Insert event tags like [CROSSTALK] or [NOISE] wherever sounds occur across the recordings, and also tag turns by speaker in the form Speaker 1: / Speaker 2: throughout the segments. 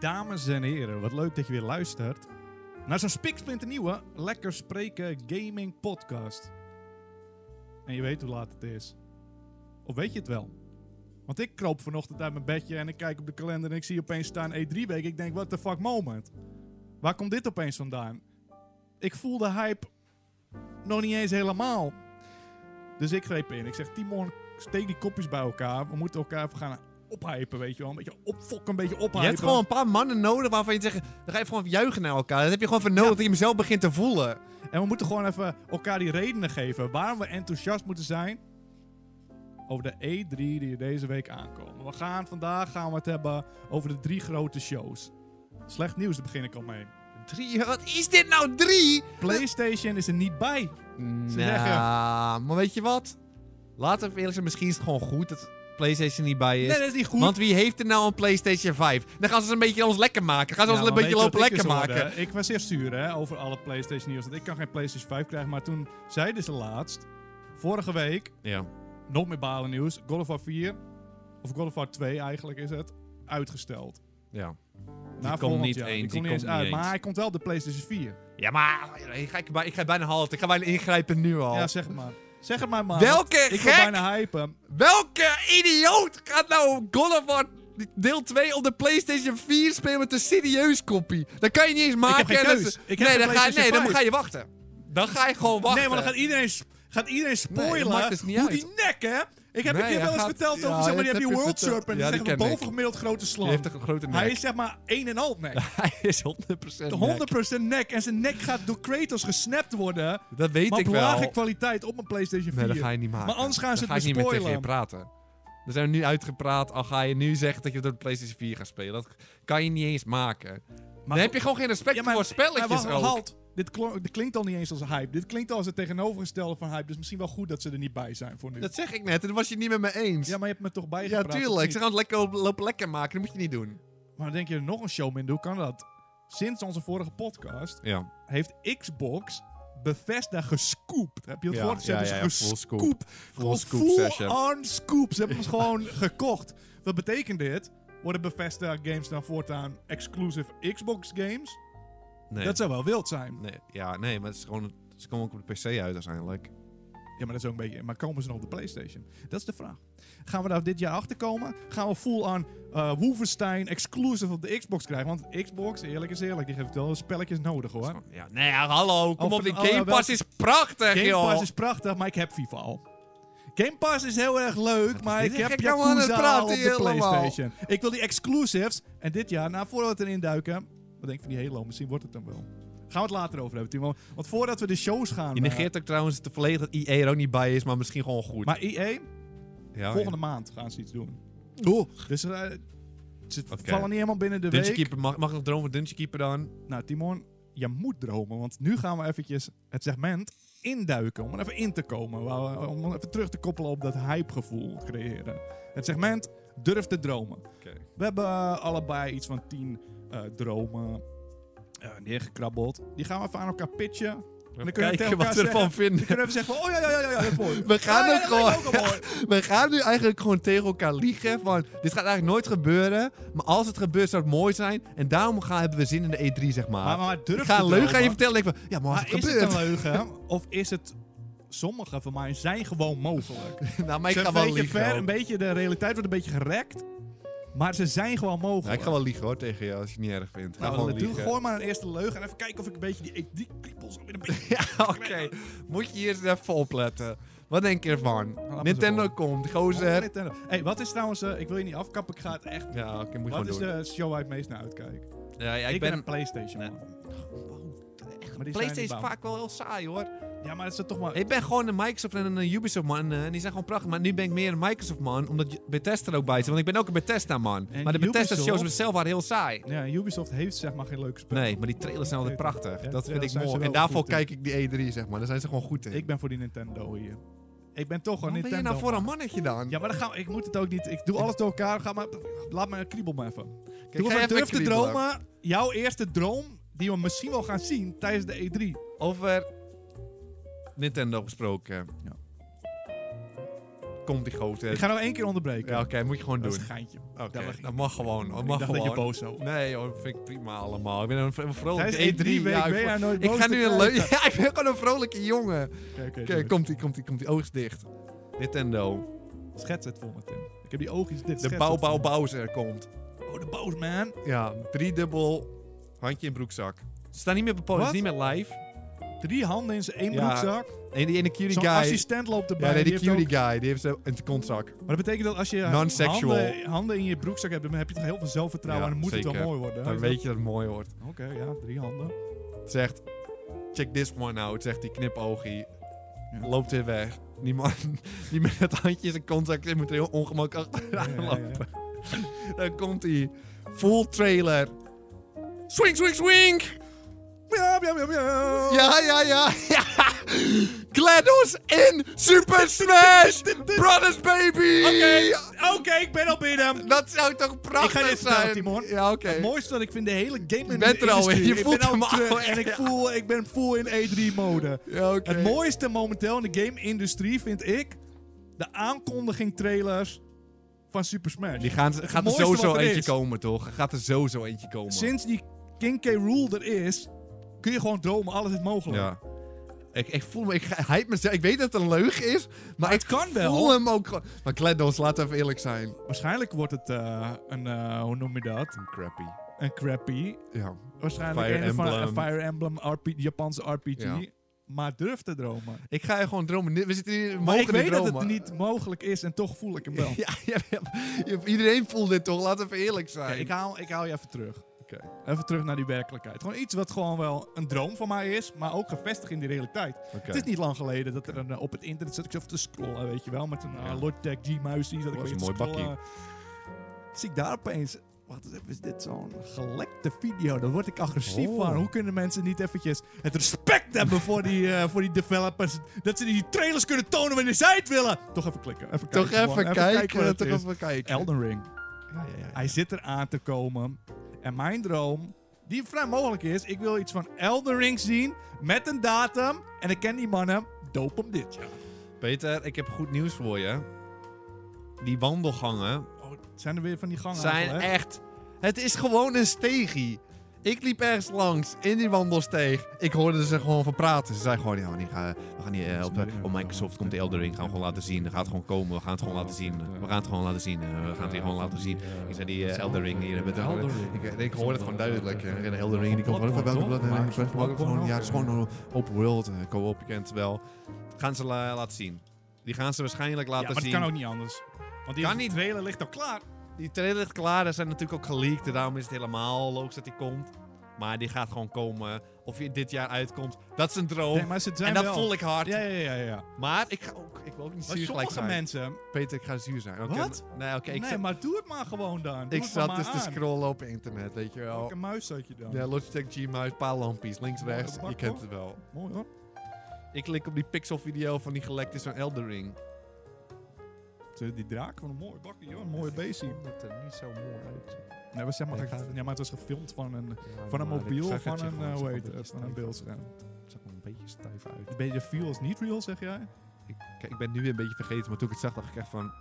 Speaker 1: Dames en heren, wat leuk dat je weer luistert naar zo'n spiksplinternieuwe Lekker Spreken Gaming Podcast. En je weet hoe laat het is. Of weet je het wel? Want ik kroop vanochtend uit mijn bedje en ik kijk op de kalender en ik zie opeens staan E3-week. Ik denk, what the fuck moment? Waar komt dit opeens vandaan? Ik voel de hype nog niet eens helemaal. Dus ik greep in. Ik zeg, Timon, steek die kopjes bij elkaar. We moeten elkaar even gaan ophypen, weet je wel. Een beetje opfokken, een beetje ophypen.
Speaker 2: Je hebt gewoon een paar mannen nodig waarvan je zegt, dan ga je gewoon juichen naar elkaar. Dat heb je gewoon voor nodig dat je hem zelf begint te voelen.
Speaker 1: En we moeten gewoon even elkaar die redenen geven waarom we enthousiast moeten zijn over de E3 die deze week aankomen. We gaan vandaag gaan we het hebben over de drie grote shows. Slecht nieuws, daar begin ik al mee.
Speaker 2: Drie, wat is dit nou, drie?
Speaker 1: PlayStation is er niet bij. zeggen-
Speaker 2: Nou, maar weet je wat? Laten we eerlijk zijn, misschien is het gewoon goed dat PlayStation niet bij is.
Speaker 1: Nee, dat is niet goed.
Speaker 2: Want wie heeft er nou een PlayStation 5? Dan gaan ze ons een beetje ons lekker maken. Gaan ze
Speaker 1: Ja,
Speaker 2: ons een
Speaker 1: maar
Speaker 2: beetje
Speaker 1: weet je
Speaker 2: lopen
Speaker 1: wat ik
Speaker 2: lekker
Speaker 1: dus hoorde?
Speaker 2: maken.
Speaker 1: Ik was eerst zuur hè, over alle PlayStation nieuws. Want ik kan geen PlayStation 5 krijgen. Maar toen zeiden ze laatst, vorige week,
Speaker 2: Ja.
Speaker 1: nog meer balen nieuws. God of War 4, of God of War 2 eigenlijk is het, uitgesteld.
Speaker 2: ja.
Speaker 1: Na
Speaker 2: komt
Speaker 1: volgend
Speaker 2: niet
Speaker 1: jaar.
Speaker 2: eens,
Speaker 1: Die
Speaker 2: die
Speaker 1: komt niet eens
Speaker 2: komt
Speaker 1: uit.
Speaker 2: niet eens.
Speaker 1: Maar hij komt wel op de PlayStation 4.
Speaker 2: Ja, maar ik ga, ik, bij- ik ga bijna halt. Ik ga bijna ingrijpen nu al.
Speaker 1: Ja, zeg het maar. Zeg het maar, man.
Speaker 2: Oh. Welke
Speaker 1: Ik wil
Speaker 2: gek?
Speaker 1: bijna hypen.
Speaker 2: Welke idioot gaat nou God of War deel 2 op de PlayStation 4 spelen met een serieus kopie? Dat kan je niet eens maken.
Speaker 1: heb geen
Speaker 2: en dat is-
Speaker 1: keus. Ik heb
Speaker 2: nee,
Speaker 1: een
Speaker 2: dan ga, je- nee,
Speaker 1: PlayStation
Speaker 2: dan
Speaker 1: 5.
Speaker 2: ga je wachten. Dan ga je gewoon wachten.
Speaker 1: Nee, want dan gaat iedereen, sp- gaat iedereen
Speaker 2: eh. Nee,
Speaker 1: spoilen
Speaker 2: dat maakt dus niet
Speaker 1: hoe
Speaker 2: uit.
Speaker 1: die nek, hè? Ik heb
Speaker 2: Nee,
Speaker 1: een keer
Speaker 2: hij
Speaker 1: wel eens
Speaker 2: gaat-
Speaker 1: verteld
Speaker 2: ja,
Speaker 1: over, zeg maar,
Speaker 2: dat
Speaker 1: die heb je
Speaker 2: heb je
Speaker 1: World
Speaker 2: verteld.
Speaker 1: Serpent.
Speaker 2: Ja,
Speaker 1: Ja,
Speaker 2: die
Speaker 1: die een
Speaker 2: ken ik.
Speaker 1: bovengemiddeld grote
Speaker 2: Die
Speaker 1: slang.
Speaker 2: heeft een grote nek.
Speaker 1: Hij is zeg maar 1,5 nek.
Speaker 2: [LAUGHS] Hij is 100% nek.
Speaker 1: 100% nek. En zijn nek gaat door Kratos gesnapt worden.
Speaker 2: Dat weet
Speaker 1: Maar
Speaker 2: ik
Speaker 1: op
Speaker 2: wel.
Speaker 1: lage kwaliteit op mijn PlayStation 4.
Speaker 2: Nee, dat ga je niet maken.
Speaker 1: Maar anders gaan ze
Speaker 2: Dan
Speaker 1: het
Speaker 2: ga ik niet meer tegen je
Speaker 1: bespoilen.
Speaker 2: praten. Dan zijn we nu uitgepraat, al ga je nu zeggen dat je door de PlayStation 4 gaat spelen. Dat kan je niet eens maken. dan heb je gewoon geen respect
Speaker 1: Ja, maar-
Speaker 2: voor spelletjes
Speaker 1: maar wacht,
Speaker 2: ook.
Speaker 1: halt. Dit, klonk- dit klinkt al niet eens als hype. Dit klinkt al als het tegenovergestelde van hype. Dus misschien wel goed dat ze er niet bij zijn voor nu.
Speaker 2: Dat zeg ik net, en dat was je niet met me eens.
Speaker 1: Ja, maar je hebt me toch
Speaker 2: Ja,
Speaker 1: bijgepraat. of
Speaker 2: tuurlijk.
Speaker 1: niet?
Speaker 2: Ze gaan het lekker op- lopen lekker maken. Dat moet je niet doen.
Speaker 1: Maar dan denk je, nog een show minder. Hoe kan dat? Sinds onze vorige podcast
Speaker 2: Ja.
Speaker 1: heeft Xbox Bethesda gescoopt. Heb je het
Speaker 2: Ja,
Speaker 1: gehoord? Ze
Speaker 2: ja,
Speaker 1: hebben
Speaker 2: ja,
Speaker 1: ze
Speaker 2: ja, full scoop.
Speaker 1: gescoopt. Gewoon
Speaker 2: scoop
Speaker 1: full
Speaker 2: session.
Speaker 1: on scoop. Ze hebben ons gewoon [LAUGHS] gekocht. Wat betekent dit? Worden Bethesda games dan voortaan exclusive Xbox games?
Speaker 2: Nee.
Speaker 1: Dat zou wel wild zijn.
Speaker 2: nee. Ja, nee, maar het is gewoon... Ze komen ook op de PC uit uiteindelijk.
Speaker 1: Ja, maar dat is ook een beetje... Maar komen ze nog op de Playstation? Dat is de vraag. Gaan we daar dit jaar achter komen? Gaan we full aan eh Wolfenstein exclusive op de Xbox krijgen? Want Xbox, eerlijk is eerlijk, die heeft wel spelletjes nodig hoor.
Speaker 2: Ja, nee, ja, hallo. Kom
Speaker 1: Oh,
Speaker 2: op, die
Speaker 1: van- oh,
Speaker 2: Game
Speaker 1: ja, wel-
Speaker 2: Pass is prachtig,
Speaker 1: Game
Speaker 2: joh.
Speaker 1: Pass is prachtig, maar ik heb FIFA al. Game Pass is heel erg leuk, maar
Speaker 2: dit
Speaker 1: ik
Speaker 2: een
Speaker 1: heb
Speaker 2: gekke man aan het
Speaker 1: Yakuza
Speaker 2: praten
Speaker 1: al op de
Speaker 2: hier allemaal?
Speaker 1: Playstation. Ik wil die exclusives. En dit jaar, nou voordat we erin duiken... Wat denk ik van die Halo? Misschien wordt het dan wel. Gaan we het later over hebben, Timo. Want voordat we de shows gaan...
Speaker 2: Je
Speaker 1: eh,
Speaker 2: negeert ook trouwens te volledig dat IE er ook niet bij is, maar misschien gewoon goed.
Speaker 1: maar EA,
Speaker 2: Oh, ja,
Speaker 1: volgende maand gaan ze iets doen.
Speaker 2: ja. Oeh.
Speaker 1: Dus eh, ze
Speaker 2: Oké.
Speaker 1: vallen niet helemaal binnen de
Speaker 2: Dungeon
Speaker 1: week.
Speaker 2: Keeper, mag, mag ik nog dromen van Dungeon Keeper dan?
Speaker 1: Nou, Timon, je moet dromen. Want nu gaan we eventjes het segment induiken. Om er even in te komen. waar we- Om even terug te koppelen op dat hypegevoel creëren. Het segment Durf te dromen.
Speaker 2: Oké.
Speaker 1: We hebben eh, allebei iets van tien eh, dromen eh, neergekrabbeld. Die gaan we even aan elkaar pitchen. En dan kunnen we tegen
Speaker 2: Kijken
Speaker 1: elkaar
Speaker 2: wat we
Speaker 1: zeggen...
Speaker 2: ervan vinden.
Speaker 1: We
Speaker 2: [LAUGHS]
Speaker 1: kunnen even zeggen van, oh ja, ja, ja, ja, ja, dat is mooi.
Speaker 2: We gaan
Speaker 1: Ja, ja,
Speaker 2: ook
Speaker 1: dat lijkt
Speaker 2: gewoon-
Speaker 1: me ook al mooi.
Speaker 2: We gaan nu eigenlijk gewoon tegen elkaar liegen. Van, dit gaat eigenlijk nooit gebeuren. Maar als het gebeurt, zou het mooi zijn. En daarom gaan, hebben we zin in de E3, zeg maar.
Speaker 1: Maar, maar durf
Speaker 2: ik ga
Speaker 1: te
Speaker 2: een leugen aan je
Speaker 1: dromen.
Speaker 2: vertellen. Denk ik van, ja, maar als
Speaker 1: Maar
Speaker 2: het
Speaker 1: is het
Speaker 2: gebeurt.
Speaker 1: een leugen? Of is het... Sommige van mij zijn gewoon mogelijk.
Speaker 2: [LAUGHS] nou, maar ik
Speaker 1: Ze
Speaker 2: ga
Speaker 1: een
Speaker 2: wel
Speaker 1: beetje
Speaker 2: liegen.
Speaker 1: ver,
Speaker 2: hoor.
Speaker 1: een beetje, de realiteit wordt een beetje gerekt. Maar ze zijn gewoon mogelijk.
Speaker 2: Ja, ik ga wel liegen hoor tegen jou als je het niet erg vindt. Ga
Speaker 1: Nou,
Speaker 2: gewoon
Speaker 1: doe
Speaker 2: liegen.
Speaker 1: gewoon maar een eerste leugen en even kijken of ik een beetje die ED-kriepels weer een
Speaker 2: [LAUGHS]
Speaker 1: beetje...
Speaker 2: [LAUGHS] Ja, oké. Moet je hier eens even opletten. Wat denk je ervan?
Speaker 1: eens
Speaker 2: Nintendo
Speaker 1: horen.
Speaker 2: komt,
Speaker 1: Oh,
Speaker 2: gozer.
Speaker 1: Nintendo. hey, wat is trouwens... eh, ik wil je niet afkappen, ik ga het echt...
Speaker 2: Ja, oké, moet je
Speaker 1: wat is
Speaker 2: gewoon doen.
Speaker 1: de show waar je het meest naar uitkijkt?
Speaker 2: Ja, ja,
Speaker 1: ik ben, een Playstation
Speaker 2: Nee.
Speaker 1: man.
Speaker 2: Echt,
Speaker 1: Maar die zijn niet
Speaker 2: PlayStation
Speaker 1: bang.
Speaker 2: is vaak wel heel saai hoor.
Speaker 1: Ja, maar dat is toch maar...
Speaker 2: Ik ben gewoon een Microsoft en een Ubisoft man. eh, En die zijn gewoon prachtig. Maar nu ben ik meer een Microsoft man. Omdat Ju- Bethesda er ook bij zit. Want ik ben ook een Bethesda man.
Speaker 1: En
Speaker 2: maar de Bethesda shows
Speaker 1: Ubisoft?
Speaker 2: met zelf waren heel saai.
Speaker 1: Ja, Ubisoft heeft zeg maar geen leuke spel.
Speaker 2: Nee, maar die trailers zijn altijd prachtig.
Speaker 1: Ja,
Speaker 2: dat vind
Speaker 1: trailers
Speaker 2: ik
Speaker 1: zijn ze
Speaker 2: mooi.
Speaker 1: wel
Speaker 2: En daarvoor
Speaker 1: goed in.
Speaker 2: kijk ik die E3 zeg maar. Daar zijn ze gewoon goed in.
Speaker 1: Ik ben voor die Nintendo hier. Ik ben toch
Speaker 2: Wat
Speaker 1: gewoon
Speaker 2: ben je
Speaker 1: Nintendo
Speaker 2: nou voor
Speaker 1: man.
Speaker 2: een mannetje dan?
Speaker 1: Ja, maar dan gaan we- ik moet het ook niet... Ik doe alles door elkaar. Ga maar, laat me kriebel maar even.
Speaker 2: Kijk,
Speaker 1: Doe
Speaker 2: ga
Speaker 1: even
Speaker 2: even
Speaker 1: durf te
Speaker 2: kriebelen.
Speaker 1: dromen. Jouw eerste droom die we misschien wel gaan zien tijdens de E E3.
Speaker 2: Over Nintendo gesproken.
Speaker 1: Ja.
Speaker 2: komt die gozer.
Speaker 1: Ik ga nou één keer onderbreken.
Speaker 2: Ja, oké, moet je gewoon
Speaker 1: dat
Speaker 2: doen.
Speaker 1: is een geintje.
Speaker 2: Oké,
Speaker 1: dat mag
Speaker 2: dat mag gewoon. Dat
Speaker 1: Ik
Speaker 2: mag
Speaker 1: dacht dat
Speaker 2: gewoon.
Speaker 1: je boos zou worden.
Speaker 2: Nee joh, vind ik prima allemaal. Ik ben een vro- vrolijk
Speaker 1: Tijdens E3 week
Speaker 2: ja, ik
Speaker 1: ben
Speaker 2: vro-
Speaker 1: jij nooit
Speaker 2: ik
Speaker 1: boos
Speaker 2: ga
Speaker 1: te
Speaker 2: nu een
Speaker 1: krijgen.
Speaker 2: leuk... Ja, [LAUGHS] ik ben gewoon een vrolijke jongen.
Speaker 1: Oké, oké, doe
Speaker 2: Kijk,
Speaker 1: het.
Speaker 2: komt die, komt die, komt die. Oogst dicht. Nintendo.
Speaker 1: Schets het voor me, Tim. Ik heb die oogjes dicht.
Speaker 2: De
Speaker 1: schets
Speaker 2: bouw,
Speaker 1: het
Speaker 2: bouw,
Speaker 1: voor me.
Speaker 2: Bowser komt.
Speaker 1: Oh, de boos, man.
Speaker 2: Ja, driedubbel. Handje in broekzak. Ze staan niet meer op het podium,
Speaker 1: Wat?
Speaker 2: ze niet meer live.
Speaker 1: Drie handen in zijn één
Speaker 2: Ja,
Speaker 1: broekzak.
Speaker 2: En die ene cutie
Speaker 1: Zo'n
Speaker 2: guy...
Speaker 1: assistent loopt erbij.
Speaker 2: Ja, nee, die
Speaker 1: heeft ook-
Speaker 2: cutie guy. Die heeft zo een kontzak.
Speaker 1: Maar dat betekent dat als je
Speaker 2: Non-sexual.
Speaker 1: handen, handen in je broekzak hebt, dan heb je toch heel veel zelfvertrouwen
Speaker 2: Ja,
Speaker 1: en dan moet het
Speaker 2: zeker.
Speaker 1: wel mooi worden.
Speaker 2: Dan
Speaker 1: Is
Speaker 2: weet je dat het mooi wordt.
Speaker 1: dat- Oké, ja, drie handen.
Speaker 2: Het zegt, check this one out, zegt die knipoogie.
Speaker 1: Ja.
Speaker 2: Loopt weer weg. Die man [LAUGHS] die met het handje in zijn contact moet er heel ongemakkelijk achteraan
Speaker 1: Ja, ja, ja.
Speaker 2: lopen. Dan komt hij. Full trailer. Swing, swing, swing!
Speaker 1: Ja, ja, ja, ja.
Speaker 2: Ja, ja, ja, ja! GLaDOS in Super [LAUGHS] Smash Brothers, baby!
Speaker 1: Oké, oké, ik ben al binnen.
Speaker 2: Dat zou toch prachtig
Speaker 1: Ik ga dit vertellen,
Speaker 2: zijn?
Speaker 1: Timon.
Speaker 2: Ja, oké.
Speaker 1: Het mooiste dat ik vind de hele game
Speaker 2: Je bent er al in, je
Speaker 1: ik
Speaker 2: voelt
Speaker 1: ben
Speaker 2: hem al,
Speaker 1: terug en ik
Speaker 2: ja.
Speaker 1: voel, ik ben full in E3-mode.
Speaker 2: Ja, oké.
Speaker 1: Het mooiste momenteel in de game-industrie vind ik de aankondiging-trailers van Super Smash.
Speaker 2: Die gaan, gaat er
Speaker 1: mooiste
Speaker 2: sowieso
Speaker 1: wat er
Speaker 2: eentje
Speaker 1: is.
Speaker 2: komen, toch? Gaat er sowieso eentje komen.
Speaker 1: Sinds die King K. Rule er is, kun je gewoon dromen, alles is mogelijk.
Speaker 2: Ja. Ik, ik voel me, ik ge- hype mezelf. Ik weet dat het een leugen is, maar,
Speaker 1: het
Speaker 2: ik
Speaker 1: kan wel.
Speaker 2: voel hem ook gewoon. Maar GLaDOS, laten we even eerlijk zijn.
Speaker 1: Waarschijnlijk wordt het eh, een, eh, hoe noem je dat?
Speaker 2: Crappy.
Speaker 1: Een crappy.
Speaker 2: Ja.
Speaker 1: Waarschijnlijk
Speaker 2: Fire
Speaker 1: een van een
Speaker 2: Emblem.
Speaker 1: Fire Emblem RP, Japanse RPG.
Speaker 2: Ja.
Speaker 1: Maar durf te dromen.
Speaker 2: Ik ga hier gewoon dromen. Ni- We zitten hier, we
Speaker 1: Maar
Speaker 2: mogen
Speaker 1: ik
Speaker 2: niet
Speaker 1: weet dat
Speaker 2: dromen.
Speaker 1: het
Speaker 2: [LAUGHS]
Speaker 1: niet mogelijk is en toch voel ik hem wel.
Speaker 2: Ja, ja, ja. Je- iedereen voelt dit toch? Laten we even eerlijk zijn.
Speaker 1: Oké, ik, haal, ik haal je even terug.
Speaker 2: Oké.
Speaker 1: Even terug naar die werkelijkheid. Gewoon iets wat gewoon wel een droom van mij is, maar ook gevestigd in de realiteit.
Speaker 2: Oké.
Speaker 1: Het is niet lang geleden dat er een, eh, op het internet zat ik zo even te scrollen, weet je wel, met een
Speaker 2: Ja.
Speaker 1: uh, Logitech G-muis. die zat ik
Speaker 2: Dat is
Speaker 1: weer
Speaker 2: een
Speaker 1: te
Speaker 2: mooi
Speaker 1: scrollen. Zie ik daar opeens, wat is, is dit zo'n gelekte video? Daar word ik agressief
Speaker 2: Oh.
Speaker 1: van. Hoe kunnen mensen niet eventjes het respect hebben voor die, eh, voor die developers? Dat ze die trailers kunnen tonen wanneer zij het willen. Toch even klikken. Even
Speaker 2: Toch
Speaker 1: kijken,
Speaker 2: even,
Speaker 1: gewoon.
Speaker 2: kijken.
Speaker 1: wat het
Speaker 2: toch
Speaker 1: is.
Speaker 2: even kijken.
Speaker 1: Elden Ring.
Speaker 2: Ja, ja, ja.
Speaker 1: Hij zit er aan te komen. En mijn droom, die vrij mogelijk is, ik wil iets van Elden Ring zien met een datum. En ik ken die mannen, doop hem dit. Ja.
Speaker 2: Peter, ik heb goed nieuws voor je. Die wandelgangen
Speaker 1: Oh, zijn er weer van die gangen?
Speaker 2: zijn
Speaker 1: eigenlijk, hè?
Speaker 2: echt. Het is gewoon een steegie. Ik liep ergens langs in die wandelsteeg. Ik hoorde ze gewoon van praten. Ze zeiden gewoon: ja, we, niet gaan, we gaan niet eh, helpen. Oh, Microsoft komt de Elder Ring. Gaan we gewoon laten zien. Dat gaat gewoon komen. We gaan het gewoon laten zien. We gaan het gewoon laten zien. Eh, We gaan het hier gewoon laten zien. Ik zei: die eh, Elder Ring hier. hebben we het- Ik, ik hoor het gewoon duidelijk. Eh, En de Elder Ring die komt gewoon van welke blad. en welke blad, welke blad. Ja, het is gewoon een open world. eh, Co-op. Je kent het wel. Gaan ze la- laten zien. Die gaan ze waarschijnlijk
Speaker 1: Ja,
Speaker 2: laten
Speaker 1: maar dat
Speaker 2: zien.
Speaker 1: kan ook niet anders. Want die
Speaker 2: Kan niet.
Speaker 1: trailer ligt al klaar.
Speaker 2: Die trailer ligt klaar, daar zijn natuurlijk ook geleakt. en Daarom is het helemaal logisch dat die komt. Maar die gaat gewoon komen. Of je dit jaar uitkomt, dat is een droom.
Speaker 1: Nee, maar ze zijn
Speaker 2: en dat
Speaker 1: wel...
Speaker 2: voel ik hard.
Speaker 1: Ja, ja, ja, ja. ja.
Speaker 2: Maar ik, ga ook, ik wil ook niet
Speaker 1: Maar
Speaker 2: zuur gelijk
Speaker 1: sommige
Speaker 2: zijn.
Speaker 1: mensen...
Speaker 2: Peter, ik ga zuur zijn. Oké,
Speaker 1: Wat?
Speaker 2: maar- Nee, oké. ik
Speaker 1: nee,
Speaker 2: zat,
Speaker 1: maar doe het maar gewoon dan. Doe
Speaker 2: ik
Speaker 1: het maar
Speaker 2: zat
Speaker 1: maar
Speaker 2: dus te
Speaker 1: aan.
Speaker 2: scrollen op internet, weet je wel.
Speaker 1: Welke muis zat je dan?
Speaker 2: Ja, Logitech G-muis, paar lampjes, links,
Speaker 1: Mooie
Speaker 2: rechts.
Speaker 1: bak,
Speaker 2: Je kent
Speaker 1: hoor.
Speaker 2: het wel.
Speaker 1: Mooi hoor.
Speaker 2: Ik klik op die pixel-video van die gelekte zo'n Elder Ring.
Speaker 1: Die draak van een mooie bakkie, joh. Een mooie beestie.
Speaker 2: Dat er niet zo mooi uit.
Speaker 1: Nee, we zeg maar,
Speaker 2: Ja,
Speaker 1: echt-
Speaker 2: gaat het-
Speaker 1: ja, maar het was gefilmd van een Van een mobiel, van een, eh, hoe heet het, van een beeldscherm.
Speaker 2: Het zag er een beetje stijf uit.
Speaker 1: Ben je feel is niet real, zeg jij?
Speaker 2: Ik, kijk, ik ben nu weer een beetje vergeten, maar toen ik het zag, dacht ik echt van...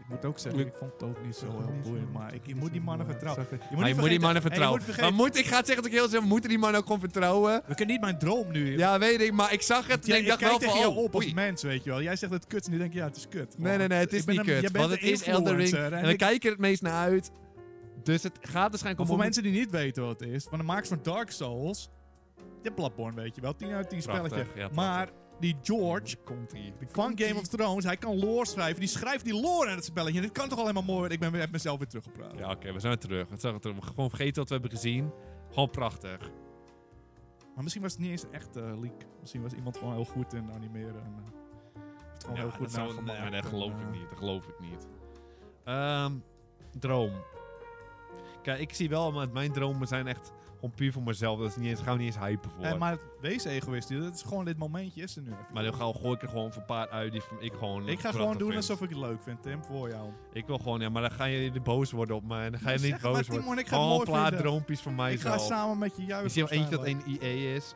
Speaker 1: Ik moet ook zeggen, ik vond het ook niet zo heel boeiend, maar ik, je moet die mannen vertrouwen.
Speaker 2: Maar
Speaker 1: niet
Speaker 2: Ah, je moet die
Speaker 1: vergeten-
Speaker 2: mannen
Speaker 1: hey, je
Speaker 2: vertrouwen.
Speaker 1: moet vergeten-
Speaker 2: maar moet, ik ga het zeggen dat ik heel zin, we moeten die mannen ook gewoon vertrouwen.
Speaker 1: We kunnen niet mijn droom nu.
Speaker 2: Ja, weet ik, maar ik zag het en
Speaker 1: Ja,
Speaker 2: ik dacht
Speaker 1: kijk
Speaker 2: wel
Speaker 1: tegen
Speaker 2: van,
Speaker 1: jou
Speaker 2: oh,
Speaker 1: op als
Speaker 2: oei.
Speaker 1: mens, weet je wel. Jij zegt dat het kut en die denkt, ja, het is kut.
Speaker 2: Nee, nee, nee, het is
Speaker 1: Ik ben
Speaker 2: niet
Speaker 1: een-
Speaker 2: kut.
Speaker 1: jij bent
Speaker 2: Want het
Speaker 1: een
Speaker 2: is Elden Ring.
Speaker 1: influencer en
Speaker 2: En we
Speaker 1: ik-
Speaker 2: kijken er het meest naar uit. Dus het gaat waarschijnlijk
Speaker 1: Maar
Speaker 2: om...
Speaker 1: voor
Speaker 2: om-
Speaker 1: mensen die niet weten wat het is, van de makers van Dark Souls, je Bloodborne, weet je wel, 10 uit 10
Speaker 2: Prachtig,
Speaker 1: spelletje.
Speaker 2: ja, prachtig.
Speaker 1: maar die George
Speaker 2: Komt hier.
Speaker 1: van Game of Thrones, hij kan lore schrijven, die schrijft die lore aan het spelletje. Dit kan toch alleen maar mooi worden? Ik ben weer, heb mezelf weer teruggepraat.
Speaker 2: Ja, oké, we zijn weer terug. We zijn weer terug. Gewoon vergeten wat we hebben gezien. Gewoon prachtig.
Speaker 1: Maar misschien was het niet eens echt eh leak. Misschien was iemand gewoon heel goed in animeren. En, eh, heeft het gewoon heel
Speaker 2: Ja,
Speaker 1: goed
Speaker 2: dat, zou,
Speaker 1: nagemaakt.
Speaker 2: nee, dat
Speaker 1: En,
Speaker 2: geloof
Speaker 1: eh,
Speaker 2: ik niet. Dat geloof ik niet. Ehm, droom. Kijk, ik zie wel, maar mijn dromen zijn echt gewoon puur voor mezelf. Dat is niet eens, gaan we niet eens hypen voor.
Speaker 1: Nee,
Speaker 2: maar
Speaker 1: maar wees egoïstisch. Dat is gewoon dit momentje is er nu. even.
Speaker 2: dan ga, gooi ik er gewoon voor een paar uit die van ik gewoon
Speaker 1: ik ga
Speaker 2: prachtig
Speaker 1: gewoon doen
Speaker 2: vind.
Speaker 1: alsof ik het leuk vind, Tim, voor jou.
Speaker 2: Ik wil gewoon, ja, maar dan gaan jullie boos worden op mij. En dan ga je
Speaker 1: Zeg
Speaker 2: niet
Speaker 1: maar,
Speaker 2: boos
Speaker 1: Timon,
Speaker 2: worden.
Speaker 1: ik ga het
Speaker 2: gewoon
Speaker 1: mooi
Speaker 2: een paar
Speaker 1: vinden.
Speaker 2: droompjes van
Speaker 1: ik ga
Speaker 2: mijzelf.
Speaker 1: samen met je
Speaker 2: Ik
Speaker 1: juichen.
Speaker 2: zie wel eentje dat E
Speaker 1: waarschijnlijk.
Speaker 2: één IE is.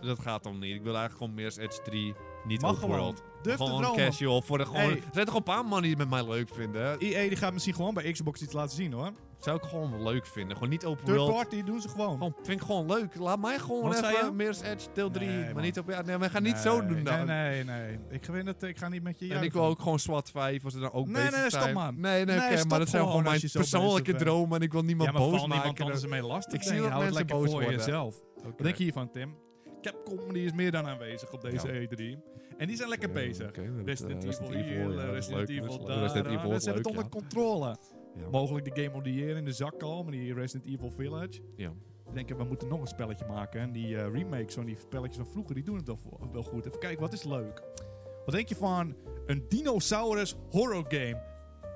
Speaker 2: Dat gaat dan niet. Ik wil eigenlijk gewoon meer Edge 3, niet
Speaker 1: Mag
Speaker 2: Overworld.
Speaker 1: gewoon. Durf te
Speaker 2: gewoon
Speaker 1: dromen.
Speaker 2: casual. Voor de, gewoon,
Speaker 1: Hey.
Speaker 2: Er zijn toch een paar mannen die het met mij leuk vinden. hè?
Speaker 1: EA E, die gaat misschien gewoon bij Xbox iets laten zien hoor.
Speaker 2: Zou ik gewoon leuk vinden. Gewoon niet open
Speaker 1: Third
Speaker 2: world.
Speaker 1: party doen ze gewoon.
Speaker 2: Gewoon, vind ik gewoon leuk. Laat mij gewoon
Speaker 1: Wat zei je?
Speaker 2: even Mirror's Edge deel 3.
Speaker 1: Nee, man.
Speaker 2: maar niet op... Ja, nee, we gaan niet zo doen dan.
Speaker 1: Nee, nee, nee. Ik, vind het, ik ga niet met je
Speaker 2: En ik
Speaker 1: juichen.
Speaker 2: wil ook gewoon SWAT 5 als er dan ook
Speaker 1: Nee,
Speaker 2: bezig
Speaker 1: nee, stop,
Speaker 2: zijn.
Speaker 1: man.
Speaker 2: Nee, nee,
Speaker 1: Nee,
Speaker 2: oké,
Speaker 1: stop
Speaker 2: maar dat zijn
Speaker 1: gewoon
Speaker 2: gewoon
Speaker 1: als
Speaker 2: mijn
Speaker 1: je zo
Speaker 2: persoonlijke
Speaker 1: bezig bent.
Speaker 2: dromen en ik wil niemand
Speaker 1: Ja, maar
Speaker 2: boos
Speaker 1: val niemand
Speaker 2: maken.
Speaker 1: anders ermee lastig.
Speaker 2: Ik zie
Speaker 1: Nee,
Speaker 2: dat
Speaker 1: hou het
Speaker 2: mensen
Speaker 1: lekker
Speaker 2: boos
Speaker 1: voor
Speaker 2: worden.
Speaker 1: jezelf. Wat denk je hiervan, Tim? Capcom die is meer dan aanwezig op deze E3. En die zijn lekker bezig.
Speaker 2: eh,
Speaker 1: Resident Evil hier, Resident Evil daar.
Speaker 2: Resident
Speaker 1: ah,
Speaker 2: Evil
Speaker 1: Dat
Speaker 2: is
Speaker 1: ze hebben
Speaker 2: leuk,
Speaker 1: het onder
Speaker 2: ja.
Speaker 1: controle.
Speaker 2: Ja.
Speaker 1: Mogelijk de Game of the Year in de zak al, maar die Resident Evil Village.
Speaker 2: Ja.
Speaker 1: Ik denk, we moeten nog een spelletje maken. En die eh, remakes van die spelletjes van vroeger, die doen het wel, vo- wel goed. Even kijken, wat is leuk? Wat denk je van een dinosaurus horror game?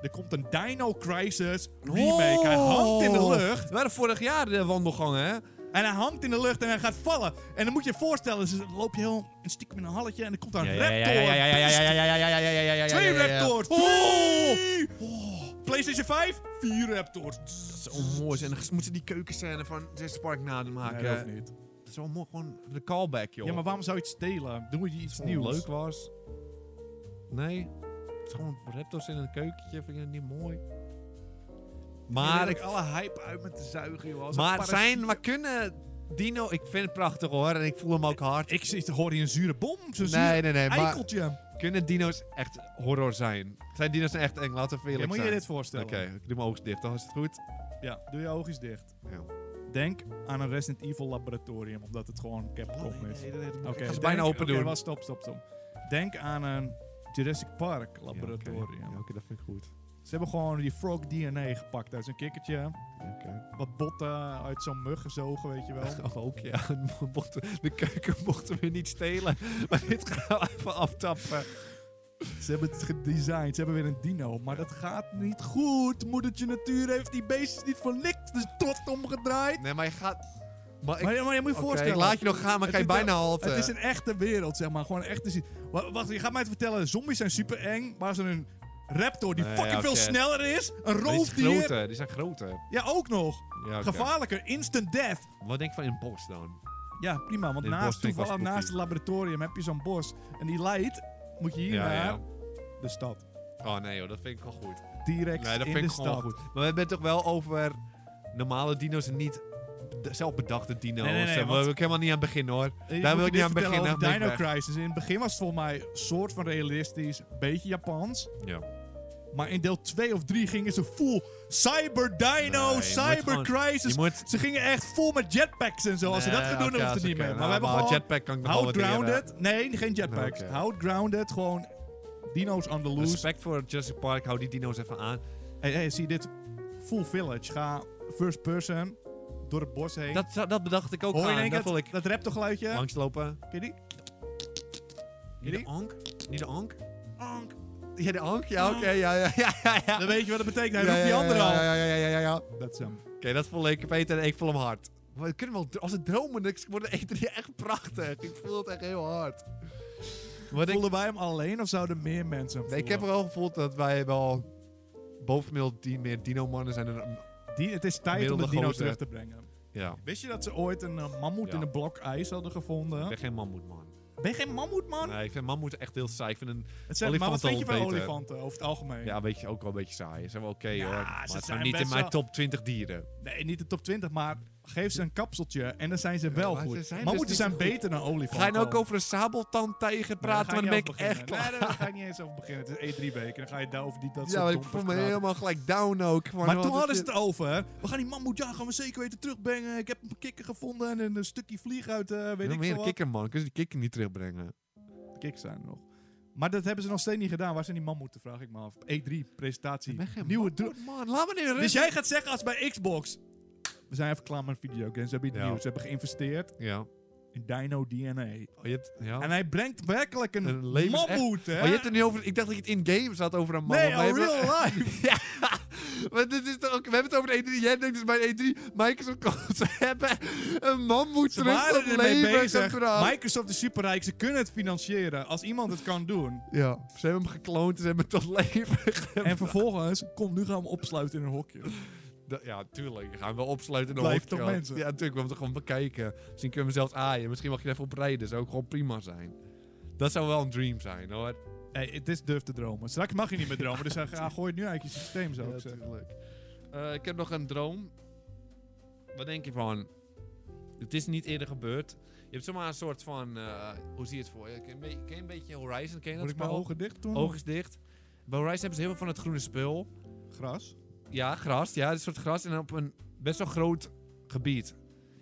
Speaker 1: Er komt een Dino Crisis remake. Hij hangt in de
Speaker 2: Oh.
Speaker 1: lucht.
Speaker 2: Het waren vorig jaar de wandelgangen, hè?
Speaker 1: En hij hangt in de lucht en hij gaat vallen. En dan moet je je voorstellen, dus dan loop je heel een stiekem in een halletje en er komt daar een raptor. Twee raptors!
Speaker 2: Oh!
Speaker 1: Twee! PlayStation 5? Vier raptors.
Speaker 2: Dat is zo mooi. En dan moeten die keukenscène van Jurassic Park
Speaker 1: Nee,
Speaker 2: nademaken.
Speaker 1: dat hoeft niet.
Speaker 2: dat is wel mooi. Gewoon de callback, joh.
Speaker 1: Ja, maar waarom zou je het stelen? Doe je iets
Speaker 2: Als het gewoon
Speaker 1: nieuws?
Speaker 2: leuk was. Nee. Het is gewoon raptors in een keukentje. Vind ik dat niet mooi?
Speaker 1: Maar
Speaker 2: Maar,
Speaker 1: ik
Speaker 2: ik,
Speaker 1: alle hype uit met te zuigen, joh. Als een
Speaker 2: maar
Speaker 1: parasiet.
Speaker 2: zijn, maar kunnen Dino... Ik vind het prachtig, hoor. En ik voel hem ook hard.
Speaker 1: Ik zit, hoor hier een zure bom, zo'n zuur
Speaker 2: nee, nee, nee. Maar
Speaker 1: eikeltje.
Speaker 2: kunnen dino's echt horror zijn? Zijn dino's echt eng? Laten we
Speaker 1: Ja,
Speaker 2: eerlijk
Speaker 1: moet je
Speaker 2: zijn.
Speaker 1: je dit voorstellen?
Speaker 2: Oké, ik doe mijn oogjes dicht. Dan is het goed.
Speaker 1: Ja, doe je oogjes dicht.
Speaker 2: Ja.
Speaker 1: Denk aan een Resident Evil laboratorium, omdat het gewoon Capcom is. Oké,
Speaker 2: ga ze
Speaker 1: denk-
Speaker 2: bijna open
Speaker 1: oké,
Speaker 2: doen.
Speaker 1: wel, stop, stop, stop. Denk aan een Jurassic Park laboratorium.
Speaker 2: Ja, oké, dat vind ik goed.
Speaker 1: Ze hebben gewoon die frog DNA gepakt uit zo'n kikkertje.
Speaker 2: Oké.
Speaker 1: Wat botten uit zo'n mug gezogen, weet je
Speaker 2: [LAUGHS]
Speaker 1: wel.
Speaker 2: Ook ja, mochten- de keuken mochten we niet stelen. Maar dit gaan we even aftappen.
Speaker 1: Ze hebben het gedesigned, ze hebben weer een dino. Maar dat gaat niet goed. Moedertje Natuur heeft die beestjes niet voor niks de strot omgedraaid.
Speaker 2: Nee, maar je gaat... Maar ik,
Speaker 1: Maar, ja, maar je moet je
Speaker 2: Oké,
Speaker 1: voorstellen.
Speaker 2: ik laat je nog gaan, maar
Speaker 1: Het
Speaker 2: ga je
Speaker 1: doet
Speaker 2: bijna halten.
Speaker 1: Het is een echte wereld, zeg maar. Gewoon echt te Wacht, je gaat mij het vertellen. Zombies zijn super eng, maar zo'n raptor die
Speaker 2: Nee,
Speaker 1: fucking
Speaker 2: ja,
Speaker 1: veel
Speaker 2: oké.
Speaker 1: sneller is. Een
Speaker 2: die is
Speaker 1: roofdier.
Speaker 2: groter, die zijn groter.
Speaker 1: Ja, ook nog.
Speaker 2: Ja, oké.
Speaker 1: Gevaarlijker. Instant death.
Speaker 2: Wat denk je van in het bos dan?
Speaker 1: Ja, prima. Want
Speaker 2: Dit bos
Speaker 1: naast,
Speaker 2: vind ik wel
Speaker 1: toevallig
Speaker 2: spooky.
Speaker 1: naast het laboratorium heb je zo'n bos. En die leidt, moet je hier
Speaker 2: Ja,
Speaker 1: naar
Speaker 2: ja.
Speaker 1: de stad.
Speaker 2: Oh nee joh, dat vind ik wel goed.
Speaker 1: T-Rex
Speaker 2: Nee, dat
Speaker 1: in
Speaker 2: vind
Speaker 1: de
Speaker 2: ik gewoon
Speaker 1: stad.
Speaker 2: goed. Maar we hebben het toch wel over normale dino's en niet de- zelfbedachte dino's.
Speaker 1: Nee, nee, nee,
Speaker 2: Daar
Speaker 1: want-
Speaker 2: wil ik helemaal niet aan beginnen hoor.
Speaker 1: Eh,
Speaker 2: Daar
Speaker 1: moet
Speaker 2: wil
Speaker 1: je
Speaker 2: ik
Speaker 1: dit
Speaker 2: niet aan
Speaker 1: vertellen
Speaker 2: beginnen.
Speaker 1: over
Speaker 2: ben ik
Speaker 1: Dino Crisis. In het begin was het voor mij soort van realistisch, beetje Japans.
Speaker 2: weg. Ja.
Speaker 1: Maar in deel 2 of 3 gingen ze full Cyber Dino,
Speaker 2: Nee, je moet
Speaker 1: Cyber
Speaker 2: gewoon-
Speaker 1: Crisis.
Speaker 2: Je moet...
Speaker 1: Ze gingen echt vol met jetpacks en zo. Als ze dat
Speaker 2: Nee,
Speaker 1: gaan doen,
Speaker 2: oké,
Speaker 1: dan hoeft
Speaker 2: als
Speaker 1: het niet
Speaker 2: ik, eh,
Speaker 1: meer. Maar
Speaker 2: nou,
Speaker 1: we hebben gewoon...
Speaker 2: Jetpack kan ik nog wel
Speaker 1: Houd
Speaker 2: wat leren.
Speaker 1: grounded. Nee, geen jetpacks.
Speaker 2: Oké.
Speaker 1: Houd grounded. Gewoon dino's on the loose.
Speaker 2: Respect voor Jurassic Park, hou die dino's even aan.
Speaker 1: Hey, hey, zie dit? Full village. Ga first person door het bos heen.
Speaker 2: Dat, dat bedacht ik ook
Speaker 1: Hoor je in
Speaker 2: aan,
Speaker 1: één
Speaker 2: dat
Speaker 1: keer
Speaker 2: wil ik.
Speaker 1: dat, dat raptorgeluidje?
Speaker 2: Langslopen.
Speaker 1: Ken je die?
Speaker 2: Niet
Speaker 1: Jullie?
Speaker 2: de ank? Niet de ank? Ank. Ja, de ank? Ja, oké. ja, ja, ja, ja, ja.
Speaker 1: Dan weet je wat dat betekent. Hij
Speaker 2: Ja,
Speaker 1: roept die
Speaker 2: ja, ja,
Speaker 1: andere
Speaker 2: ja,
Speaker 1: al.
Speaker 2: Ja, ja, ja, ja, ja. ja.
Speaker 1: Dat is hem.
Speaker 2: Oké, dat voel ik beter en ik voel hem hard. Maar we kunnen wel, dr- als het dromen, dan wordt de E3 echt prachtig. Ik voel het echt heel hard. Maar ik,
Speaker 1: Voelden wij hem alleen of zouden meer mensen hem
Speaker 2: nee, ik heb
Speaker 1: voelen?
Speaker 2: wel gevoeld dat wij wel bovenmiddel die, meer dino-mannen zijn. Dan,
Speaker 1: Die, het is tijd om de
Speaker 2: Gemiddelde
Speaker 1: dino's
Speaker 2: gozer.
Speaker 1: terug te brengen.
Speaker 2: ja,
Speaker 1: Wist je dat ze ooit een eh, mammoet
Speaker 2: Ja.
Speaker 1: in een blok ijs hadden gevonden?
Speaker 2: ik ben geen mammoet, man.
Speaker 1: Ben je geen mammoet, man?
Speaker 2: Nee, ik vind mammoet echt heel saai. Ik vind een,
Speaker 1: Het zijn, maar wat
Speaker 2: olifanten
Speaker 1: vind je van
Speaker 2: ontbeten.
Speaker 1: olifanten over het algemeen?
Speaker 2: ja, weet je, ook wel een beetje saai. Ze zijn wel oké,
Speaker 1: Ja,
Speaker 2: hoor.
Speaker 1: ze
Speaker 2: Maar het
Speaker 1: zijn
Speaker 2: zijn niet in
Speaker 1: best
Speaker 2: mijn
Speaker 1: wel-
Speaker 2: top 20 dieren.
Speaker 1: Nee, niet de top 20, maar geef ze een kapseltje en dan zijn ze wel
Speaker 2: maar
Speaker 1: goed.
Speaker 2: ze zijn
Speaker 1: Mammoeten
Speaker 2: dus niet
Speaker 1: zijn
Speaker 2: zo goed.
Speaker 1: beter dan olifanten.
Speaker 2: Ga je nou ook over een sabeltandtijger
Speaker 1: Nee, daar
Speaker 2: praten? want
Speaker 1: ga
Speaker 2: dan ben
Speaker 1: ik
Speaker 2: ik
Speaker 1: niet over
Speaker 2: echt
Speaker 1: beginnen.
Speaker 2: klaar.
Speaker 1: Nee, daar ga ik niet eens over beginnen. Het is E3-week en dan ga je daar over die dat
Speaker 2: Ja,
Speaker 1: soort
Speaker 2: maar ik
Speaker 1: dompers
Speaker 2: voel me
Speaker 1: praten.
Speaker 2: helemaal gelijk down ook. Gewoon,
Speaker 1: Maar
Speaker 2: wat
Speaker 1: toen
Speaker 2: is
Speaker 1: hadden ze
Speaker 2: dit?
Speaker 1: het over. We gaan die mammoet, ja, gaan we zeker weten terugbrengen. Ik heb een kikker gevonden en een stukje vlieg uit, eh, weet
Speaker 2: Ja,
Speaker 1: ik
Speaker 2: meer
Speaker 1: veel
Speaker 2: een
Speaker 1: wat.
Speaker 2: kikker, man. Kunnen ze die kikker niet terugbrengen?
Speaker 1: Kikkers zijn er nog. Maar dat hebben ze nog steeds niet gedaan. Waar zijn die mammoeten, vraag ik me af. E3-presentatie.
Speaker 2: ben geen
Speaker 1: Nieuwe dro-
Speaker 2: Oh, man, laat me nu
Speaker 1: Dus
Speaker 2: rust.
Speaker 1: jij gaat zeggen als bij Xbox. We zijn even klaar met videogames. Ze hebben iets
Speaker 2: Ja.
Speaker 1: nieuws. Ze hebben geïnvesteerd
Speaker 2: Ja.
Speaker 1: in Dino DNA.
Speaker 2: Oh, je hebt, ja.
Speaker 1: En hij brengt werkelijk een,
Speaker 2: Een levens-
Speaker 1: mammoet, hè?
Speaker 2: Oh, je hebt het niet over... Ik dacht dat je het in-game zat over een man.
Speaker 1: nee,
Speaker 2: maar
Speaker 1: al
Speaker 2: je hebt- [LAUGHS]
Speaker 1: real life.
Speaker 2: Ja, maar dit is toch ook... We hebben het over de E3. Jij denkt dus bij de E3... Microsoft [LAUGHS] komt ze hebben een man moet
Speaker 1: Ze
Speaker 2: terug
Speaker 1: waren
Speaker 2: tot
Speaker 1: ermee
Speaker 2: leven
Speaker 1: bezig.
Speaker 2: gebracht.
Speaker 1: Microsoft is superrijk. Ze kunnen het financieren. Als iemand het kan
Speaker 2: [LAUGHS]
Speaker 1: doen.
Speaker 2: Ja, ze hebben hem gekloond en ze hebben hem tot [LAUGHS] leven gebracht.
Speaker 1: En vervolgens, kom, nu gaan we hem opsluiten in een hokje.
Speaker 2: Da- Ja, tuurlijk. Gaan we opsluiten in de
Speaker 1: Blijft
Speaker 2: hoofdkrant.
Speaker 1: toch mensen?
Speaker 2: Ja, natuurlijk. We moeten gewoon bekijken. Misschien kunnen we hem zelfs aaien. Misschien mag je er even op rijden. Zou ook gewoon prima zijn. Dat zou wel een dream zijn, hoor.
Speaker 1: Hey, het is durf te dromen. Straks mag je niet meer dromen, dus hij ga, gooi het nu uit je systeem, zou ik zeggen.
Speaker 2: natuurlijk. Eh, ik heb nog een droom. Wat denk je van? Het is niet eerder gebeurd. Je hebt zomaar een soort van... eh, hoe zie je het voor je? Ken je een beetje- ken je een beetje Horizon? Ken je dat
Speaker 1: Moet ik mijn
Speaker 2: spel?
Speaker 1: ogen dicht doen?
Speaker 2: Oog is dicht. Bij Horizon hebben ze heel veel van het groene spul.
Speaker 1: Gras.
Speaker 2: Ja, gras. Ja, dit soort gras. En op een best wel groot gebied.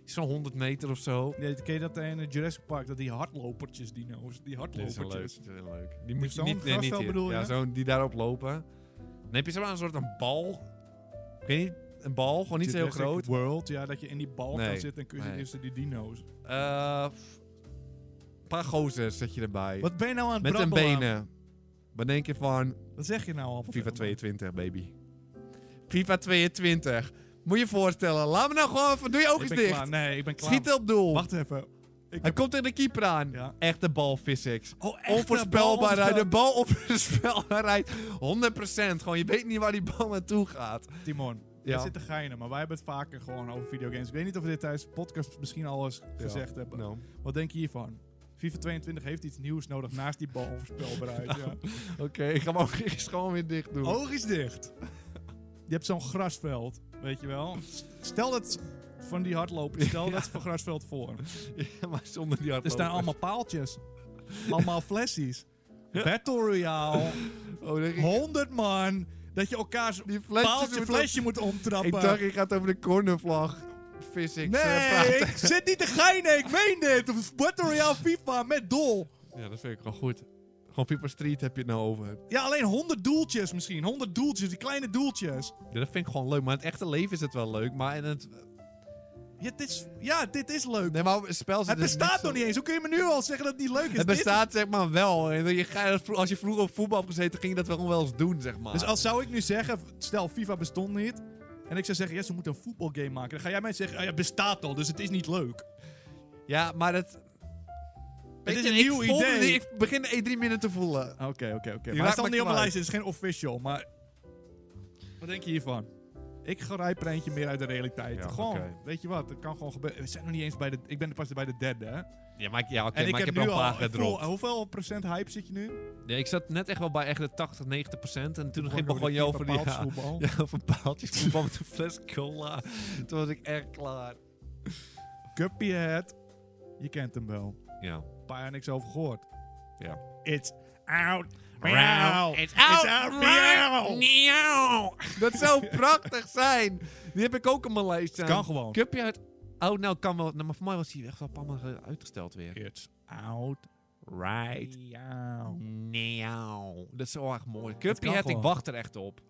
Speaker 2: Zo'n 100 meter of zo.
Speaker 1: Nee, ken je dat in eh, Jurassic Park? Dat die hardlopertjes, dino's. Die hardlopertjes.
Speaker 2: Die moet je
Speaker 1: zo'n
Speaker 2: niet, nee,
Speaker 1: grasveld
Speaker 2: niet hier.
Speaker 1: bedoel je?
Speaker 2: Ja, zo'n die daarop lopen. Dan heb je zomaar een soort een bal. Ik weet niet, een bal. Gewoon niet zo heel
Speaker 1: Jurassic
Speaker 2: groot.
Speaker 1: World, ja, dat je in die bal
Speaker 2: Nee,
Speaker 1: kan zitten en kun je
Speaker 2: nee.
Speaker 1: tussen die dino's.
Speaker 2: Eh, f- een paar gozers zet je erbij.
Speaker 1: Wat ben je nou aan het
Speaker 2: Met hun
Speaker 1: brabbelen?
Speaker 2: benen. Wat denk je van
Speaker 1: Wat zeg je nou al?
Speaker 2: FIFA 22, baby? FIFA 22. Moet je je voorstellen. Laat me nou gewoon even... Doe je ogen
Speaker 1: Ik
Speaker 2: eens
Speaker 1: ben
Speaker 2: dicht.
Speaker 1: klaar. Nee, ik ben klaar.
Speaker 2: Schiet op doel.
Speaker 1: Wacht even. Ik
Speaker 2: Hij komt tegen de keeper aan.
Speaker 1: Ja.
Speaker 2: Echte balphysics.
Speaker 1: Oh, echt,
Speaker 2: Onvoorspelbaarheid.
Speaker 1: de
Speaker 2: De [LAUGHS] bal onvoorspelbaarheid. 100%. Gewoon, je weet niet waar die bal naartoe gaat.
Speaker 1: bal- Timon,
Speaker 2: Ja.
Speaker 1: er zitten geinen, maar wij hebben het vaker gewoon over videogames. Ik weet niet of we dit tijdens de podcast misschien al eens gezegd hebben.
Speaker 2: Nou.
Speaker 1: Wat denk je hiervan? FIFA 22 heeft iets nieuws nodig naast die
Speaker 2: [LAUGHS]
Speaker 1: balvoorspelbaarheid. ja.
Speaker 2: Oké, [LAUGHS] ik ga mijn ogen eerst gewoon weer dicht doen.
Speaker 1: Oog is dicht. [LAUGHS] Je hebt zo'n grasveld, weet je wel. S- Stel dat van die hardlopers,
Speaker 2: [LAUGHS]
Speaker 1: stel dat voor grasveld voor.
Speaker 2: [LAUGHS] Ja, maar zonder die
Speaker 1: Er
Speaker 2: hardloper.
Speaker 1: staan allemaal paaltjes. Allemaal flessies. Battle Royale.
Speaker 2: Oh, denk ik-
Speaker 1: 100 man. Dat je elkaars
Speaker 2: die flesjes
Speaker 1: paaltje
Speaker 2: moeten-
Speaker 1: flesje moet
Speaker 2: Ik
Speaker 1: omtrappen.
Speaker 2: dacht, je gaat over de cornervlag. Physics. eh,
Speaker 1: eh. Nee,
Speaker 2: praten.
Speaker 1: ik zit niet te geinen, ik meen dit. Of Battle Royale FIFA met doel.
Speaker 2: Ja, dat vind ik gewoon goed. Gewoon People Street heb je het nou over.
Speaker 1: Ja, alleen 100 doeltjes misschien. 100 doeltjes, die kleine doeltjes.
Speaker 2: Ja, dat vind ik gewoon leuk. Maar in het echte leven is het wel leuk. Maar in het...
Speaker 1: Ja, dit is, ja, dit is leuk.
Speaker 2: Nee, maar op een spel zit
Speaker 1: het
Speaker 2: dus
Speaker 1: bestaat
Speaker 2: niks
Speaker 1: nog niet eens. Hoe kun je me nu al zeggen dat het niet leuk is?
Speaker 2: Het
Speaker 1: Dit is-
Speaker 2: bestaat zeg maar wel. En je ga- Als je vroeger op voetbal hebt gezeten, ging je dat wel gewoon wel eens doen, zeg maar.
Speaker 1: Dus als zou ik nu zeggen, stel FIFA bestond niet. En ik zou zeggen, ja, ze moeten een voetbalgame maken. Dan ga jij mij zeggen, ah ja, bestaat al, dus het is niet leuk.
Speaker 2: Ja, maar dat...
Speaker 1: Het
Speaker 2: Weet
Speaker 1: is
Speaker 2: je,
Speaker 1: een
Speaker 2: ik
Speaker 1: nieuw
Speaker 2: voel me
Speaker 1: idee.
Speaker 2: niet- Ik begin de E3 minder te voelen.
Speaker 1: Oké, oké, oké. Maar
Speaker 2: raakt
Speaker 1: het staat niet op
Speaker 2: me
Speaker 1: mijn
Speaker 2: kwijt.
Speaker 1: lijst, dus het is geen official. Maar wat denk je hiervan? Ik grijp er eentje meer uit de realiteit.
Speaker 2: Ja,
Speaker 1: gewoon,
Speaker 2: oké.
Speaker 1: weet je wat, het kan gewoon gebeuren. We zijn nog niet eens bij de, ik ben pas bij de derde, hè?
Speaker 2: Ja, maar ik, ja, oké,
Speaker 1: en
Speaker 2: maar ik heb er
Speaker 1: nu
Speaker 2: al een paar
Speaker 1: ik voel- oh.
Speaker 2: gedropt.
Speaker 1: hoeveel procent hype zit je nu?
Speaker 2: Nee, ik zat net echt wel bij echt de 80, 90 procent. En toen
Speaker 1: Gewoon
Speaker 2: ging
Speaker 1: door
Speaker 2: begon
Speaker 1: de
Speaker 2: je over die...
Speaker 1: FIFA
Speaker 2: [LAUGHS] Ja,
Speaker 1: paalsvoetbal.
Speaker 2: ja, over paaltjes voetbal met een fles cola. Toen was ik echt klaar.
Speaker 1: Cuphead, je kent hem wel.
Speaker 2: Ja.
Speaker 1: Een paar jaar niks over gehoord.
Speaker 2: Ja.
Speaker 1: It's out now.
Speaker 2: It's
Speaker 1: out now.
Speaker 2: Dat zou prachtig zijn. Die heb ik ook op mijn lijst staan.
Speaker 1: Kan gewoon.
Speaker 2: Cuphead. Oh, nou kan wel. Nou, maar voor mij was hij echt wel een paar maanden uitgesteld weer.
Speaker 1: It's out
Speaker 2: Right
Speaker 1: now.
Speaker 2: now. Dat is zo erg mooi.
Speaker 1: kan
Speaker 2: Cuphead, ik
Speaker 1: gewoon.
Speaker 2: wacht er echt op.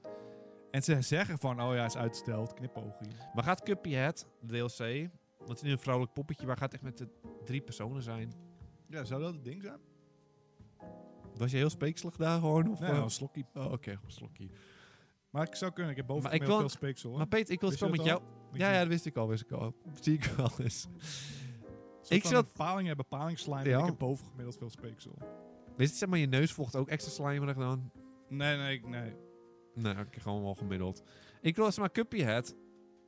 Speaker 1: En ze zeggen van, oh ja, is uitsteld, knipoogje.
Speaker 2: Maar gaat Cuphead, de DLC, want het is nu een vrouwelijk poppetje, waar gaat het echt met de drie personen zijn?
Speaker 1: Ja, zou dat het ding zijn?
Speaker 2: Was je heel speekselig daar gewoon? Of,
Speaker 1: Nee,
Speaker 2: eh?
Speaker 1: nou, een slokkie.
Speaker 2: Oh, oké, gewoon slokkie.
Speaker 1: Maar ik zou kunnen, ik heb boven
Speaker 2: Maar ik
Speaker 1: heel
Speaker 2: wil-
Speaker 1: veel speeksel. hoor.
Speaker 2: Maar Peter, ik wil het
Speaker 1: Wist
Speaker 2: wel
Speaker 1: je
Speaker 2: met
Speaker 1: dat
Speaker 2: jou.
Speaker 1: Weet
Speaker 2: Ja,
Speaker 1: je
Speaker 2: ja,
Speaker 1: niet.
Speaker 2: dat wist ik al, wist ik al. [LAUGHS] Zie ik wel eens.
Speaker 1: Ze
Speaker 2: ik
Speaker 1: kan
Speaker 2: zat-
Speaker 1: een Paling hebben, paling slime,
Speaker 2: Ja.
Speaker 1: en ik heb bovengemiddeld veel speeksel.
Speaker 2: Weet je, zeg maar, je neus vocht ook extra slijmerig dan?
Speaker 1: Nee, nee, ik- nee.
Speaker 2: Nee, ik heb gewoon wel gemiddeld. Ik wil zeg maar Cuphead.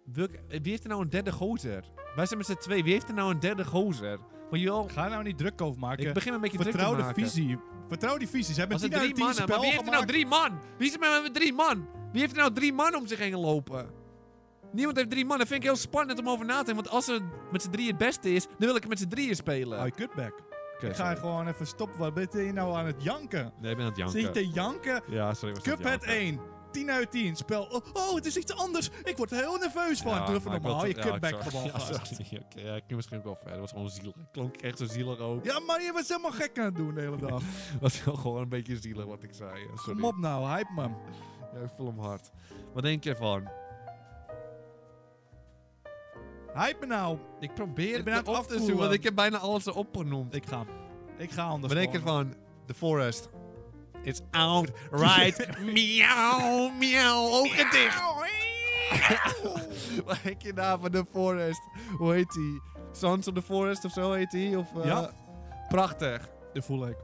Speaker 2: Wil ik- eh, wie heeft er nou een derde gozer? Wij zijn met z'n twee. Wie heeft er nou een derde gozer? Want joh,
Speaker 1: Ga er nou niet druk over maken.
Speaker 2: ik begin me een beetje
Speaker 1: Vertrouw
Speaker 2: druk te
Speaker 1: de
Speaker 2: maken.
Speaker 1: visie. Vertrouw die visie. Ze hebben
Speaker 2: Als er
Speaker 1: 10 uit 10
Speaker 2: drie mannen, maar
Speaker 1: spel
Speaker 2: wie heeft er nou
Speaker 1: gemaakt.
Speaker 2: drie man? Wie is er nou met- met drie man? Wie heeft er nou drie man om zich heen lopen? Niemand heeft drie man. Dat vind ik heel spannend om over na te denken. Want als er met z'n drieën het beste is, dan wil ik het met z'n drieën spelen.
Speaker 1: Oh, je kutbek.
Speaker 2: Oké,
Speaker 1: Ik ga
Speaker 2: nou sorry.
Speaker 1: gewoon even stoppen. Wat ben je nou aan het janken?
Speaker 2: Nee, ik ben aan het
Speaker 1: Zit je
Speaker 2: janken.
Speaker 1: te janken?
Speaker 2: Ja, sorry. was aan het
Speaker 1: Cuphead
Speaker 2: janken.
Speaker 1: 1. 10 uit 10. Spel. Oh, oh, het is iets anders. Ik word er heel nerveus van. Doe even
Speaker 2: maar ik
Speaker 1: normaal. Je
Speaker 2: wil- ja,
Speaker 1: kutbek
Speaker 2: ik zou-
Speaker 1: gewoon.
Speaker 2: [LAUGHS] Ja,
Speaker 1: gast.
Speaker 2: sorry. Oké, ja, ik kan misschien ook wel verder. Dat was gewoon zielig. Klonk echt zo zielig ook.
Speaker 1: Ja, maar je was helemaal gek aan het doen de hele
Speaker 2: [LAUGHS]
Speaker 1: dag.
Speaker 2: Dat was wel gewoon een beetje zielig wat ik zei. Ja, sorry.
Speaker 1: Kom op nou, hype man.
Speaker 2: Ja, ik voel hem hard. Wat denk je ervan?
Speaker 1: Hype me nou.
Speaker 2: Ik probeer
Speaker 1: het
Speaker 2: ben aan het
Speaker 1: te
Speaker 2: af te
Speaker 1: opvoeren.
Speaker 2: zoeken, want ik heb bijna alles erop genoemd.
Speaker 1: Ik ga hem. Ik ga anders.
Speaker 2: Wat denk je
Speaker 1: gewoon.
Speaker 2: van The Forest? It's out,
Speaker 1: [LAUGHS]
Speaker 2: right, miauw, miauw, ogen dicht. [LAUGHS] Wat denk je daar van The Forest? Hoe heet die? Sons of the Forest of zo heet die? Of, eh,
Speaker 1: Ja.
Speaker 2: Prachtig.
Speaker 1: [LAUGHS] Dat voel ik.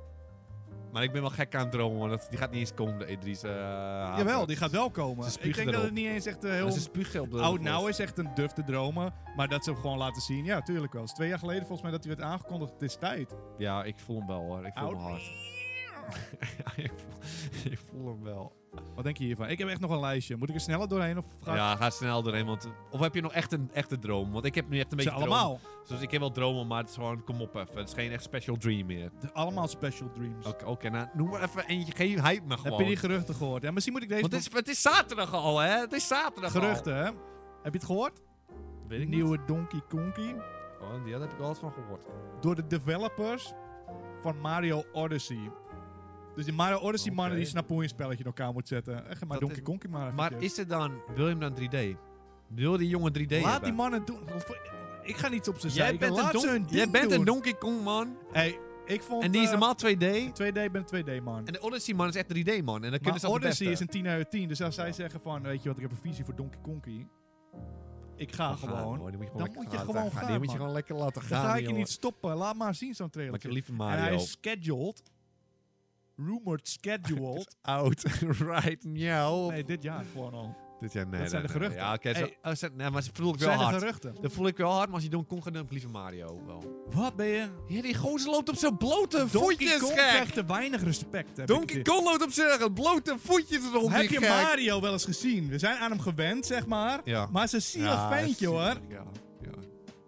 Speaker 2: Maar ik ben wel gek aan het dromen, want dat- die gaat niet eens komen, de E3's. eh,
Speaker 1: Jawel,
Speaker 2: haven.
Speaker 1: die gaat wel
Speaker 2: Ze
Speaker 1: komen. Ik
Speaker 2: spugen
Speaker 1: denk dat
Speaker 2: erop.
Speaker 1: het niet eens echt eh,
Speaker 2: Maar ze
Speaker 1: heel...
Speaker 2: spugen op de...
Speaker 1: Oud nou is echt een duf te dromen. Maar dat ze hem gewoon laten zien. Ja, tuurlijk wel. Het is twee jaar geleden volgens mij dat hij werd aangekondigd. Het is tijd.
Speaker 2: Ja, ik voel hem wel hoor. Ik voel
Speaker 1: Oud.
Speaker 2: hem hard. [LAUGHS] Ja, ik, voel, [LAUGHS] ik voel hem wel.
Speaker 1: Wat denk je hiervan? Ik heb echt nog een lijstje. Moet ik er sneller doorheen of gaat
Speaker 2: Ja, ga snel doorheen. Want, of heb je nog echt een echte droom? Want ik heb nu echt een
Speaker 1: ze
Speaker 2: beetje dromen.
Speaker 1: allemaal?
Speaker 2: Dus ik heb wel dromen, maar het is gewoon, kom op even. Het is geen echt special dream meer.
Speaker 1: De- allemaal special dreams.
Speaker 2: Oké, oké, nou noem maar even eentje. Geen hype maar
Speaker 1: Heb
Speaker 2: gewoon.
Speaker 1: je die geruchten gehoord? Ja, misschien moet ik deze...
Speaker 2: Want het is, het is zaterdag al, hè? Het is zaterdag
Speaker 1: geruchten, hè? Heb je het gehoord?
Speaker 2: al. Weet ik niet.
Speaker 1: Nieuwe Donkey Konky.
Speaker 2: Oh, ja, daar heb ik wel eens van gehoord.
Speaker 1: Door de developers van Mario Odyssey. Dus die Mario Odyssey mannen
Speaker 2: Oké.
Speaker 1: die snappen hoe je een spelletje in elkaar moet zetten. Echt, maar
Speaker 2: Dat
Speaker 1: Donkey
Speaker 2: is-
Speaker 1: Konky maar even een
Speaker 2: Maar
Speaker 1: keer.
Speaker 2: is het dan... Wil je hem dan 3D? Wil die jongen 3D
Speaker 1: Laat die
Speaker 2: hebben?
Speaker 1: mannen doen. Dus Ik ga niet op ze
Speaker 2: Jij
Speaker 1: zijn.
Speaker 2: bent, een,
Speaker 1: Laat ze
Speaker 2: don-
Speaker 1: hun
Speaker 2: jij
Speaker 1: ding
Speaker 2: bent
Speaker 1: doen.
Speaker 2: een Donkey Kong man.
Speaker 1: Hey, ik vond...
Speaker 2: en die is
Speaker 1: eh,
Speaker 2: normaal 2D.
Speaker 1: 2D, ik ben een 2D man.
Speaker 2: En de Odyssey man is echt 3D man. En dan kunnen ze
Speaker 1: Maar
Speaker 2: dat
Speaker 1: Odyssey is
Speaker 2: verpesten.
Speaker 1: een 10 uit 10. Dus als zij zeggen van, weet je wat, ik heb een visie voor Donkey Konky. Ik ga
Speaker 2: Gaan,
Speaker 1: gewoon.
Speaker 2: hoor, die moet je
Speaker 1: Dan
Speaker 2: lekker
Speaker 1: moet je
Speaker 2: laten
Speaker 1: gewoon gaan,
Speaker 2: Die moet je
Speaker 1: man.
Speaker 2: gewoon lekker laten
Speaker 1: Dan
Speaker 2: gaan.
Speaker 1: ga ik je
Speaker 2: jongen.
Speaker 1: niet stoppen. Laat maar zien zo'n trailer.
Speaker 2: Lekker lieve
Speaker 1: En hij
Speaker 2: Mario.
Speaker 1: is scheduled. Rumored
Speaker 2: [LAUGHS]
Speaker 1: scheduled.
Speaker 2: Out, right, miauw.
Speaker 1: nee, dit jaar gewoon al.
Speaker 2: Dit jaar, nee,
Speaker 1: dat zijn
Speaker 2: nee,
Speaker 1: de
Speaker 2: nee.
Speaker 1: geruchten.
Speaker 2: Ja, oké. zo-
Speaker 1: Hey.
Speaker 2: oh, zo- nee, maar ze voel ik wel
Speaker 1: Zijn er
Speaker 2: hard.
Speaker 1: geruchten?
Speaker 2: Dat voel ik wel hard, maar als je Donkey Kong gedaan, lieve Mario wel.
Speaker 1: Wat ben je?
Speaker 2: Ja, die gozer loopt op zijn blote
Speaker 1: Donkey
Speaker 2: voetjes,
Speaker 1: Kong
Speaker 2: gek.
Speaker 1: krijgt te weinig respect. heb ik
Speaker 2: Donkey
Speaker 1: het-
Speaker 2: Kong loopt op zijn blote voetjes rond,
Speaker 1: Heb
Speaker 2: die
Speaker 1: je
Speaker 2: gek.
Speaker 1: Mario wel eens gezien? We zijn aan hem gewend, zeg maar.
Speaker 2: Ja.
Speaker 1: Maar ze zien een ventje, hoor.
Speaker 2: Ja, ja.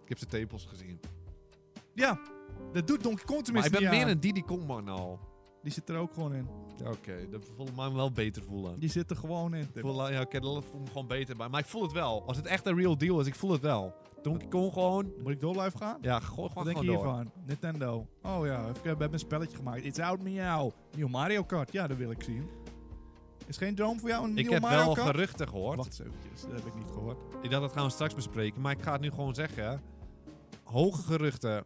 Speaker 2: Ik heb zijn tepels gezien.
Speaker 1: Ja, dat doet Donkey Kong
Speaker 2: Maar ik
Speaker 1: tenminste
Speaker 2: ben
Speaker 1: niet
Speaker 2: meer
Speaker 1: aan.
Speaker 2: een Diddy Kong man al.
Speaker 1: Die zit er ook gewoon in.
Speaker 2: Ja, Oké, dat voelt mij wel beter voelen.
Speaker 1: Die zit er gewoon in.
Speaker 2: Ik voel, ja, oké, dat voelt me gewoon beter bij. Maar ik voel het wel. Als het echt een real deal is, ik voel het wel. Donkey Kong gewoon...
Speaker 1: Moet ik door blijven gaan?
Speaker 2: Ja, gooi
Speaker 1: Wat
Speaker 2: gewoon,
Speaker 1: denk
Speaker 2: gewoon
Speaker 1: je
Speaker 2: door.
Speaker 1: hiervan? Nintendo. Oh ja, even, we hebben een spelletje gemaakt. It's out meow. Nieuw Mario Kart. Ja, dat wil ik zien. Is geen droom voor jou een
Speaker 2: Ik
Speaker 1: nieuwe
Speaker 2: heb
Speaker 1: Mario
Speaker 2: wel
Speaker 1: Kart?
Speaker 2: geruchten gehoord.
Speaker 1: Wacht eens eventjes, dat heb ik niet gehoord. Oké,
Speaker 2: Ik dacht dat gaan we straks bespreken, maar ik ga het nu gewoon zeggen. Hoge geruchten.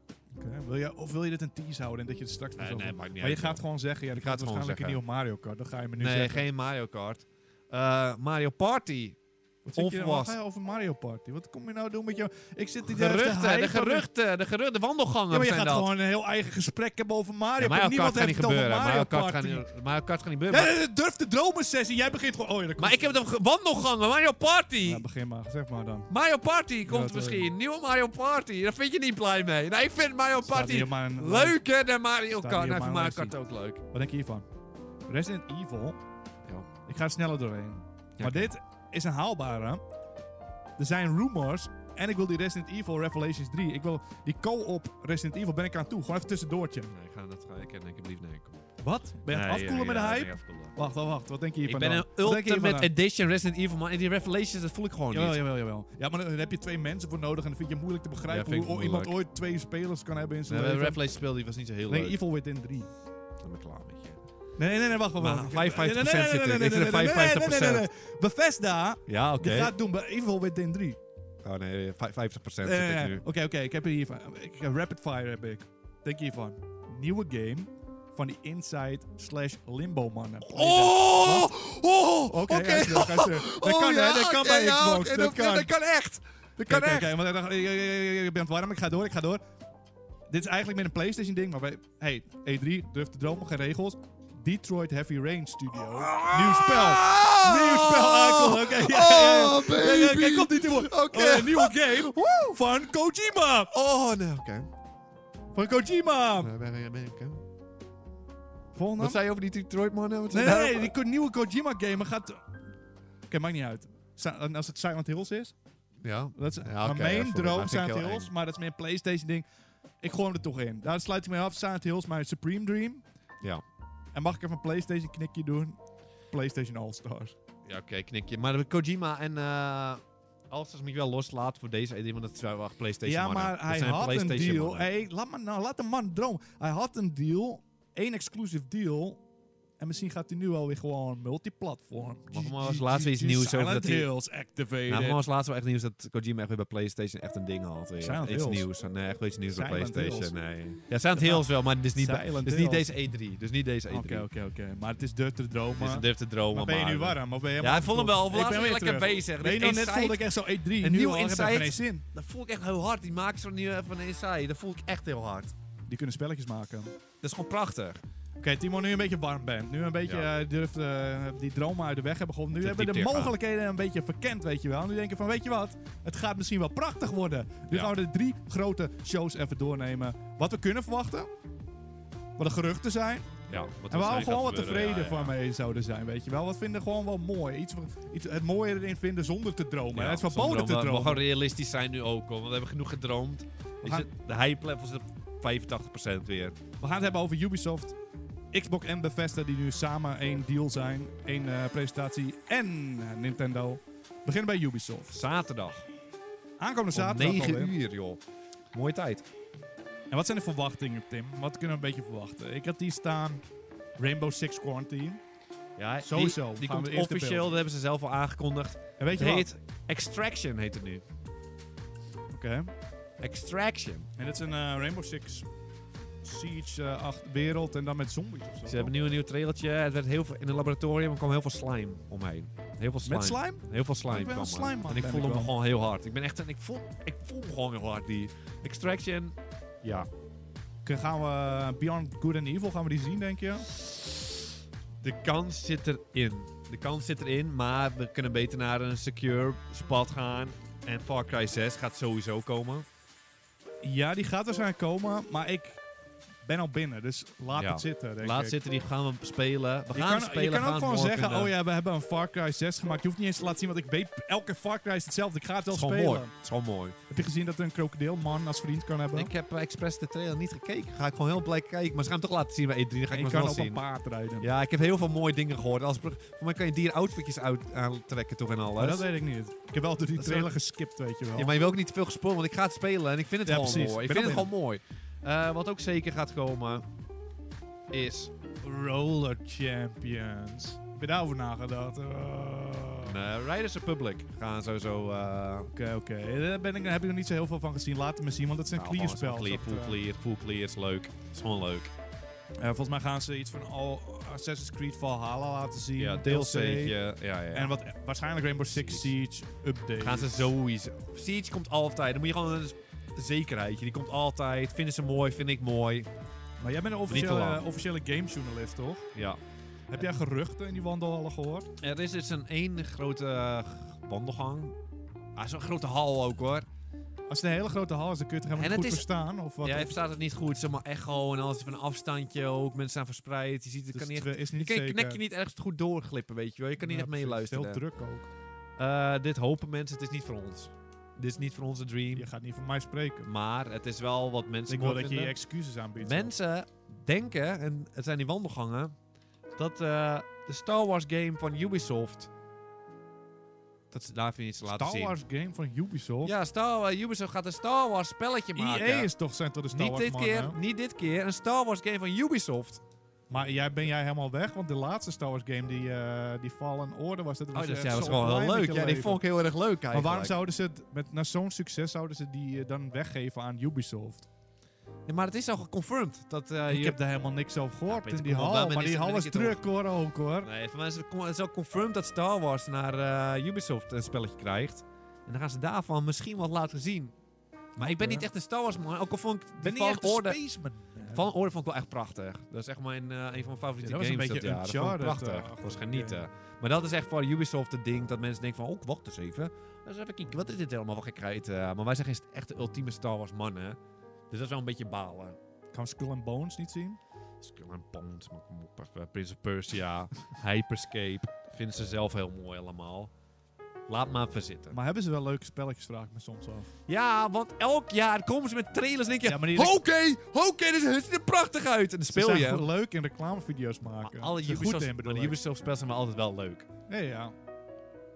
Speaker 1: wil je, of wil je dit een tease houden en dat je het straks pas over-
Speaker 2: maakt niet
Speaker 1: Maar je gaat gewoon zeggen, ja, ik
Speaker 2: Ik
Speaker 1: ga
Speaker 2: ga het gewoon
Speaker 1: waarschijnlijk een nieuwe
Speaker 2: zeggen.
Speaker 1: Mario Kart. Dat ga je me nu
Speaker 2: Nee,
Speaker 1: zeggen.
Speaker 2: geen Mario Kart. Eh, Mario Party.
Speaker 1: Wat zit je- wat
Speaker 2: onvolwassen.
Speaker 1: ga je over Mario Party? Wat kom je nou doen met jou? Ik zit hier
Speaker 2: Geruchten,
Speaker 1: te
Speaker 2: de
Speaker 1: hypen.
Speaker 2: geruchten, de geruchten, de wandelgangen
Speaker 1: Ja, maar je
Speaker 2: zijn
Speaker 1: gaat
Speaker 2: dat.
Speaker 1: gewoon een heel eigen gesprek hebben over Mario
Speaker 2: Ja,
Speaker 1: Kart.
Speaker 2: Mario
Speaker 1: Niemand
Speaker 2: Kart gaat
Speaker 1: heeft
Speaker 2: niet
Speaker 1: het over
Speaker 2: gebeuren.
Speaker 1: Mario
Speaker 2: Mario Kart gaat
Speaker 1: Party.
Speaker 2: niet- Mario Kart gaat niet gebeuren.
Speaker 1: Ja, durf de dromen sessie. Jij begint gewoon... Oh, ja, dat
Speaker 2: Maar ik heb het over wandelgangen, Mario Party.
Speaker 1: Ja, begin maar. Zeg maar dan.
Speaker 2: Mario Party komt
Speaker 1: dat, eh,
Speaker 2: misschien. Nieuwe Mario Party. Daar vind je niet blij mee. Nee, ik vind Mario
Speaker 1: Staat
Speaker 2: Party
Speaker 1: hier maar een-
Speaker 2: leuker dan Mario
Speaker 1: Staat
Speaker 2: Kart.
Speaker 1: hier
Speaker 2: Nee,
Speaker 1: maar
Speaker 2: ik
Speaker 1: een
Speaker 2: vind Mario
Speaker 1: lijstje.
Speaker 2: Kart ook leuk.
Speaker 1: Wat denk je hiervan? Resident Evil. Ik ga er sneller doorheen.
Speaker 2: Ja,
Speaker 1: maar dit is een haalbare. Er zijn rumors. En ik wil die Resident Evil Revelations 3. Ik wil die co-op Resident Evil ben ik aan toe. Gewoon even tussendoortje.
Speaker 2: Nee, ik ga dat ga ik, ik heb lief nee. Kom.
Speaker 1: Wat? Ben je aan het afkoelen met de hype? Wacht, wacht, wacht. Wat denk je
Speaker 2: Ik
Speaker 1: hiervan
Speaker 2: ben een
Speaker 1: dan? Wat denk je hiervan
Speaker 2: Ultimate
Speaker 1: dan?
Speaker 2: Edition Resident Evil man. En die Revelations, dat voel ik gewoon
Speaker 1: Jawel,
Speaker 2: niet.
Speaker 1: jawel, jawel. Ja, maar dan heb je twee mensen voor nodig en dan vind je het moeilijk te
Speaker 2: Ja,
Speaker 1: begrijpen
Speaker 2: vind ik
Speaker 1: hoe o-
Speaker 2: moeilijk.
Speaker 1: iemand ooit twee spelers kan hebben in zijn
Speaker 2: Nee, de
Speaker 1: leven.
Speaker 2: Revelations speel die was niet zo heel
Speaker 1: nee,
Speaker 2: leuk.
Speaker 1: Evil Within 3.
Speaker 2: Ik ben klaar met je.
Speaker 1: Nee, nee, nee, wacht, wacht,
Speaker 2: Maar
Speaker 1: wacht.
Speaker 2: 55%
Speaker 1: Nee, nee, nee,
Speaker 2: zit
Speaker 1: nee,
Speaker 2: er.
Speaker 1: nee,
Speaker 2: Ik zit er
Speaker 1: nee, nee, nee, nee,
Speaker 2: 55%.
Speaker 1: nee, nee, nee. Bethesda,
Speaker 2: Ja, oké.
Speaker 1: die gaat doen bij Evil Within 3.
Speaker 2: Oh nee, 50% zit
Speaker 1: Nee, nee,
Speaker 2: ik
Speaker 1: nee.
Speaker 2: nu.
Speaker 1: Oké, oké, ik heb er hiervan. Ik, eh, rapid Fire heb ik. Denk hiervan. Nieuwe game van die Inside slash Limbo mannen.
Speaker 2: Oh! Oh! Oké. Oh,
Speaker 1: Oké, ga eens door, ga eens
Speaker 2: [LAUGHS]
Speaker 1: door. Dat kan, hè, dat kan bij Xbox, dat kan.
Speaker 2: Dat kan echt. Dat kan
Speaker 1: Kijk, kijk,
Speaker 2: echt.
Speaker 1: kijk, want hij dacht, ik, ik- ik- ik- ik ben het warm, ik ga door, ik ga door. Dit is eigenlijk meer een PlayStation ding, maar bij, hey, E3, durf te dromen, geen regels. Detroit Heavy Rain Studio.
Speaker 2: Ah!
Speaker 1: Nieuw spel. Nieuw spel, Akel. Oké, ja, ja, ja.
Speaker 2: Oh,
Speaker 1: Ja, ja,
Speaker 2: baby.
Speaker 1: Kijk, komt niet te woord.
Speaker 2: Oké.
Speaker 1: Eh, nieuwe [LAUGHS] game van Kojima.
Speaker 2: Oh, nee, oké.
Speaker 1: Van Kojima.
Speaker 2: Nee, ben- ben- ben- oké.
Speaker 1: Volgende.
Speaker 2: Wat zei je over die Detroit man? Wat
Speaker 1: Nee, nee,
Speaker 2: zei je
Speaker 1: nee,
Speaker 2: daarover?
Speaker 1: die ko- nieuwe Kojima game gaat... Oké, maakt niet uit. Sa- en als het Silent Hills is,
Speaker 2: Ja.
Speaker 1: dat is
Speaker 2: Ja,
Speaker 1: mijn
Speaker 2: oké,
Speaker 1: main
Speaker 2: ja, sorry,
Speaker 1: droom
Speaker 2: maar vind ik
Speaker 1: Silent
Speaker 2: heel
Speaker 1: Hills,
Speaker 2: eng.
Speaker 1: maar dat is meer een PlayStation ding. Ik gooi hem er toch in. Daar sluit ik mee af. Silent Hills, mijn supreme dream.
Speaker 2: Ja.
Speaker 1: En mag ik even een PlayStation knikje doen? PlayStation All Stars.
Speaker 2: Ja, oké, knikje. Maar Kojima en eh Alsters moet je wel loslaten voor deze idee, want dat zijn wel echt PlayStation
Speaker 1: ja,
Speaker 2: mannen.
Speaker 1: maar
Speaker 2: Dat
Speaker 1: hij
Speaker 2: zijn
Speaker 1: had een
Speaker 2: PlayStation
Speaker 1: deal.
Speaker 2: mannen.
Speaker 1: Hey, laat, maar, nou, laat de man droom. Hij had een deal, één exclusive deal. En misschien gaat hij nu alweer gewoon multiplatform.
Speaker 2: Mag maar als laatste iets nieuws over
Speaker 1: Silent
Speaker 2: dat hij-
Speaker 1: Hills
Speaker 2: Nou,
Speaker 1: activated.
Speaker 2: maar als laatste wel echt nieuws dat Kojima echt weer bij PlayStation echt een ding had. weer.
Speaker 1: Silent
Speaker 2: iets
Speaker 1: Hills.
Speaker 2: nieuws. Nee, echt wel iets nieuws bij
Speaker 1: Silent
Speaker 2: PlayStation. Nee. Ja, Silent Hills wel, maar het is niet, bij-
Speaker 1: Silent
Speaker 2: het is niet
Speaker 1: Hills.
Speaker 2: deze E3. Dus niet deze E3.
Speaker 1: Oké, oké, oké. Maar het is de te dromen.
Speaker 2: Het is een durfde droom.
Speaker 1: maar ben je nu warm? Of ben je helemaal
Speaker 2: ik vond hem wel.
Speaker 1: Ik ben
Speaker 2: Laatst
Speaker 1: weer
Speaker 2: weer lekker
Speaker 1: terug.
Speaker 2: bezig.
Speaker 1: Nee,
Speaker 2: Dit
Speaker 1: nou, net
Speaker 2: Inside-
Speaker 1: voelde ik echt zo E3. nu
Speaker 2: nieuw
Speaker 1: al, ik heb er
Speaker 2: Inside.
Speaker 1: geen zin.
Speaker 2: Dat voel ik echt heel hard. Die makers van nieuwe van Inside, dat voel ik echt heel hard.
Speaker 1: Die kunnen spelletjes maken. Oké,
Speaker 2: Dat is gewoon prachtig.
Speaker 1: Timo, nu een beetje warm bent. Nu een beetje
Speaker 2: Ja.
Speaker 1: eh, durft eh, die dromen uit de weg hebben geholpen. Nu
Speaker 2: Te
Speaker 1: hebben we de
Speaker 2: diep tegenaan.
Speaker 1: mogelijkheden een beetje verkend, weet je wel. Nu denken van, weet je wat? Het gaat misschien wel prachtig worden. Nu
Speaker 2: Ja.
Speaker 1: gaan we de drie grote shows even doornemen. Wat we kunnen verwachten. Wat de geruchten zijn.
Speaker 2: Ja, wat
Speaker 1: En we al gewoon wat
Speaker 2: gebeuren,
Speaker 1: tevreden
Speaker 2: ja, ja.
Speaker 1: van mee zouden zijn, weet je wel. Wat vinden gewoon wel mooi. Iets, iets, het mooie erin vinden zonder te dromen.
Speaker 2: Ja,
Speaker 1: het
Speaker 2: zonder
Speaker 1: verboden te
Speaker 2: dromen. We
Speaker 1: dromen.
Speaker 2: mogen gewoon realistisch zijn nu ook, hoor, want we hebben genoeg gedroomd. Is
Speaker 1: gaan-
Speaker 2: het, de hype level zit op 85% weer.
Speaker 1: We gaan het hebben over Ubisoft, Xbox en Bethesda die nu samen één deal zijn. één eh, presentatie en eh, Nintendo. We beginnen bij Ubisoft.
Speaker 2: Zaterdag.
Speaker 1: Aankomende
Speaker 2: Om
Speaker 1: zaterdag
Speaker 2: 9
Speaker 1: alweer.
Speaker 2: uur, joh. Mooie tijd.
Speaker 1: En wat zijn de verwachtingen, Tim? Wat kunnen we een beetje verwachten? Ik had die staan Rainbow Six Quarantine.
Speaker 2: Ja, die-
Speaker 1: Sowieso.
Speaker 2: Die,
Speaker 1: Gaan we
Speaker 2: komt
Speaker 1: eerst de
Speaker 2: officieel,
Speaker 1: beelden.
Speaker 2: dat hebben ze zelf al aangekondigd.
Speaker 1: En weet
Speaker 2: Het
Speaker 1: je wat?
Speaker 2: heet Extraction, heet het nu.
Speaker 1: Oké.
Speaker 2: Extraction.
Speaker 1: En dit is een eh, Rainbow Six Siege eh, acht wereld en dan met zombies of zo.
Speaker 2: Ze hebben nu een nieuw trailertje. Het werd heel veel, in het laboratorium er kwam heel veel slime omheen. Heel veel slime.
Speaker 1: Met slime?
Speaker 2: Heel veel slime
Speaker 1: Ik ben
Speaker 2: kwam
Speaker 1: een
Speaker 2: er.
Speaker 1: slime-man,
Speaker 2: En ik
Speaker 1: ben
Speaker 2: voelde
Speaker 1: ik
Speaker 2: me
Speaker 1: wel.
Speaker 2: gewoon heel hard. Ik ben echt een, ik voel, ik voel me gewoon heel hard die Extraction. Ja.
Speaker 1: K- Gaan we eh, Beyond Good and Evil, gaan we die zien, denk je?
Speaker 2: De kans zit erin. De kans zit erin, maar we kunnen beter naar een secure spot gaan. En Far Cry 6 gaat sowieso komen.
Speaker 1: Ja, die gaat waarschijnlijk komen, maar ik ben al binnen, dus laat
Speaker 2: Ja.
Speaker 1: het zitten, denk
Speaker 2: Laat
Speaker 1: ik.
Speaker 2: zitten, die gaan we spelen. We
Speaker 1: Je
Speaker 2: gaan
Speaker 1: kan,
Speaker 2: spelen,
Speaker 1: je kan
Speaker 2: gaan
Speaker 1: ook gewoon
Speaker 2: morgen
Speaker 1: zeggen,
Speaker 2: kunnen-
Speaker 1: oh ja, we hebben een Far Cry 6 gemaakt. Je hoeft niet eens te laten zien, want ik weet, elke Far Cry is hetzelfde. Ik ga het
Speaker 2: Het
Speaker 1: wel
Speaker 2: is gewoon
Speaker 1: spelen.
Speaker 2: mooi. Het is gewoon mooi.
Speaker 1: Heb je gezien dat er een krokodilman als vriend kan hebben?
Speaker 2: Ik heb eh, expres de trailer niet gekeken. Ga ik gewoon heel blij kijken. Maar ze gaan hem toch laten zien bij E3. Dan ga
Speaker 1: En
Speaker 2: ik
Speaker 1: je
Speaker 2: hem
Speaker 1: kan
Speaker 2: wel
Speaker 1: op een
Speaker 2: zien.
Speaker 1: paard rijden.
Speaker 2: Ja, ik heb heel veel mooie dingen gehoord. Als, voor mij kan je dier outfitjes uit, aantrekken toch en
Speaker 1: Maar
Speaker 2: alles.
Speaker 1: dat weet ik niet. Ik heb wel door die
Speaker 2: Dat is
Speaker 1: trailer
Speaker 2: wel-
Speaker 1: geskipt, weet je wel.
Speaker 2: ja, maar je wil ook niet te veel gespoord, want ik ga het spelen en ik vind het
Speaker 1: Ja,
Speaker 2: gewoon
Speaker 1: precies.
Speaker 2: mooi. Ik
Speaker 1: Ik ben
Speaker 2: vind
Speaker 1: al
Speaker 2: het gewoon mooi. Eh, wat ook zeker gaat komen is...
Speaker 1: Roller Champions. Heb je daarover nagedacht? Eh,
Speaker 2: eh, Riders Republic gaan sowieso... eh
Speaker 1: Oké, oké. Daar ben ik- daar heb ik nog niet zo heel veel van gezien. Laat het me zien, want dat is een
Speaker 2: nou,
Speaker 1: clear
Speaker 2: gewoon zo'n
Speaker 1: spel.
Speaker 2: Clear,
Speaker 1: Dat,
Speaker 2: full
Speaker 1: eh,
Speaker 2: clear, full clear is leuk. Het is gewoon leuk.
Speaker 1: eh, volgens mij gaan ze iets van al Assassin's Creed Valhalla laten zien.
Speaker 2: Ja, DLC'tje. Ja, ja.
Speaker 1: En wat, waarschijnlijk Rainbow Six Siege update.
Speaker 2: Gaan ze sowieso. Siege komt altijd. Dan moet je gewoon een een zekerheidje. Die komt altijd. Vinden ze mooi, vind ik mooi.
Speaker 1: Maar jij bent een
Speaker 2: te
Speaker 1: officiële,
Speaker 2: lang.
Speaker 1: officiële gamejournalist, toch?
Speaker 2: Ja.
Speaker 1: Heb jij geruchten in die wandelhallen gehoord?
Speaker 2: Er is dus een één grote eh, wandelgang. Ah, zo'n grote hal ook hoor.
Speaker 1: Als het een hele grote hal is, dan kun je het helemaal
Speaker 2: En
Speaker 1: niet goed
Speaker 2: het is-
Speaker 1: verstaan. Of wat?
Speaker 2: Jij
Speaker 1: Het
Speaker 2: verstaat het niet goed. Zeg maar echo en alles van een afstandje ook. Mensen zijn verspreid. Je ziet het.
Speaker 1: is
Speaker 2: kan niet echt,
Speaker 1: twe- Dus is
Speaker 2: je
Speaker 1: niet
Speaker 2: kan je
Speaker 1: zeker.
Speaker 2: nekje niet ergens goed doorglippen, weet je wel. Je kan niet
Speaker 1: Ja,
Speaker 2: echt
Speaker 1: precies.
Speaker 2: meeluisteren.
Speaker 1: Het is Heel druk ook.
Speaker 2: Eh, dit hopen mensen. Het is niet voor ons. Dit is niet voor onze dream.
Speaker 1: Je gaat niet van mij spreken.
Speaker 2: Maar het is wel wat mensen
Speaker 1: Ik wil
Speaker 2: mooi
Speaker 1: dat je je
Speaker 2: vinden.
Speaker 1: excuses aanbiedt.
Speaker 2: Mensen denken, en het zijn die wandelgangen, dat eh, de Star Wars game van Ubisoft. Dat ze daar iets laten
Speaker 1: Star
Speaker 2: zien.
Speaker 1: Wars game van Ubisoft.
Speaker 2: Ja, Star, eh, Ubisoft gaat een Star Wars spelletje maken.
Speaker 1: EA is toch zijn tot de Star
Speaker 2: niet
Speaker 1: Wars
Speaker 2: dit
Speaker 1: man,
Speaker 2: keer,
Speaker 1: hè?
Speaker 2: niet dit keer, een Star Wars game van Ubisoft.
Speaker 1: Maar jij, ben jij helemaal weg? Want de laatste Star Wars game, die, eh, die Fallen Order was... Dat was,
Speaker 2: Oh, dat
Speaker 1: echt
Speaker 2: ja, was
Speaker 1: zo'n
Speaker 2: gewoon heel
Speaker 1: klein
Speaker 2: leuk.
Speaker 1: beetje
Speaker 2: Ja, die
Speaker 1: leven.
Speaker 2: vond ik heel erg leuk eigenlijk.
Speaker 1: Maar waarom zouden ze het, met, na zo'n succes, zouden ze die eh, dan weggeven aan Ubisoft?
Speaker 2: Ja, maar het is al geconfirmed. Dat, eh,
Speaker 1: ik
Speaker 2: je-
Speaker 1: heb daar helemaal niks over gehoord
Speaker 2: Peter,
Speaker 1: in die
Speaker 2: kom op,
Speaker 1: hal.
Speaker 2: laat me
Speaker 1: Maar
Speaker 2: niet-
Speaker 1: die
Speaker 2: laat
Speaker 1: hal
Speaker 2: me
Speaker 1: was
Speaker 2: niet in
Speaker 1: druk hoor ook hoor.
Speaker 2: Nee, voor mij is het, con- het is al confirmed dat Star Wars naar eh, Ubisoft een spelletje krijgt. En dan gaan ze daarvan misschien wat laten zien. Maar ik ben
Speaker 1: Oké.
Speaker 2: niet echt een Star Wars man. Ook al vond ik die
Speaker 1: Ben niet
Speaker 2: Fallen
Speaker 1: echt een
Speaker 2: Order-
Speaker 1: spaceman. hè?
Speaker 2: Van Orde vond ik wel echt prachtig. Dat is echt mijn, eh, een van mijn favoriete
Speaker 1: Ja, dat was een
Speaker 2: games dat
Speaker 1: beetje
Speaker 2: jaar. Dat vond ik
Speaker 1: Uncharted,
Speaker 2: prachtig.
Speaker 1: eh,
Speaker 2: Dat was genieten. Maar dat is echt voor Ubisoft het ding dat mensen denken van... Oh, wacht eens even. Dat is even kijken, wat is dit helemaal voor gekheid? eh, maar wij zijn geen echt de ultieme Star Wars mannen. Dus dat is wel een beetje balen.
Speaker 1: Kan Skull and Bones niet zien?
Speaker 2: Skull and Bones, maar kom op. even. Prince of Persia, Hyperscape. Vinden ze zelf heel mooi allemaal. Laat maar even zitten.
Speaker 1: Maar hebben ze wel leuke spelletjes, vraag ik me soms af.
Speaker 2: Ja, want elk jaar komen ze met trailers en denk je...
Speaker 1: Ja, maar die-
Speaker 2: Oké, oké, dit dit ziet er prachtig uit. En dan
Speaker 1: ze
Speaker 2: speel
Speaker 1: zijn
Speaker 2: je.
Speaker 1: gewoon leuk in reclamevideo's maken.
Speaker 2: Maar alle
Speaker 1: Ze zijn goed
Speaker 2: Ubisoft,
Speaker 1: in
Speaker 2: maar
Speaker 1: bedoel
Speaker 2: de
Speaker 1: ik.
Speaker 2: Ubisoft spellen zijn wel altijd wel leuk.
Speaker 1: Nee, ja.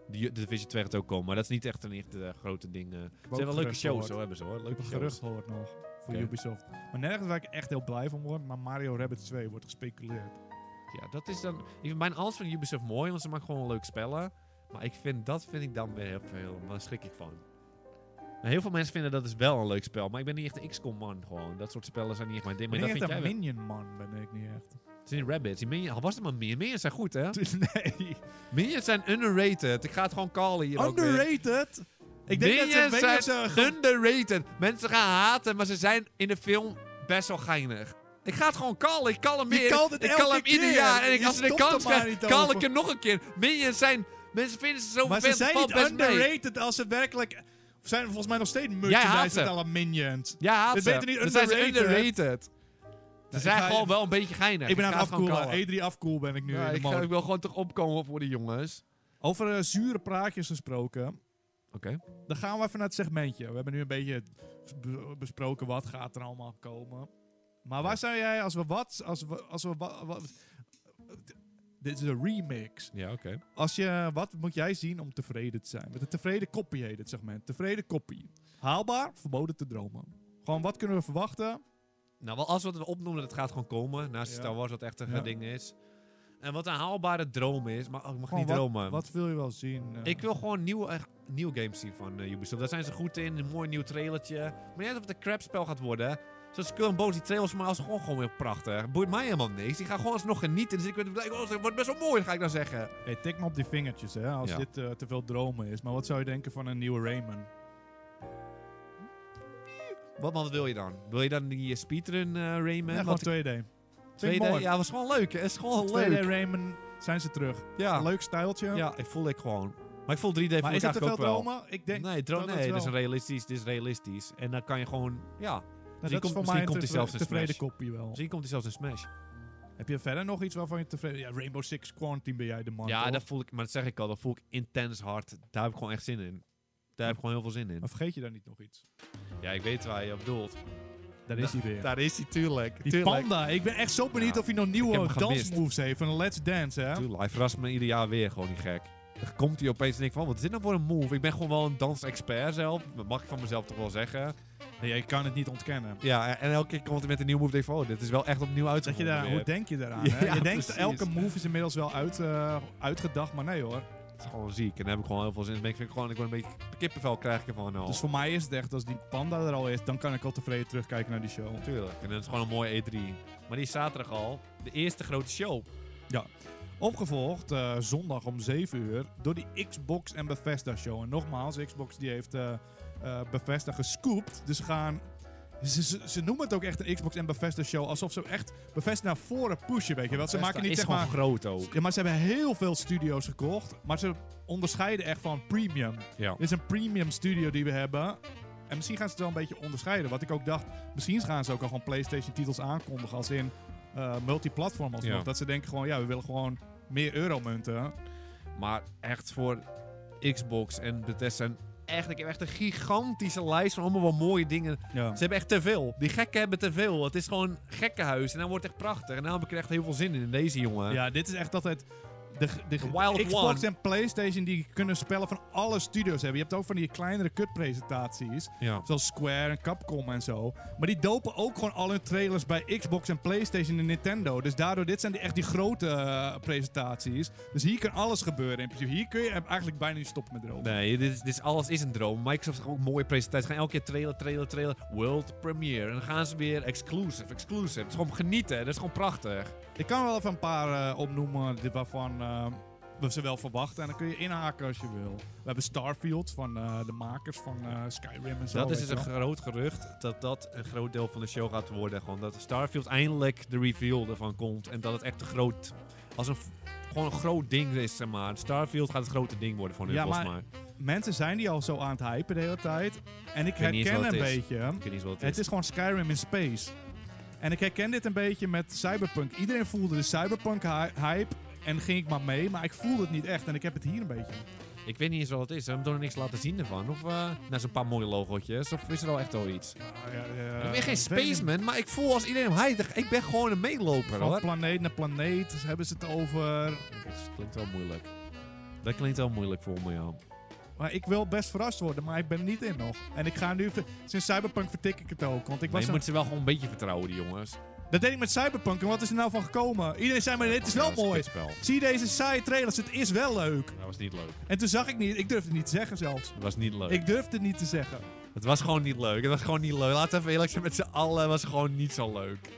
Speaker 2: De Ju- de Division 2 gaat ook komen, maar dat is niet echt een echt eh, grote ding. eh. Ze hebben wel leuke shows, zo hebben ze hoor.
Speaker 1: Leuke
Speaker 2: Leuke
Speaker 1: gerucht
Speaker 2: shows.
Speaker 1: hoort nog voor
Speaker 2: Oké.
Speaker 1: Ubisoft. Maar nergens waar ik echt heel blij van word, maar Mario Rabbit 2 wordt gespeculeerd.
Speaker 2: Ja, dat is dan... Ik vind bijna alles van Ubisoft mooi, want ze maken gewoon leuke spellen. Maar ik vind, dat vind ik dan weer heel veel, daar schrik ik van. Maar heel veel mensen vinden dat is wel een leuk spel, maar ik ben niet echt een XCOM man gewoon. Dat soort spellen zijn niet echt mijn ding,
Speaker 1: Maar
Speaker 2: maar dat
Speaker 1: niet
Speaker 2: vind
Speaker 1: echt
Speaker 2: jij
Speaker 1: een
Speaker 2: wel.
Speaker 1: minion man ben ik niet echt.
Speaker 2: Het zijn die rabbits, die minions, al was het maar minions. Minions zijn goed hè?
Speaker 1: [LAUGHS] nee.
Speaker 2: Minions zijn underrated, ik ga het gewoon callen hier ook weer.
Speaker 1: Underrated? Ik denk dat ze
Speaker 2: Minions
Speaker 1: weet
Speaker 2: zijn
Speaker 1: dat ze ge-
Speaker 2: underrated. Mensen gaan haten, maar ze zijn in de film best wel geinig. Ik ga het gewoon callen. Ik call hem
Speaker 1: Je
Speaker 2: meer.
Speaker 1: calt het
Speaker 2: ik
Speaker 1: elke
Speaker 2: call hem ieder
Speaker 1: keer.
Speaker 2: jaar. En ik,
Speaker 1: Je
Speaker 2: als ze de
Speaker 1: stopt er
Speaker 2: kans
Speaker 1: maar
Speaker 2: krijgen,
Speaker 1: niet
Speaker 2: call
Speaker 1: over.
Speaker 2: ik hem nog een keer. Minions zijn... Mensen vinden ze zo
Speaker 1: Maar ze
Speaker 2: vervelend.
Speaker 1: zijn
Speaker 2: valt
Speaker 1: niet
Speaker 2: best mee.
Speaker 1: underrated als ze werkelijk... Zijn volgens mij nog steeds merchandise
Speaker 2: haat ze.
Speaker 1: met alle minions.
Speaker 2: Ja, haat
Speaker 1: Dit
Speaker 2: ze.
Speaker 1: weten niet
Speaker 2: Dan zijn ze
Speaker 1: underrated. Nou,
Speaker 2: underrated. Ze
Speaker 1: ik
Speaker 2: zijn
Speaker 1: ga-
Speaker 2: gewoon wel een beetje geinig.
Speaker 1: Ik ben aan het
Speaker 2: ga gewoon
Speaker 1: afkoelen.
Speaker 2: kallen.
Speaker 1: E3 afkoel ben ik nu
Speaker 2: Ja,
Speaker 1: in de
Speaker 2: ik, ga- ik
Speaker 1: mode.
Speaker 2: wil gewoon toch opkomen voor de jongens.
Speaker 1: Over eh, zure praatjes gesproken.
Speaker 2: Oké.
Speaker 1: Dan gaan we even naar het segmentje. We hebben nu een beetje b- besproken wat gaat er allemaal komen. Maar waar zou jij, als we wat... Als we, als we wa- wa- dit is een remix.
Speaker 2: Ja, oké.
Speaker 1: Als je, wat moet jij zien om tevreden te zijn? Met een tevreden koppie heet het segment. Tevreden koppie. Haalbaar, verboden te dromen. Gewoon, wat kunnen we verwachten?
Speaker 2: Nou, wel als wat we opnoemen, dat gaat gewoon komen. Naast
Speaker 1: Ja.
Speaker 2: Star Wars, wat echt een
Speaker 1: Ja.
Speaker 2: ding is. En wat een haalbare droom is. Maar oh, ik mag
Speaker 1: Gewoon
Speaker 2: niet
Speaker 1: wat-
Speaker 2: dromen.
Speaker 1: Wat wil je wel zien? eh?
Speaker 2: Ik wil gewoon nieuwe, echt nieuwe games zien van eh, Ubisoft. Daar zijn ze goed in. Een mooi nieuw trailertje. Maar niet uit of het een crap spel gaat worden. Zoals Skull and Bones, die trailers maar als gewoon, gewoon weer prachtig. Boeit mij helemaal niks. Die gaan gewoon alsnog genieten. Dus ik weet het oh, het wordt best wel mooi, ga ik dan zeggen.
Speaker 1: Hey, tik me op die vingertjes, hè, als
Speaker 2: Ja.
Speaker 1: dit eh, te veel dromen is. Maar wat zou je denken van een nieuwe Rayman?
Speaker 2: Wat man, wat wil je dan? Wil je dan die eh, speedrun eh, Rayman?
Speaker 1: Nee,
Speaker 2: Want
Speaker 1: gewoon 2D. Vind ik
Speaker 2: ik-
Speaker 1: mooi.
Speaker 2: 2D, ja, was gewoon leuk. hè. Het is gewoon
Speaker 1: 2D
Speaker 2: leuk.
Speaker 1: Rayman zijn ze terug.
Speaker 2: Ja.
Speaker 1: Leuk stijltje.
Speaker 2: Ah. ja, ik voel ik gewoon. Maar ik voel 3D voor
Speaker 1: Maar is dat te
Speaker 2: eigenlijk
Speaker 1: veel
Speaker 2: ook wel.
Speaker 1: dromen? Ik denk
Speaker 2: nee, droom,
Speaker 1: dat het
Speaker 2: nee,
Speaker 1: wel-
Speaker 2: dit is realistisch, dit is realistisch. En dan kan je gewoon, ja,
Speaker 1: Nou,
Speaker 2: misschien
Speaker 1: dat is voor
Speaker 2: komt- misschien
Speaker 1: mij een
Speaker 2: komt hij
Speaker 1: tevre-
Speaker 2: zelfs in
Speaker 1: tevreden
Speaker 2: Smash.
Speaker 1: kopie wel.
Speaker 2: misschien komt hij zelfs een Smash.
Speaker 1: Heb je verder nog iets waarvan je tevreden... Ja, Rainbow Six Quarantine ben jij de man,
Speaker 2: Ja,
Speaker 1: toch?
Speaker 2: dat voel ik, maar dat zeg ik al, dat voel ik intens hard. Daar heb ik gewoon echt zin in. Daar heb ik gewoon heel veel zin in.
Speaker 1: Maar vergeet je daar niet nog iets?
Speaker 2: Ja, ik weet waar je op doelt.
Speaker 1: Daar
Speaker 2: is
Speaker 1: is hij weer.
Speaker 2: Daar is hij, tuurlijk.
Speaker 1: die panda. Ik ben echt zo benieuwd
Speaker 2: Ja,
Speaker 1: of hij nog
Speaker 2: ik heb
Speaker 1: nieuwe
Speaker 2: hem gemist.
Speaker 1: dansmoves heeft. Van Let's Dance, hè?
Speaker 2: Tuurlijk, hij verrast me ieder jaar weer, gewoon die gek. Dan komt hij opeens en ik van, wat is dit nou voor een move? Ik ben gewoon wel een dansexpert zelf. Dat mag ik van mezelf toch wel zeggen.
Speaker 1: Nee, ik kan het niet ontkennen.
Speaker 2: Ja, en elke keer komt hij met een nieuwe move. denk ik van, oh, dit is wel echt opnieuw
Speaker 1: Dat je
Speaker 2: uitgevonden.
Speaker 1: daar, hoe
Speaker 2: weer.
Speaker 1: denk je daaraan?
Speaker 2: [LAUGHS] Ja,
Speaker 1: hè? je denkt,
Speaker 2: precies.
Speaker 1: elke move is inmiddels wel uit, eh, uitgedacht, maar nee hoor.
Speaker 2: Het is gewoon ziek. En daar heb ik gewoon heel veel zin in. Dan ben ik, vind ik gewoon, ik word een beetje kippenvel krijg ik ervan al.
Speaker 1: Dus voor mij is het echt, als die panda er al is, dan kan ik al tevreden terugkijken naar die show.
Speaker 2: Tuurlijk. En dat is gewoon een mooie E3. Maar die is zaterdag al. De eerste grote show.
Speaker 1: Opgevolgd eh, zondag om 7 uur door die Xbox en Bethesda show. En nogmaals, Xbox die heeft eh eh, Bethesda gescoopt. Dus ze gaan. Ze, ze, ze noemen het ook echt een Xbox en Bethesda show. Alsof ze echt Bethesda naar voren pushen, weet je wel. Ze maken niet
Speaker 2: is
Speaker 1: zeg
Speaker 2: gewoon
Speaker 1: maar.
Speaker 2: groot ook.
Speaker 1: Ja, maar ze hebben heel veel studio's gekocht. Maar ze onderscheiden echt van premium.
Speaker 2: Ja.
Speaker 1: Dit is een premium studio die we hebben. En misschien gaan ze het wel een beetje onderscheiden. Wat ik ook dacht, misschien gaan ze ook al gewoon PlayStation-titels aankondigen. Als in eh, multiplatform alsnog.
Speaker 2: Ja.
Speaker 1: Dat ze denken gewoon, ja, we willen gewoon meer euromunten.
Speaker 2: Maar echt voor Xbox en Bethesda. en Echt, ik heb echt een gigantische lijst van allemaal wel mooie dingen.
Speaker 1: Ja.
Speaker 2: Ze hebben echt te veel. Die gekken hebben te veel. Het is gewoon gekkenhuis. En dan wordt het echt prachtig. En daar heb ik er echt heel veel zin in, in deze jongen.
Speaker 1: ja, dit is echt altijd... De, de,
Speaker 2: Wild
Speaker 1: Xbox
Speaker 2: One.
Speaker 1: en PlayStation die kunnen spellen van alle studios hebben. Je hebt ook van die kleinere kutpresentaties.
Speaker 2: ja.
Speaker 1: Zoals Square en Capcom en zo. Maar die dopen ook gewoon al hun trailers bij Xbox en PlayStation en Nintendo. Dus daardoor, dit zijn die, echt die grote eh, presentaties. Dus hier kan alles gebeuren in principe. Hier kun je eigenlijk bijna niet stoppen met dromen.
Speaker 2: Nee, dit, is, dit is- alles is een droom. Microsoft heeft ook mooie presentaties. Ze gaan elke keer trailer, trailer, trailer. World premiere. En dan gaan ze weer exclusive, exclusive. Het is gewoon genieten. Dat is gewoon prachtig.
Speaker 1: Ik kan wel even een paar eh, opnoemen dit waarvan eh, we ze wel verwachten. En dan kun je inhaken als je wil. We hebben Starfield van eh, de makers van eh, Skyrim en zo.
Speaker 2: dat is
Speaker 1: weet
Speaker 2: dus
Speaker 1: je
Speaker 2: een
Speaker 1: wel.
Speaker 2: groot gerucht dat dat een groot deel van de show gaat worden. Gewoon dat Starfield eindelijk de reveal ervan komt. En dat het echt een groot. Als een, f- gewoon een groot ding is, zeg maar. Starfield gaat het grote ding worden voor nu,
Speaker 1: Ja,
Speaker 2: volgens
Speaker 1: maar-
Speaker 2: mij.
Speaker 1: Mensen zijn die al zo aan het hypen de hele tijd. En ik
Speaker 2: weet niet eens
Speaker 1: herken een
Speaker 2: wat het is.
Speaker 1: beetje...
Speaker 2: Ik weet niet eens wat het
Speaker 1: Het
Speaker 2: is.
Speaker 1: is gewoon Skyrim in space. En ik herken dit een beetje met Cyberpunk. Iedereen voelde de Cyberpunk-hype en ging ik maar mee, maar ik voelde het niet echt. En ik heb het hier een beetje.
Speaker 2: Ik weet niet eens wat het is. Ze hebben er nog niks laten zien ervan. Of eh nou, zo'n paar mooie logotjes. Of is er al echt al iets?
Speaker 1: Eh,
Speaker 2: ik ben geen spaceman, maar ik voel als iedereen hem heidig. Ik ben gewoon een meeloper,
Speaker 1: Van
Speaker 2: hoor.
Speaker 1: planeet naar planeet hebben ze het over.
Speaker 2: Dat klinkt wel moeilijk. Dat klinkt wel moeilijk voor me, ja.
Speaker 1: Maar ik wil best verrast worden, maar ik ben niet in nog. En ik ga nu, ver- sinds Cyberpunk vertik ik het ook. Want ik
Speaker 2: Maar
Speaker 1: was
Speaker 2: je
Speaker 1: aan-
Speaker 2: moet ze wel gewoon een beetje vertrouwen, die jongens.
Speaker 1: Dat deed ik met Cyberpunk en wat is er nou van gekomen? Iedereen zei maar, dit is wel
Speaker 2: Ja, dat een
Speaker 1: mooi.
Speaker 2: kutspel.
Speaker 1: Zie deze saaie trailers, het is wel leuk.
Speaker 2: Dat was niet leuk.
Speaker 1: En toen zag ik niet, ik durfde het niet te zeggen zelfs.
Speaker 2: Dat was niet leuk.
Speaker 1: Ik durfde het niet te zeggen.
Speaker 2: Het was gewoon niet leuk. Het was gewoon niet leuk. Laten we even eerlijk zijn met z'n allen. Het was gewoon niet zo leuk.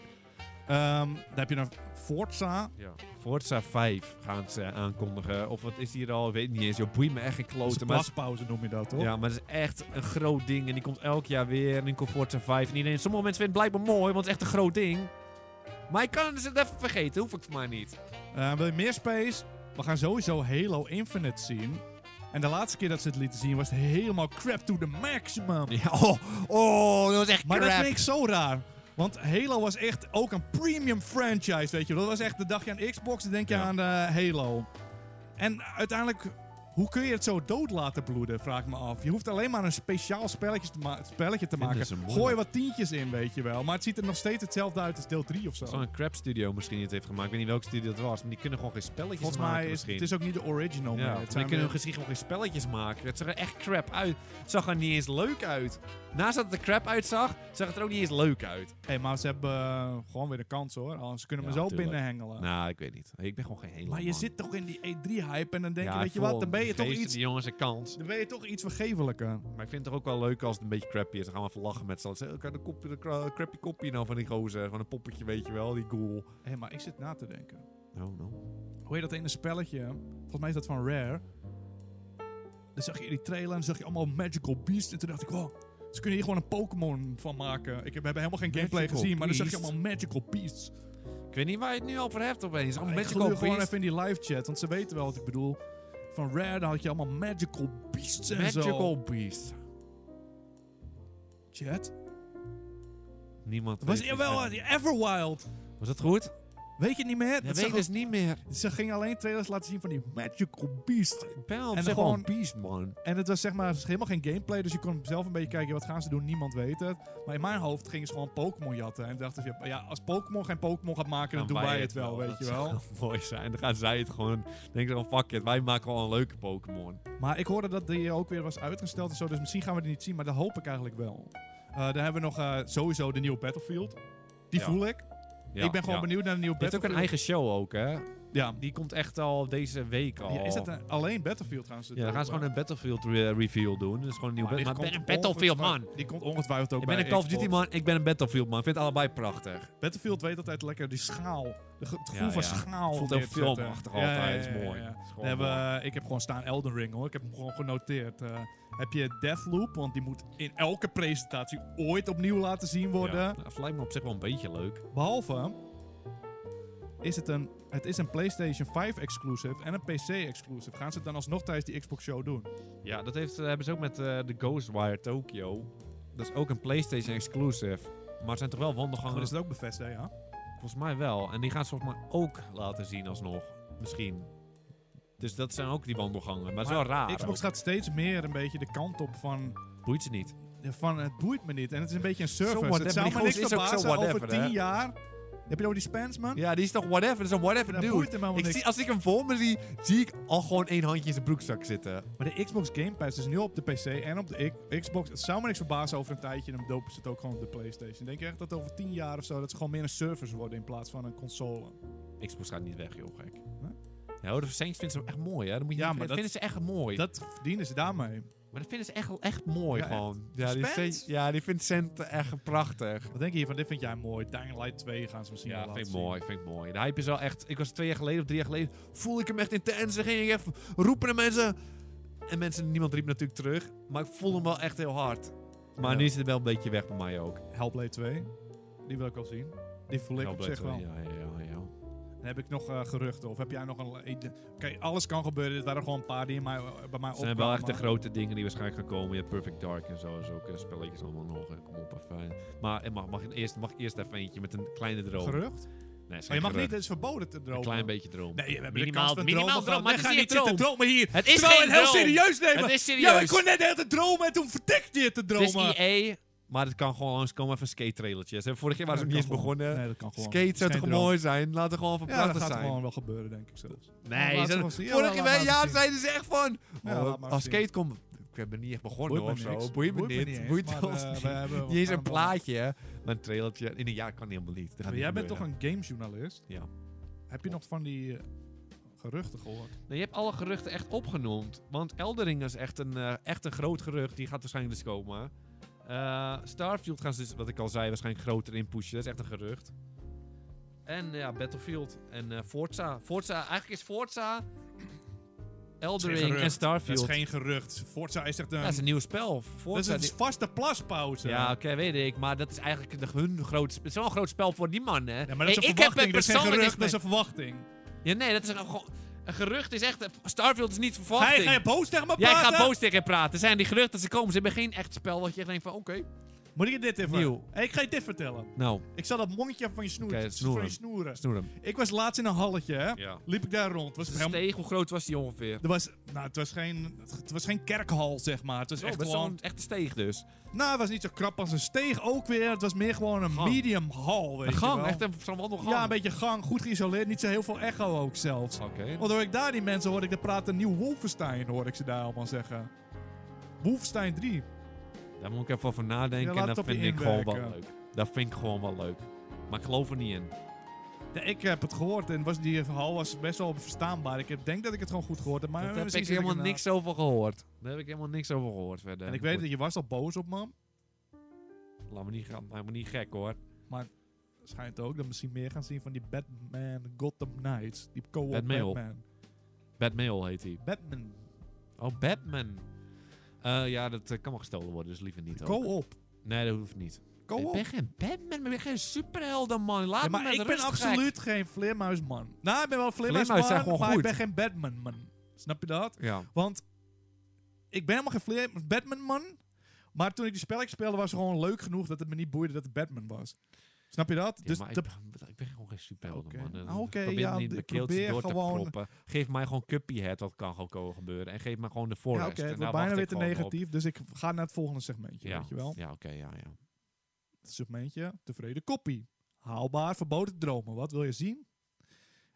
Speaker 1: Ehm, dan heb je nog Forza.
Speaker 2: Ja. Forza 5 gaan ze aankondigen. Of wat is hier al? Ik weet niet eens. Je boeit me echt geen klote. Maar het
Speaker 1: Plaspauze noem je dat, toch?
Speaker 2: is, ja, maar het is echt een groot ding. En die komt elk jaar weer. En die komt Forza 5. En iedereen, sommige mensen vinden het blijkbaar mooi, want het is echt een groot ding. Maar ik kan het even vergeten. Hoef ik het maar niet.
Speaker 1: Eh, wil je meer space? We gaan sowieso Halo Infinite zien. En de laatste keer dat ze het lieten zien was het helemaal crap to the maximum.
Speaker 2: Ja, oh, oh, dat was echt
Speaker 1: Maar dat
Speaker 2: crap.
Speaker 1: vind ik zo raar. Want Halo was echt ook een premium franchise, weet je wel. Dat was echt, de dag je aan Xbox, dan denk je
Speaker 2: Ja.
Speaker 1: aan eh, Halo. En uiteindelijk, hoe kun je het zo dood laten bloeden, vraag ik me af. Je hoeft alleen maar een speciaal spelletje te, ma- spelletje te
Speaker 2: Vinden
Speaker 1: maken.
Speaker 2: ze moeilijk.
Speaker 1: Gooi wat tientjes in, weet je wel. Maar het ziet er nog steeds hetzelfde uit als deel 3 of zo.
Speaker 2: Zo'n crap studio misschien die het heeft gemaakt. Ik weet niet welke studio het was, maar die kunnen gewoon geen spelletjes
Speaker 1: Volgens
Speaker 2: maken
Speaker 1: mij is
Speaker 2: misschien.
Speaker 1: het is ook niet de original
Speaker 2: ja,
Speaker 1: meer.
Speaker 2: maar
Speaker 1: Het
Speaker 2: die
Speaker 1: zijn
Speaker 2: kunnen
Speaker 1: weer-
Speaker 2: misschien gewoon geen spelletjes maken. Het zag er echt crap uit. Het zag er niet eens leuk uit. Naast dat het er crap uitzag, zag het er ook niet eens leuk uit.
Speaker 1: hey, maar ze hebben eh, gewoon weer de kans hoor. Anders kunnen we
Speaker 2: Ja,
Speaker 1: zo
Speaker 2: tuurlijk.
Speaker 1: binnenhengelen.
Speaker 2: Nou, ik weet niet. Ik ben gewoon geen hele
Speaker 1: Ah. Maar je
Speaker 2: man.
Speaker 1: zit toch in die E3-hype en dan denk je,
Speaker 2: Ja,
Speaker 1: weet je wat,
Speaker 2: vol.
Speaker 1: dan ben je
Speaker 2: Geef
Speaker 1: toch
Speaker 2: ze
Speaker 1: iets,
Speaker 2: die jongens een kans.
Speaker 1: dan ben je toch iets vergevelijker.
Speaker 2: Maar ik vind het toch ook wel leuk als het een beetje crappy is. Dan gaan we even lachen met z'n allen. Zeggen, "Kijk, de kopje- de kra- crappy kopje nou van die gozer. Gewoon een poppetje, weet je wel. Die ghoul.
Speaker 1: Hé, maar ik zit na te denken.
Speaker 2: No, no.
Speaker 1: Hoe heet dat ene spelletje? Volgens mij is dat van Rare. Dan zag je die trailer en dan zag je allemaal Magical Beast. En toen dacht ik, wow, ze kunnen hier gewoon een Pokémon van maken. Ik heb, we hebben helemaal geen gameplay
Speaker 2: Magical
Speaker 1: gezien, maar dan zag je
Speaker 2: Beast?
Speaker 1: allemaal Magical Beasts.
Speaker 2: Ik weet niet waar je het nu over hebt opeens. Een
Speaker 1: ik
Speaker 2: beetje
Speaker 1: gluur
Speaker 2: kopjes.
Speaker 1: gewoon even in die live chat, want ze weten wel wat ik bedoel. Van Rare, dan had je allemaal Magical Beasts en zo.
Speaker 2: Magical Beast.
Speaker 1: Chat?
Speaker 2: Niemand
Speaker 1: Was,
Speaker 2: weet het.
Speaker 1: jawel, die Everwild.
Speaker 2: Was dat goed?
Speaker 1: Weet je het niet meer?
Speaker 2: Dat
Speaker 1: Dat
Speaker 2: weet
Speaker 1: zag
Speaker 2: ik dus niet meer.
Speaker 1: ook- Ze gingen alleen trailers laten zien van die Magical Beast.
Speaker 2: Ik ben al
Speaker 1: En
Speaker 2: op zich
Speaker 1: gewoon-
Speaker 2: gewoon Beast, man.
Speaker 1: En het was zeg maar helemaal geen gameplay, dus je kon zelf een beetje kijken wat gaan ze doen, niemand weet het. Maar in mijn hoofd gingen ze gewoon Pokémon jatten. En dachten ze, ja, als Pokémon geen Pokémon gaat maken, dan, doen wij het wel, weet
Speaker 2: Dat
Speaker 1: je
Speaker 2: zou
Speaker 1: wel.
Speaker 2: [LAUGHS] Mooi zijn. Dan gaan zij het gewoon. Dan denken ze van fuck it, wij maken wel een leuke Pokémon.
Speaker 1: Maar ik hoorde dat die ook weer was uitgesteld en zo, dus misschien gaan we die niet zien, maar dat hoop ik eigenlijk wel. Eh dan hebben we nog eh, sowieso de nieuwe Battlefield. Die
Speaker 2: Ja.
Speaker 1: voel ik.
Speaker 2: Ja,
Speaker 1: ik ben gewoon
Speaker 2: ja.
Speaker 1: benieuwd naar de nieuwe
Speaker 2: Je hebt ook een
Speaker 1: Battlefield.
Speaker 2: eigen show ook, hè?
Speaker 1: Ja.
Speaker 2: Die komt echt al deze week al.
Speaker 1: Ja, is dat een- alleen Battlefield gaan ze
Speaker 2: Oh. Ja, dan gaan ze gewoon een Battlefield re- reveal doen. Dat is gewoon een nieuw
Speaker 1: Maar die
Speaker 2: Battlefield. Maar
Speaker 1: komt
Speaker 2: ik ben een Battlefield man.
Speaker 1: ongetwijfeld- Die komt ongetwijfeld ook
Speaker 2: Ik ben een
Speaker 1: bij
Speaker 2: Call of
Speaker 1: Xbox.
Speaker 2: Duty man. Ik ben een Battlefield man. Ik vind het allebei prachtig.
Speaker 1: Battlefield weet altijd lekker die schaal. De ge- het gevoel
Speaker 2: Ja,
Speaker 1: van
Speaker 2: ja.
Speaker 1: schaal.
Speaker 2: Voelt heel
Speaker 1: neerzetten.
Speaker 2: filmachtig
Speaker 1: Ja, ja,
Speaker 2: altijd.
Speaker 1: ja,
Speaker 2: is
Speaker 1: ja,
Speaker 2: mooi.
Speaker 1: ja.
Speaker 2: Is
Speaker 1: We
Speaker 2: gewoon
Speaker 1: hebben,
Speaker 2: mooi.
Speaker 1: eh, ik heb gewoon staan Elden Ring hoor. Ik heb hem gewoon genoteerd. Eh, heb je Deathloop? Want die moet in elke presentatie ooit opnieuw laten zien worden.
Speaker 2: Ja, dat lijkt me op zich wel een beetje leuk.
Speaker 1: Behalve is het een, het is een PlayStation 5 exclusive en een PC exclusive. Gaan ze het dan alsnog tijdens die Xbox show doen?
Speaker 2: Ja, dat heeft, eh, hebben ze ook met eh, de Ghostwire Tokyo. Dat is ook een PlayStation exclusive. Maar het zijn toch wel
Speaker 1: Dan
Speaker 2: wandelgangen?
Speaker 1: Oh, is het ook bevestigd, hè,
Speaker 2: Ah,
Speaker 1: ja.
Speaker 2: Volgens mij wel. En die gaan ze volgens mij ook laten zien alsnog. Misschien. Dus dat zijn ook die wandelgangen. Maar, het is wel raar.
Speaker 1: Xbox
Speaker 2: ook.
Speaker 1: gaat steeds meer een beetje de kant op van,
Speaker 2: Boeit ze niet.
Speaker 1: van het boeit me niet. En het is een beetje een service.
Speaker 2: whatever.
Speaker 1: het zou
Speaker 2: Die
Speaker 1: me
Speaker 2: gozer
Speaker 1: niks
Speaker 2: is ook zo
Speaker 1: verbazen over
Speaker 2: whatever, hè?
Speaker 1: tien jaar. Heb je het over die Spans, man?
Speaker 2: Ja, die is toch whatever. Dat is een whatever
Speaker 1: Dat boeit hem
Speaker 2: dude.
Speaker 1: helemaal
Speaker 2: Ik
Speaker 1: niks.
Speaker 2: zie, als ik hem voor me zie, zie ik al gewoon één handje in zijn broekzak zitten.
Speaker 1: Maar de Xbox Game Pass is nu op de PC en op de I- Xbox. Het zou me niks verbazen over een tijdje. Dan dopen ze het ook gewoon op de PlayStation. Denk je echt dat over tien jaar of zo dat ze gewoon meer een service worden in plaats van een console?
Speaker 2: Xbox gaat niet weg, joh, gek. Ja, de Saints vinden ze echt mooi, hè. Dat moet je
Speaker 1: Ja,
Speaker 2: niet-
Speaker 1: maar
Speaker 2: dat
Speaker 1: dat-
Speaker 2: vinden ze echt mooi.
Speaker 1: Dat verdienen ze daarmee.
Speaker 2: Maar dat vinden ze echt, echt mooi,
Speaker 1: Ja, echt.
Speaker 2: gewoon. Ja, die,
Speaker 1: Spence?
Speaker 2: Saints- ja, die vindt Cent echt prachtig.
Speaker 1: Wat denk je hiervan? Dit vind jij mooi. Dying Light 2 gaan ze misschien wel
Speaker 2: Ja,
Speaker 1: laten
Speaker 2: vind ik
Speaker 1: zien.
Speaker 2: mooi, vind ik mooi. De hype is wel echt... Ik was twee jaar geleden of drie jaar geleden... voelde ik hem echt intens. Dan ging ik echt roepen naar mensen. En mensen, niemand riep natuurlijk terug. Maar ik voelde hem wel echt heel hard. Maar
Speaker 1: Ja.
Speaker 2: nu is het wel een beetje weg bij mij ook.
Speaker 1: Hellblade 2. Die wil ik wel zien. Die voel ik op zich wel.
Speaker 2: Ja, ja, ja, ja.
Speaker 1: En heb ik nog eh, geruchten? Of heb jij nog een... eh, Oké, alles kan gebeuren. Dit waren gewoon een paar die in mij, eh, bij mij
Speaker 2: Het zijn wel echt de
Speaker 1: opkwamen.
Speaker 2: grote dingen die waarschijnlijk gaan komen. Je hebt Perfect Dark en zo. Is ook eh, spelletjes allemaal nog. eh, Kom op, even. Maar eh, mag, mag, ik eerst, mag ik eerst even eentje met een kleine droom?
Speaker 1: Gerucht? Maar
Speaker 2: Nee,
Speaker 1: je mag niet, het is verboden te dromen.
Speaker 2: Een klein beetje droom.
Speaker 1: Nee, we hebben
Speaker 2: Minimaal-
Speaker 1: de kans van
Speaker 2: minimaal
Speaker 1: dromen
Speaker 2: droom,
Speaker 1: gehad. Wij
Speaker 2: maar het
Speaker 1: gaan
Speaker 2: is
Speaker 1: niet
Speaker 2: geen
Speaker 1: zitten
Speaker 2: droom.
Speaker 1: dromen hier.
Speaker 2: Het is
Speaker 1: Terwijl we
Speaker 2: geen
Speaker 1: het heel
Speaker 2: droom.
Speaker 1: serieus nemen.
Speaker 2: Het is
Speaker 1: Ja,
Speaker 2: serieus.
Speaker 1: ik kon net de hele tijd dromen en toen vertikte je te
Speaker 2: Het
Speaker 1: dromen.
Speaker 2: is EA, Dus maar het kan gewoon langskomen van skate trailertjes. Hè, Vorig jaar waren ze
Speaker 1: Dat
Speaker 2: niet eens
Speaker 1: kan gewoon.
Speaker 2: begonnen.
Speaker 1: Nee, dat kan gewoon.
Speaker 2: Skate
Speaker 1: Het is
Speaker 2: zou
Speaker 1: geen
Speaker 2: toch
Speaker 1: droom.
Speaker 2: mooi zijn? Laat het gewoon van
Speaker 1: Ja, dat
Speaker 2: prachtig
Speaker 1: gaat
Speaker 2: zijn.
Speaker 1: gewoon wel gebeuren, denk ik zelfs.
Speaker 2: Nee,
Speaker 1: Laat
Speaker 2: ze-
Speaker 1: het gewoon zien. Ja,
Speaker 2: vorig
Speaker 1: laat
Speaker 2: jaar
Speaker 1: maar
Speaker 2: ja,
Speaker 1: zien.
Speaker 2: zeiden ze echt van...
Speaker 1: Ja,
Speaker 2: oh,
Speaker 1: laat maar
Speaker 2: als
Speaker 1: zien.
Speaker 2: skate komt... Ik ben niet echt begonnen
Speaker 1: me
Speaker 2: of zo.
Speaker 1: niks.
Speaker 2: Boeit me
Speaker 1: Boeit me niet
Speaker 2: niet.
Speaker 1: eens,
Speaker 2: [LAUGHS] Boeit
Speaker 1: maar,
Speaker 2: wel
Speaker 1: eh,
Speaker 2: niet.
Speaker 1: we hebben- we
Speaker 2: Niet eens
Speaker 1: gaan
Speaker 2: een
Speaker 1: hem wel-
Speaker 2: plaatje, hè. Maar een trailertje. In een jaar kan helemaal niet. Dat gaat
Speaker 1: Maar
Speaker 2: niet
Speaker 1: jij bent toch
Speaker 2: gebeuren.
Speaker 1: een gamejournalist?
Speaker 2: Ja.
Speaker 1: Heb je nog van die eh, geruchten gehoord?
Speaker 2: Nee, je hebt alle geruchten echt opgenoemd. Want Eldering is echt een, eh, echt een groot gerucht. Die gaat waarschijnlijk dus komen. Eh, Starfield gaan ze dus, wat ik al zei, waarschijnlijk groter in pushen. Dat is echt een gerucht. En eh, ja, Battlefield en eh, Forza. Forza, eigenlijk is Forza, Eldering
Speaker 1: gerucht.
Speaker 2: en Starfield.
Speaker 1: geen ehm, gerucht. Forza is echt
Speaker 2: Ja, dat is een nieuw spel. Forza, die-
Speaker 1: vaste plaspauze.
Speaker 2: ja, oké, weet ik. Maar dat is eigenlijk de, hun groot... Het is wel een groot spel voor die man, hè.
Speaker 1: Ja, maar dat is
Speaker 2: Ik-
Speaker 1: een
Speaker 2: ik heb
Speaker 1: verwachting. Dat is geen
Speaker 2: persoonlijk
Speaker 1: gerucht,
Speaker 2: niks
Speaker 1: dat is een verwachting.
Speaker 2: mee. Ja, nee, dat is een, gewoon- een gerucht is echt... Starfield is niet verwachting.
Speaker 1: Hij, ga je boos tegen me
Speaker 2: Jij
Speaker 1: praten?
Speaker 2: gaat boos tegen je praten. Er Zijn die geruchten dat ze komen? Ze hebben geen echt spel wat je denkt van, oké.
Speaker 1: Moet ik je dit even...
Speaker 2: Nieuw.
Speaker 1: Hey, ik ga je dit vertellen.
Speaker 2: Nou,
Speaker 1: Ik zal dat mondje van je, snoer,
Speaker 2: Oké,
Speaker 1: van
Speaker 2: snoeren.
Speaker 1: je snoeren.
Speaker 2: snoer hem.
Speaker 1: Ik was laatst in een halletje, hè.
Speaker 2: Ja.
Speaker 1: Liep ik daar rond. Was
Speaker 2: Dus
Speaker 1: het
Speaker 2: de
Speaker 1: helemaal...
Speaker 2: steeg, hoe groot was die ongeveer?
Speaker 1: Er was, nou, het, was geen, het was geen kerkhal, zeg maar. Het was
Speaker 2: Zo,
Speaker 1: echt
Speaker 2: Oh, best
Speaker 1: gewoon...
Speaker 2: zo'n echte steeg dus.
Speaker 1: Nou, het was niet zo krap als een steeg ook weer. Het was meer gewoon een
Speaker 2: Gang.
Speaker 1: medium hal, weet
Speaker 2: Een
Speaker 1: je
Speaker 2: gang,
Speaker 1: wel.
Speaker 2: echt een, zo'n wandelgang.
Speaker 1: Ja, een beetje gang. Goed geïsoleerd. Niet zo heel veel echo ook zelfs.
Speaker 2: Oké.
Speaker 1: Want hoor ik daar die mensen, hoor ik daar praten. Nieuw Wolfenstein, hoor ik ze daar allemaal zeggen. Wolfenstein 3.
Speaker 2: Daar moet ik even over nadenken
Speaker 1: Ja, laat
Speaker 2: en
Speaker 1: het
Speaker 2: dat
Speaker 1: op je
Speaker 2: vind ik gewoon wel
Speaker 1: inwerken.
Speaker 2: leuk. Dat vind ik gewoon wel leuk. Maar ik geloof er niet in.
Speaker 1: Ja, ik heb het gehoord en was, die verhaal was best wel verstaanbaar. Ik heb- denk dat ik het gewoon goed gehoord heb. Maar
Speaker 2: Daar heb
Speaker 1: misschien
Speaker 2: ik
Speaker 1: zit
Speaker 2: helemaal
Speaker 1: ernaast.
Speaker 2: niks over gehoord. Daar heb ik helemaal niks over gehoord verder.
Speaker 1: En ik weet dat je was al boos op me.
Speaker 2: Goed, Laat me niet, gaan- maak me niet gek hoor.
Speaker 1: Schijnt ook dat we misschien meer gaan zien van die Batman Gotham Knights. Die co-op
Speaker 2: Batman.
Speaker 1: Batman.
Speaker 2: Batmail heet hij.
Speaker 1: Batman.
Speaker 2: Oh, Batman. Eh, ja, dat eh, kan wel gestolen worden, dus liever niet. ook.
Speaker 1: Co-op.
Speaker 2: Nee, dat hoeft niet. Ik
Speaker 1: Co-op.
Speaker 2: ben geen Batman, ik ben geen superhelden, man. Laat
Speaker 1: Ja,
Speaker 2: me
Speaker 1: maar
Speaker 2: met
Speaker 1: ik ben
Speaker 2: rust, gek.
Speaker 1: absoluut geen vleermuisman. Nou, ik ben wel vleermuisman,
Speaker 2: Vleermuizen zijn gewoon
Speaker 1: maar ik
Speaker 2: goed.
Speaker 1: ben geen Batman-man. Snap je dat?
Speaker 2: Ja.
Speaker 1: Want ik ben helemaal geen vleer- Batman-man. Maar toen ik die spelletjes speelde, was het gewoon leuk genoeg dat het me niet boeide dat het Batman was. Snap je dat?
Speaker 2: Ja,
Speaker 1: dus
Speaker 2: maar
Speaker 1: de-
Speaker 2: ik, ben- ik ben gewoon geen superhelden,
Speaker 1: Oké.
Speaker 2: man. Dus
Speaker 1: Ah, oké,
Speaker 2: probeer
Speaker 1: ja,
Speaker 2: me niet
Speaker 1: d-
Speaker 2: in
Speaker 1: ik
Speaker 2: mijn keeltje
Speaker 1: probeer
Speaker 2: door te
Speaker 1: gewoon-
Speaker 2: proppen. Geef mij gewoon Cuphead, wat kan gewoon gebeuren. En geef mij gewoon de
Speaker 1: ja,
Speaker 2: voorrest.
Speaker 1: oké,
Speaker 2: En
Speaker 1: het wordt
Speaker 2: daar
Speaker 1: bijna
Speaker 2: wacht
Speaker 1: weer
Speaker 2: ik
Speaker 1: te
Speaker 2: gewoon op.
Speaker 1: negatief. Dus ik ga naar het volgende segmentje,
Speaker 2: Ja,
Speaker 1: weet je wel?
Speaker 2: ja oké, ja, ja.
Speaker 1: Het segmentje, tevreden koppie. Haalbaar, verboden dromen. Wat wil je zien?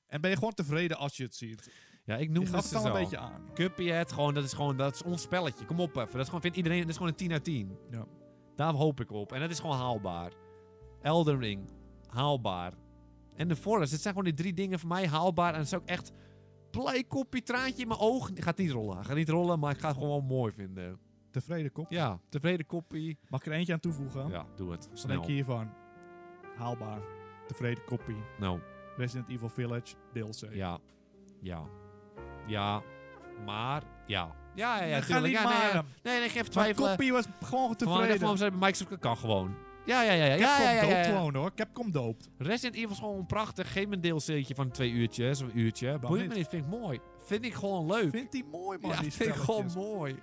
Speaker 1: En ben je gewoon tevreden als je het ziet?
Speaker 2: Ja, ik
Speaker 1: Je
Speaker 2: noem
Speaker 1: gaf
Speaker 2: het
Speaker 1: het
Speaker 2: dus
Speaker 1: al
Speaker 2: al.
Speaker 1: een beetje aan.
Speaker 2: Cuphead, gewoon, dat is gewoon, dat is ons spelletje. Kom op even. Dat is gewoon, vindt iedereen, dat is gewoon een 10 uit 10.
Speaker 1: Ja.
Speaker 2: Daar hoop ik op. En dat is gewoon haalbaar. Elden Ring, haalbaar. En The Forest, het zijn gewoon die drie dingen voor mij haalbaar. En dat zou ik echt, blij koppie, traantje in mijn oog. Gaat niet rollen, gaat niet rollen, maar ik ga het gewoon mooi vinden.
Speaker 1: Tevreden koppie.
Speaker 2: Ja, tevreden koppie.
Speaker 1: Mag ik er eentje aan toevoegen?
Speaker 2: Ja, doe het.
Speaker 1: Wat denk
Speaker 2: Snel.
Speaker 1: je hiervan? Haalbaar. Tevreden koppie.
Speaker 2: Nou,
Speaker 1: Resident Evil Village, DLC.
Speaker 2: ja. Ja. Ja. Maar, ja. Ja, ja,
Speaker 1: Nee,
Speaker 2: ja,
Speaker 1: ga
Speaker 2: tuurlijk.
Speaker 1: niet
Speaker 2: Ja, nee, ja.
Speaker 1: maren.
Speaker 2: nee, nee, geen
Speaker 1: Maar
Speaker 2: twijfel.
Speaker 1: koppie was gewoon tevreden.
Speaker 2: Microsoft kan gewoon. Ja, ja, ja. ja, ja,
Speaker 1: Capcom
Speaker 2: ja, ja, ja.
Speaker 1: doopt gewoon hoor. Capcom doopt.
Speaker 2: Resident Evil is gewoon prachtig. Geef me een deelsteeltje van twee uurtjes of een uurtje. Boeit me
Speaker 1: niet?
Speaker 2: niet, vind ik mooi. Vind ik gewoon leuk.
Speaker 1: Vindt hij mooi man,
Speaker 2: ja,
Speaker 1: die
Speaker 2: vind ik
Speaker 1: spelletjes.
Speaker 2: gewoon mooi.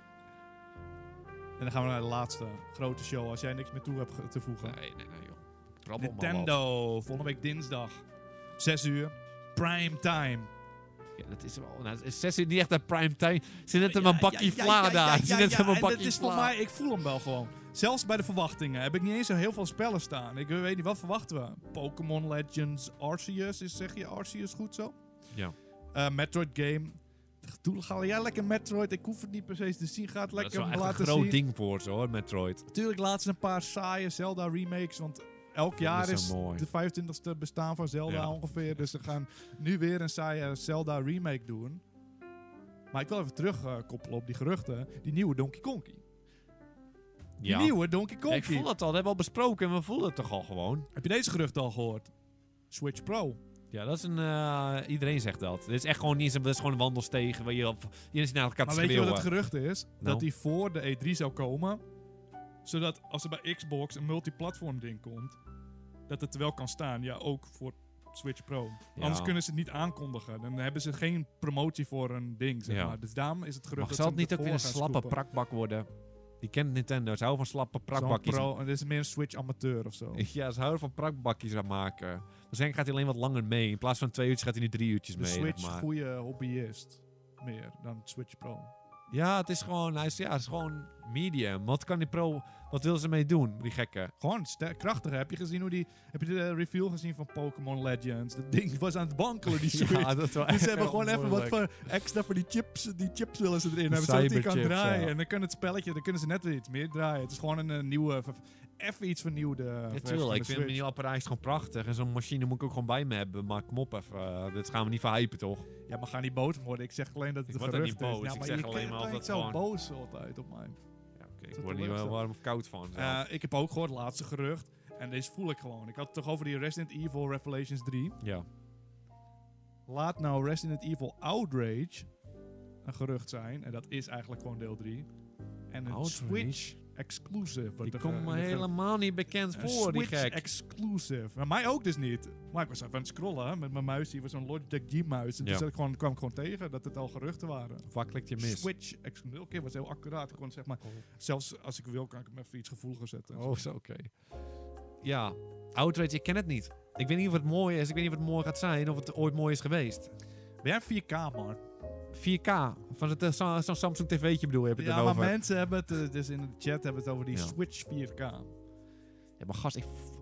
Speaker 1: En dan gaan we naar de laatste grote show. Als jij niks meer toe hebt ge- te voegen.
Speaker 2: Nee, nee, nee, joh. Krabbel maar wat.
Speaker 1: Nintendo. Volgende week dinsdag. 6 uur. Prime time.
Speaker 2: Ja, dat is wel... Nou, het is zes uur niet echt naar prime time. Zit net
Speaker 1: Ja,
Speaker 2: aan mijn
Speaker 1: ja, ja,
Speaker 2: bakkie
Speaker 1: ja,
Speaker 2: vla
Speaker 1: ja, ja,
Speaker 2: daar. [LAUGHS]
Speaker 1: ja,
Speaker 2: Zit net
Speaker 1: ja,
Speaker 2: aan mijn
Speaker 1: en dat
Speaker 2: bakkie
Speaker 1: is voor
Speaker 2: vla.
Speaker 1: mij, ik voel hem wel gewoon. Zelfs bij de verwachtingen heb ik niet eens zo heel veel spellen staan. Ik weet niet, wat verwachten we? Pokémon Legends, Arceus, is, zeg je Arceus goed zo?
Speaker 2: Ja.
Speaker 1: Eh, Metroid Game. Doe, ga jij lekker Metroid, ik hoef het niet per se te zien. Ga het
Speaker 2: Dat is
Speaker 1: lekker
Speaker 2: wel
Speaker 1: hem
Speaker 2: echt een
Speaker 1: laten
Speaker 2: groot
Speaker 1: zien.
Speaker 2: ding voor ze hoor, Metroid.
Speaker 1: Natuurlijk laatst een paar saaie Zelda remakes, want elk
Speaker 2: vind
Speaker 1: jaar
Speaker 2: het
Speaker 1: is
Speaker 2: zo mooi.
Speaker 1: de 25e bestaan van Zelda
Speaker 2: Ja.
Speaker 1: ongeveer. Dus ze gaan nu weer een saaie Zelda remake doen. Maar ik wil even terugkoppelen op die geruchten. Die nieuwe Donkey Kongi. Die
Speaker 2: Ja.
Speaker 1: nieuwe Donkey
Speaker 2: Ja, Ik
Speaker 1: Kongi.
Speaker 2: voel het al. Dat hebben we al besproken. En we voelen het toch al gewoon.
Speaker 1: Heb je deze geruchten al gehoord? Switch Pro.
Speaker 2: Ja, dat is een... eh, iedereen zegt dat. Dit is echt gewoon niet eens... een- Dat is gewoon een wandelstegen waar je op... Je is naar elkaar te
Speaker 1: Maar weet je
Speaker 2: schreeuwen.
Speaker 1: wat het gerucht is?
Speaker 2: Nou.
Speaker 1: Dat die voor de E3 zou komen. Zodat als er bij Xbox een multiplatform ding komt, dat het er wel kan staan. Ja, ook voor Switch Pro.
Speaker 2: Ja.
Speaker 1: Anders kunnen ze het niet aankondigen. Dan hebben ze geen promotie voor een ding, zeg
Speaker 2: Ja.
Speaker 1: maar. Dus daarom is het gerucht dat
Speaker 2: Maar zal
Speaker 1: ze
Speaker 2: het niet ook weer een slappe
Speaker 1: prak
Speaker 2: prakbak worden? Die kent Nintendo. Ze houden van slappe prakbakjes.
Speaker 1: pro, en dit is meer een Switch amateur of zo.
Speaker 2: [LAUGHS] Ja, ze houden van prakbakjes aan maken. Waarschijnlijk gaat hij alleen wat langer mee. In plaats van twee uurtjes gaat hij nu drie uurtjes
Speaker 1: De
Speaker 2: mee.
Speaker 1: Switch,
Speaker 2: zeg maar.
Speaker 1: goede hobbyist. Meer dan Switch Pro.
Speaker 2: Ja, het is gewoon... Hij is, ja, het is gewoon medium. Wat kan die pro... Wat wil ze mee doen, die gekken?
Speaker 1: Gewoon ster- krachtiger. Heb je gezien hoe die... Heb je de reveal gezien van Pokémon Legends? Dat ding was aan het wankelen,
Speaker 2: [LAUGHS]
Speaker 1: die Switch.
Speaker 2: dat is wel
Speaker 1: Dus [LAUGHS]
Speaker 2: echt
Speaker 1: ze hebben
Speaker 2: heel
Speaker 1: gewoon even wat
Speaker 2: moeilijk.
Speaker 1: voor extra voor die chips. Die chips willen ze erin hebben, zodat die kan
Speaker 2: cyberchips,
Speaker 1: draaien.
Speaker 2: ja.
Speaker 1: En dan kan het spelletje, dan kunnen ze net weer iets meer draaien. Het is gewoon een, eh, nieuwe, ver- even iets vernieuwde eh, versie van de
Speaker 2: Natuurlijk, ik vind mijn
Speaker 1: Switch.
Speaker 2: nieuw apparaat is gewoon prachtig. En zo'n machine moet ik ook gewoon bij me hebben. Maar kom op even, eh, dit gaan we niet verhypen toch?
Speaker 1: Ja, maar ga niet boos worden. Ik zeg alleen dat het
Speaker 2: Ik word er
Speaker 1: gerucht
Speaker 2: niet boos.
Speaker 1: is. Ja,
Speaker 2: Ik
Speaker 1: maar
Speaker 2: zeg
Speaker 1: je
Speaker 2: alleen
Speaker 1: kijkt
Speaker 2: maar of
Speaker 1: wel
Speaker 2: dat
Speaker 1: niet zo
Speaker 2: gewoon-
Speaker 1: boos altijd op mij.
Speaker 2: Ja, oké, ik
Speaker 1: Zo
Speaker 2: word er niet
Speaker 1: teleurgesteld.
Speaker 2: wel warm of koud van. zelf.
Speaker 1: Eh, ik heb ook gehoord, laatste gerucht. En deze voel ik gewoon. Ik had het toch over die Resident Evil Revelations 3.
Speaker 2: ja.
Speaker 1: Laat nou Resident Evil Outrage een gerucht zijn. En dat is eigenlijk gewoon deel 3. En een
Speaker 2: Outrage?
Speaker 1: Switch exclusive. Wat
Speaker 2: Die
Speaker 1: er,
Speaker 2: komt
Speaker 1: eh,
Speaker 2: me
Speaker 1: wat er-
Speaker 2: helemaal niet bekend
Speaker 1: een
Speaker 2: voor, die
Speaker 1: Switch
Speaker 2: gek.
Speaker 1: exclusive. Maar mij ook dus niet. Maar ik was even aan het scrollen met mijn muis. Die was zo'n Logitech G-muis. En
Speaker 2: Ja.
Speaker 1: toen zat ik gewoon, kwam ik gewoon tegen dat het al geruchten waren.
Speaker 2: Wakkelijk je mis.
Speaker 1: Switch exclusive. Oké, was heel accuraat. Ik kon zeg maar,
Speaker 2: Oh.
Speaker 1: zelfs als ik wil, kan ik hem even iets gevoeliger zetten.
Speaker 2: Oh, zo, oké. Ja, Outrage, ik ken het niet. Ik weet niet wat het mooi is, ik weet niet wat het mooi gaat zijn, of het ooit mooi is geweest.
Speaker 1: Ben jij 4K, man?
Speaker 2: 4K, van het, eh, zo- zo'n Samsung tv'tje bedoel je, heb je het
Speaker 1: Ja,
Speaker 2: dan
Speaker 1: maar
Speaker 2: over.
Speaker 1: mensen hebben het, eh, dus in de chat hebben het over die
Speaker 2: Ja.
Speaker 1: Switch 4K.
Speaker 2: Ja, maar gast, ik... f-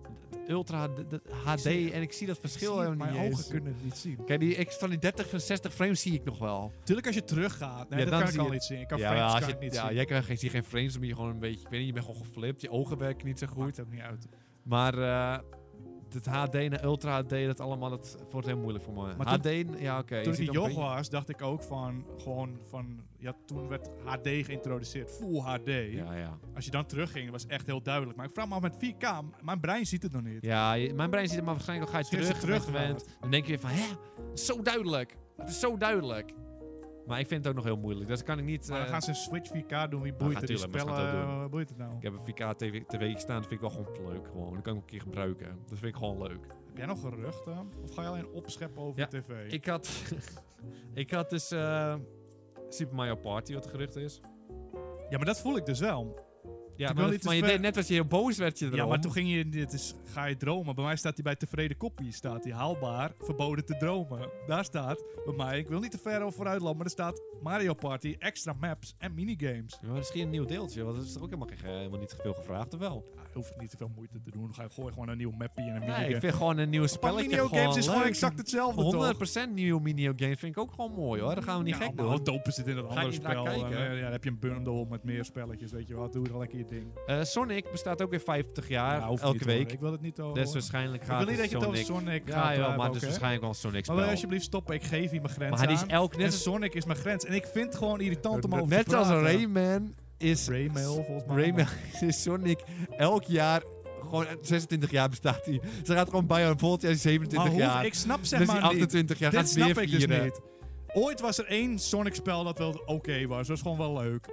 Speaker 2: Ultra d- d- HD
Speaker 1: zie-
Speaker 2: en ik zie dat verschil
Speaker 1: Zie het,
Speaker 2: helemaal niet
Speaker 1: Mijn
Speaker 2: eens.
Speaker 1: ogen kunnen het niet zien.
Speaker 2: Kijk, die, ik, van die 30 en 60 frames zie ik nog wel.
Speaker 1: Tuurlijk als je teruggaat. Nee,
Speaker 2: Ja,
Speaker 1: dat
Speaker 2: dan
Speaker 1: kan ik
Speaker 2: zie
Speaker 1: al
Speaker 2: je-
Speaker 1: niet zien. Ik kan
Speaker 2: ja,
Speaker 1: frames
Speaker 2: maar
Speaker 1: kan
Speaker 2: als
Speaker 1: ik
Speaker 2: je,
Speaker 1: niet
Speaker 2: ja,
Speaker 1: zien.
Speaker 2: jij kan geen, zie geen frames, dan ben je gewoon een beetje... Ik weet niet, je bent gewoon geflipt, je ogen werken niet zo goed.
Speaker 1: Maakt ook niet uit.
Speaker 2: Maar eh het HD en Ultra HD, dat allemaal, dat wordt heel moeilijk voor me.
Speaker 1: Maar
Speaker 2: HD, ja oké. je
Speaker 1: toen ik
Speaker 2: ziet
Speaker 1: die
Speaker 2: dan een
Speaker 1: jong was, dacht ik ook van, gewoon van, ja, toen werd HD geïntroduceerd, full HD.
Speaker 2: beetje- Ja, ja.
Speaker 1: Als je dan terugging, was echt heel duidelijk. Maar ik vraag me af, met 4K, m- mijn brein ziet het nog niet.
Speaker 2: Ja, je- mijn brein ziet het maar waarschijnlijk al ga je
Speaker 1: Sinds je
Speaker 2: terug, terug
Speaker 1: teruggaat.
Speaker 2: bent, dan denk je weer van, hè, zo duidelijk. Het is zo duidelijk. Maar ik vind het ook nog heel moeilijk, dus kan ik niet...
Speaker 1: Maar dan
Speaker 2: eh,
Speaker 1: gaan ze een Switch 4K doen, wie boeit het? Die
Speaker 2: tuurlijk, maar ze gaan
Speaker 1: spellen,
Speaker 2: het ook doen.
Speaker 1: eh, boeit het nou?
Speaker 2: Ik heb een 4K TV, TV staan, dat vind ik wel gewoon leuk gewoon. Dat kan ik ook een keer gebruiken. Dat vind ik gewoon leuk.
Speaker 1: Heb jij nog geruchten? Of ga je alleen opscheppen over
Speaker 2: Ja,
Speaker 1: de tv?
Speaker 2: Ik had, [LAUGHS] ik had dus eh, Super Mario Party, wat het gerucht is.
Speaker 1: ja, maar dat voel ik dus wel.
Speaker 2: Ja,
Speaker 1: wil
Speaker 2: maar, dat-
Speaker 1: iets
Speaker 2: maar je
Speaker 1: ver-
Speaker 2: deed net als je heel boos werd je erom.
Speaker 1: Ja, maar toen ging je, dit is, ga je dromen. Bij mij staat die bij tevreden koppie, staat die haalbaar, verboden te dromen. Daar staat bij mij, ik wil niet te ver over vooruit lopen, maar er staat Mario Party, extra maps en minigames.
Speaker 2: Ja, maar misschien een nieuw deeltje, want dat is toch ook helemaal, geen, eh, helemaal niet veel gevraagd, of wel?
Speaker 1: Ja, je hoeft niet te veel moeite te doen. Ga gooi gewoon een nieuw mappie en een minigame.
Speaker 2: Nee, ik vind gewoon een nieuw
Speaker 1: Maar
Speaker 2: spelletje
Speaker 1: minigames is gewoon
Speaker 2: leuk.
Speaker 1: exact hetzelfde, toch?
Speaker 2: 100% nieuwe minigames vind ik ook gewoon mooi hoor. Dat gaan we niet
Speaker 1: Ja,
Speaker 2: gek
Speaker 1: maar
Speaker 2: doen.
Speaker 1: Hoe dope zit in dat
Speaker 2: Ga ik
Speaker 1: andere
Speaker 2: niet naar
Speaker 1: spel? En,
Speaker 2: kijken.
Speaker 1: eh, ja, dan heb je een bundle met meer spelletjes, weet je wat. Doe al lekker je ding.
Speaker 2: Eh, Sonic bestaat ook weer 50 jaar,
Speaker 1: Ja, Nou, hoeft niet,
Speaker 2: elke
Speaker 1: hoor.
Speaker 2: week.
Speaker 1: Ik wil het niet over.
Speaker 2: Dus waarschijnlijk
Speaker 1: ik
Speaker 2: gaat
Speaker 1: wil niet dat je het over
Speaker 2: Sonic...
Speaker 1: Sonic
Speaker 2: ja,
Speaker 1: gaat
Speaker 2: joh,
Speaker 1: hebben
Speaker 2: maar
Speaker 1: ook,
Speaker 2: dus
Speaker 1: hè?
Speaker 2: waarschijnlijk wel een Sonic
Speaker 1: Maar
Speaker 2: spel.
Speaker 1: wil je alsjeblieft stoppen? Ik geef hier mijn grens
Speaker 2: Maar hij is
Speaker 1: aan.
Speaker 2: elk net
Speaker 1: En
Speaker 2: als,
Speaker 1: Sonic is mijn grens. En ik vind het gewoon irritant om over
Speaker 2: net
Speaker 1: te
Speaker 2: als
Speaker 1: praten.
Speaker 2: Rayman is
Speaker 1: Raymail, volgens mij.
Speaker 2: Rayman [LAUGHS] is Sonic elk jaar gewoon 26 jaar bestaat hij. Ze gaat gewoon bij een volgend jaar is hij
Speaker 1: Maar
Speaker 2: 27
Speaker 1: hoe-
Speaker 2: jaar. Dus
Speaker 1: ik snap
Speaker 2: dan
Speaker 1: zeg
Speaker 2: is hij
Speaker 1: maar niet.
Speaker 2: 28 jaar.
Speaker 1: Dit
Speaker 2: Gaat ze
Speaker 1: snap
Speaker 2: weer
Speaker 1: ik dus
Speaker 2: vieren.
Speaker 1: niet. Ooit was er één Sonic-spel dat wel oké was. Dat was gewoon wel leuk.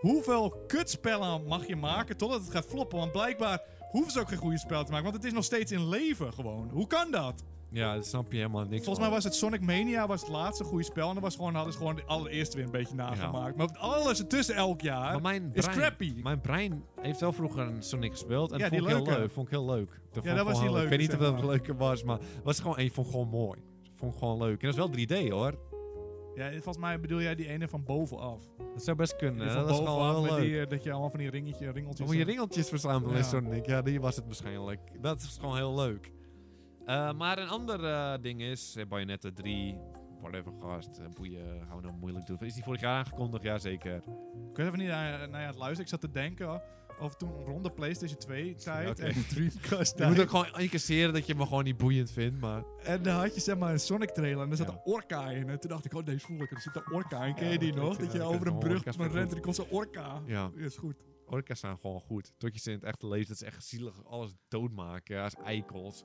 Speaker 1: Hoeveel kutspellen mag je maken totdat het gaat floppen? Want blijkbaar hoeven ze ook geen goede spel te maken. Want het is nog steeds in leven gewoon. Hoe kan dat?
Speaker 2: Ja, dat snap je helemaal niks.
Speaker 1: Volgens mij was het Sonic Mania was het laatste goede spel. En dat was gewoon, hadden ze gewoon de allereerste weer een beetje nagemaakt. Maar alles ertussen elk jaar
Speaker 2: maar mijn
Speaker 1: is
Speaker 2: brein,
Speaker 1: crappy.
Speaker 2: mijn brein heeft wel vroeger een Sonic gespeeld en
Speaker 1: Ja,
Speaker 2: dat
Speaker 1: die
Speaker 2: vond ik heel
Speaker 1: leuke.
Speaker 2: leuk. Vond ik heel leuk. Dat vond ik
Speaker 1: dat was die
Speaker 2: gewoon leuk. Ik
Speaker 1: leuke,
Speaker 2: weet niet of
Speaker 1: zeg
Speaker 2: dat een
Speaker 1: maar.
Speaker 2: leuke was, maar was gewoon één vond ik gewoon mooi. Vond ik gewoon leuk. En dat is wel 3D hoor.
Speaker 1: Ja, volgens mij bedoel jij die ene van bovenaf.
Speaker 2: Dat zou best kunnen.
Speaker 1: Die
Speaker 2: hè.
Speaker 1: van
Speaker 2: Dat is gewoon
Speaker 1: bovenaf
Speaker 2: wel
Speaker 1: met
Speaker 2: leuk.
Speaker 1: die, eh, dat je allemaal van die ringetje, ringeltjes...
Speaker 2: Dan moet je ringeltjes verzamelen in
Speaker 1: Ja.
Speaker 2: Sonic. Ja, die was het waarschijnlijk. Dat is gewoon heel leuk. Eh, maar een ander eh, ding is, eh, Bayonetta 3, whatever gast, eh, boeien, gaan we nou moeilijk doen. Is die vorig jaar aangekondigd? Jazeker.
Speaker 1: Ik weet even niet naar, naar je aan het luisteren. Ik zat te denken of toen rond de PlayStation 2 tijd
Speaker 2: Oké.
Speaker 1: en Dreamcast
Speaker 2: Je moet
Speaker 1: tijd.
Speaker 2: ook gewoon incasseren dat je me gewoon niet boeiend vindt, maar...
Speaker 1: En dan had je zeg maar een Sonic trailer en er zat
Speaker 2: Ja.
Speaker 1: een orka in. En toen dacht ik, oh nee, voel ik er zit een orka in. Ken je
Speaker 2: Ja,
Speaker 1: die
Speaker 2: dat
Speaker 1: nog?
Speaker 2: weet je
Speaker 1: Dat je
Speaker 2: wel. Ik
Speaker 1: over een
Speaker 2: ken
Speaker 1: brug
Speaker 2: orka's
Speaker 1: met
Speaker 2: van
Speaker 1: rent en er komt zo'n orka.
Speaker 2: Ja,
Speaker 1: Ja, is goed.
Speaker 2: orka's zijn gewoon goed. Tot je ze in het echte leven, dat is echt zielig, alles doodmaken als eikels.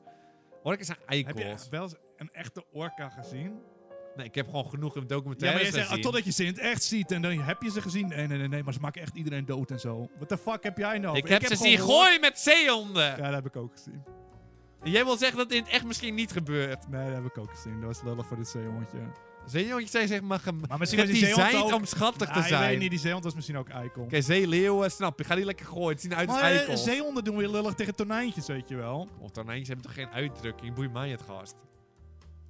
Speaker 2: Orka's zijn
Speaker 1: Heb je
Speaker 2: eikels.
Speaker 1: wel eens een echte orka gezien?
Speaker 2: Nee, ik heb gewoon genoeg in
Speaker 1: Ja, maar
Speaker 2: documentaires
Speaker 1: je zegt, ah,
Speaker 2: gezien.
Speaker 1: totdat je ze in het echt ziet. En dan heb je ze gezien. Nee, nee, nee, nee, maar ze maken echt iedereen dood en zo. What the fuck heb jij nou?
Speaker 2: ik heb ze
Speaker 1: gewoon
Speaker 2: zien
Speaker 1: gehoord-
Speaker 2: gooien met zeehonden!
Speaker 1: Ja, dat heb ik ook gezien.
Speaker 2: En Jij wil zeggen dat het in het echt misschien niet gebeurt.
Speaker 1: Nee, dat heb ik ook gezien. Dat was lullig voor dit zeehondje.
Speaker 2: Zeehondjes zijn zeg maar... gem-
Speaker 1: Maar
Speaker 2: [LAUGHS]
Speaker 1: misschien was die zeehond
Speaker 2: Gedesigned
Speaker 1: ook...
Speaker 2: om schattig te
Speaker 1: Ah, Ik
Speaker 2: zijn.
Speaker 1: weet
Speaker 2: Oké,
Speaker 1: niet, die zeehond was misschien ook Icon.
Speaker 2: zeeleeuwen, snap je. Ga die lekker gooien. Het zien uit als
Speaker 1: Maar eh,
Speaker 2: eikels.
Speaker 1: zeehonden doen weer lullig tegen tonijntjes, weet je wel.
Speaker 2: Of tonijntjes hebben toch geen uitdrukking? Boeit mij het gast.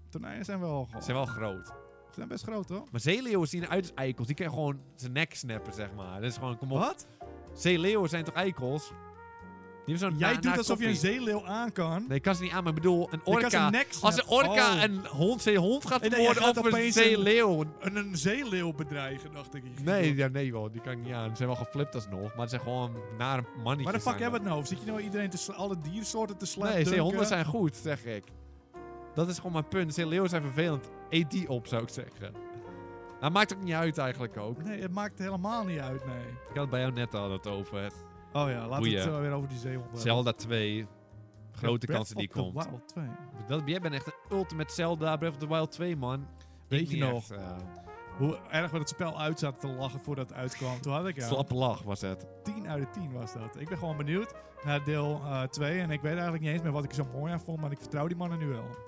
Speaker 1: Tonijnen zijn wel,
Speaker 2: Ze
Speaker 1: gewoon-
Speaker 2: zijn wel groot.
Speaker 1: ze zijn best groot, hoor.
Speaker 2: Maar zeeleeuwen zien eruit als eikels. Die kunnen gewoon zijn nek snappen, zeg maar. Dat is gewoon, kom op.
Speaker 1: Wat?
Speaker 2: Zeeleeuwen zijn toch eikels? Die hebben zo'n
Speaker 1: Jij
Speaker 2: na-
Speaker 1: doet
Speaker 2: na
Speaker 1: alsof je een
Speaker 2: koppie.
Speaker 1: zeeleeuw aan kan.
Speaker 2: nou, Nee, ik kan ze niet aan, maar ik bedoel, een
Speaker 1: Je kan zijn
Speaker 2: orka.
Speaker 1: nek
Speaker 2: Als een
Speaker 1: snappen.
Speaker 2: orka
Speaker 1: Oh.
Speaker 2: een hond, zeehond gaat
Speaker 1: En dan-
Speaker 2: vermoorden
Speaker 1: jij gaat
Speaker 2: of een
Speaker 1: opeens een-
Speaker 2: zeeleeuw...
Speaker 1: Een, een zeeleeuw bedreigen, dacht ik.
Speaker 2: Nee, ja, nee joh, die kan ik niet aan. Ze zijn wel geflipt alsnog, maar ze zijn gewoon nare mannetjes.
Speaker 1: Waar de fuck
Speaker 2: zijn
Speaker 1: hebben
Speaker 2: dat.
Speaker 1: we het nou over? Zit je nou iedereen te sla- alle diersoorten te slaan?
Speaker 2: Nee, zeehonden zijn goed, zeg ik. Dat is gewoon mijn punt. Zeeleeuwen zijn vervelend. Eet die op, zou ik zeggen. Nou, maakt ook niet uit eigenlijk ook.
Speaker 1: Nee, het maakt helemaal niet uit, nee.
Speaker 2: Ik had het bij jou net al het over.
Speaker 1: Oh ja, laten we
Speaker 2: Boeien.
Speaker 1: het eh, weer over die zeehonden.
Speaker 2: Zelda 2. Grote
Speaker 1: Breath
Speaker 2: kansen die
Speaker 1: of the
Speaker 2: komt.
Speaker 1: Wild 2.
Speaker 2: Dat, jij bent echt een ultimate Zelda Breath of the Wild 2, man.
Speaker 1: Weet
Speaker 2: Ik
Speaker 1: je
Speaker 2: niet
Speaker 1: nog?
Speaker 2: echt, eh.
Speaker 1: Hoe erg we het spel uit zaten te lachen voordat het uitkwam. Toen had ik ja,
Speaker 2: Slappe lach was het.
Speaker 1: 10 uit de 10 was dat. Ik ben gewoon benieuwd naar deel 2. en ik weet eigenlijk niet eens meer wat ik er zo mooi aan vond. Maar ik vertrouw die mannen nu wel.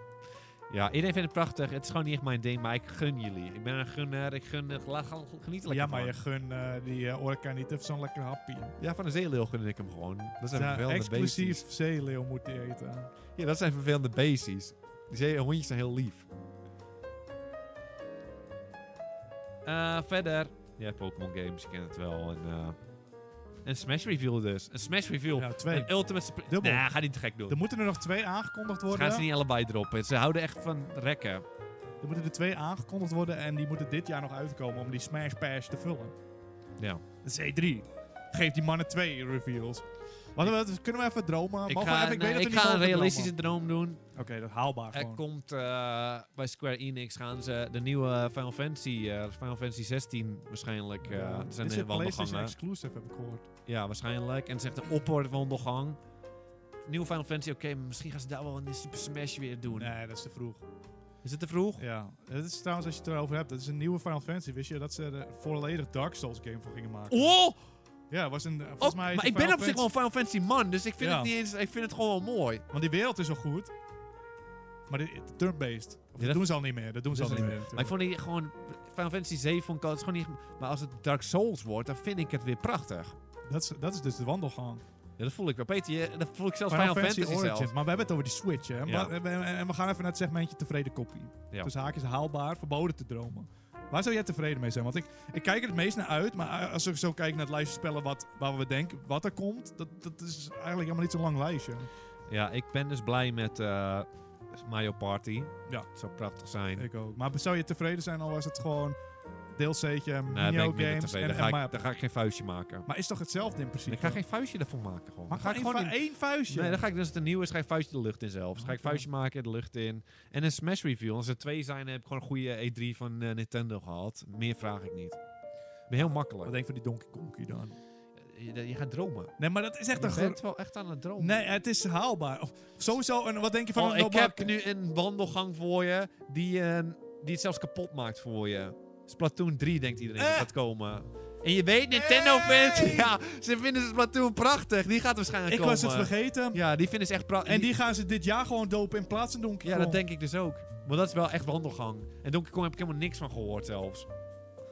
Speaker 2: Ja, iedereen vindt het prachtig. Het is gewoon niet echt mijn ding, maar ik gun jullie. Ik ben een gunner. Ik gun... eh, Laat gewoon genieten lekker
Speaker 1: ja, maar
Speaker 2: van.
Speaker 1: je gun eh, die eh, orka niet even zo'n lekker happy.
Speaker 2: Ja, van een zeeleeuw gun ik hem gewoon. Dat zijn
Speaker 1: Ja,
Speaker 2: vervelende
Speaker 1: exclusief
Speaker 2: beestjes.
Speaker 1: zeeleeuw moet die eten.
Speaker 2: Ja, dat zijn vervelende beestjes. Die zeehondjes zijn heel lief. Eh, verder. Ja, Pokémon games, je kent het wel. En, eh, een Smash reveal dus. Een Smash reveal.
Speaker 1: Ja, twee.
Speaker 2: Een Ultimate Surprise.
Speaker 1: Dubbel.
Speaker 2: Nee, ga niet te gek doen.
Speaker 1: Er moeten er nog twee aangekondigd
Speaker 2: Ze
Speaker 1: worden.
Speaker 2: gaan ze niet allebei droppen. Ze houden echt van rekken.
Speaker 1: Er moeten er twee aangekondigd worden en die moeten dit jaar nog uitkomen om die Smash Pass te vullen.
Speaker 2: Ja.
Speaker 1: Dat is E3. Geef die mannen twee reveals. Wat, wat- kunnen we even dromen?
Speaker 2: Ik
Speaker 1: Mogen
Speaker 2: ga,
Speaker 1: we even, ik
Speaker 2: nee,
Speaker 1: weet dat we
Speaker 2: ik
Speaker 1: niet
Speaker 2: ga een
Speaker 1: mogen
Speaker 2: realistische
Speaker 1: dromen.
Speaker 2: droom doen.
Speaker 1: Oké, dat is haalbaar
Speaker 2: Er
Speaker 1: gewoon.
Speaker 2: komt eh, bij Square Enix gaan ze de nieuwe Final Fantasy, eh, Final Fantasy 16 waarschijnlijk. eh,
Speaker 1: Ja.
Speaker 2: er zijn
Speaker 1: Is
Speaker 2: de
Speaker 1: dit PlayStation
Speaker 2: wandelgangen.
Speaker 1: exclusive, heb ik gehoord.
Speaker 2: Ja, waarschijnlijk. En het is echt een opperwandelgang. Nieuwe Final Fantasy, oké, maar misschien gaan ze daar wel een Super Smash weer doen.
Speaker 1: Nee, dat is te vroeg.
Speaker 2: Is het te vroeg?
Speaker 1: Ja, dat is trouwens, als je het erover hebt, dat is een nieuwe Final Fantasy. Wist je dat ze er volledig Dark Souls game voor gingen maken?
Speaker 2: Oh!
Speaker 1: Ja, was een, eh, volgens
Speaker 2: oh,
Speaker 1: mij is
Speaker 2: maar
Speaker 1: die
Speaker 2: ik ben
Speaker 1: Final
Speaker 2: op zich wel een Final Fantasy man, dus ik vind
Speaker 1: Ja.
Speaker 2: het niet eens. Ik vind het gewoon wel mooi.
Speaker 1: Want die wereld is al goed. Maar dit- turn-based. Of dat
Speaker 2: dat-
Speaker 1: doen ze al niet meer. Dat doen ze
Speaker 2: dat
Speaker 1: al
Speaker 2: is
Speaker 1: niet meer.
Speaker 2: niet Maar ik vond die gewoon. Final Fantasy 7 vond ik al- het is gewoon niet. Maar als het Dark Souls wordt, dan vind ik het weer prachtig.
Speaker 1: natuurlijk. dat, is, dat is dus de wandelgang.
Speaker 2: Ja, dat voel ik wel. Peter, je- dat voel ik zelfs
Speaker 1: Final,
Speaker 2: Final,
Speaker 1: nou, Fantasy,
Speaker 2: zelf.
Speaker 1: Origins. Maar we hebben het over die Switch, hè.
Speaker 2: Ja.
Speaker 1: Maar- en- en, en we gaan even naar het segmentje tevreden koppie.
Speaker 2: Ja.
Speaker 1: Dus haakjes haalbaar, verboden te dromen. Waar zou jij tevreden mee zijn? Want ik, ik kijk er het meest naar uit, maar eh, als ik zo kijk naar het lijstje spellen wat, waar we denken wat er komt, dat, dat is eigenlijk helemaal niet zo'n lang lijstje.
Speaker 2: Ja, ik ben dus blij met eh, Mario Party.
Speaker 1: Ja.
Speaker 2: Het zou prachtig zijn.
Speaker 1: Ik ook. Maar zou je tevreden zijn al was het gewoon DLC'tje,
Speaker 2: nee, ben
Speaker 1: Neo
Speaker 2: Nou, ik minder
Speaker 1: games en,
Speaker 2: tevreden.
Speaker 1: en
Speaker 2: Dan ga,
Speaker 1: maar-
Speaker 2: ik, dan ga ik geen vuistje maken.
Speaker 1: Maar is toch hetzelfde in principe?
Speaker 2: Ik ga geen vuistje daarvoor maken gewoon.
Speaker 1: Maar
Speaker 2: Dan ga ik gewoon in-
Speaker 1: één vuistje?
Speaker 2: Nee, dan ga ik dus het nieuwe is, ga ik vuistje de lucht in zelf. Dus ga ik
Speaker 1: Oké.
Speaker 2: vuistje maken, de lucht in. En een Smash review. Als er twee zijn, heb ik gewoon een goede E3 van eh, Nintendo gehad. Meer vraag ik niet. Ben heel
Speaker 1: Wat
Speaker 2: makkelijk.
Speaker 1: denk je van die Donkey Kong dan?
Speaker 2: Je, je gaat dromen.
Speaker 1: Nee, maar dat is echt
Speaker 2: Je
Speaker 1: een... gro-
Speaker 2: bent wel echt aan het dromen.
Speaker 1: Nee, het is haalbaar. Of, sowieso, en wat denk je van
Speaker 2: Oh,
Speaker 1: een
Speaker 2: ik
Speaker 1: Nobak-
Speaker 2: heb nu een wandelgang voor je die, eh, die het zelfs kapot maakt voor je. Splatoon 3 denkt iedereen dat
Speaker 1: Eh.
Speaker 2: gaat komen. En je weet, Nintendo
Speaker 1: Hey!
Speaker 2: fans, [LAUGHS] ja, ze vinden Splatoon prachtig. Die gaat waarschijnlijk
Speaker 1: Ik
Speaker 2: komen.
Speaker 1: was het vergeten.
Speaker 2: Ja, die vinden ze echt prachtig.
Speaker 1: En die gaan ze dit jaar gewoon dopen in plaats van Donkey
Speaker 2: Ja,
Speaker 1: Kong.
Speaker 2: dat denk ik dus ook. Maar dat is wel echt wandelgang. En Donkey Kong heb ik helemaal niks van gehoord zelfs.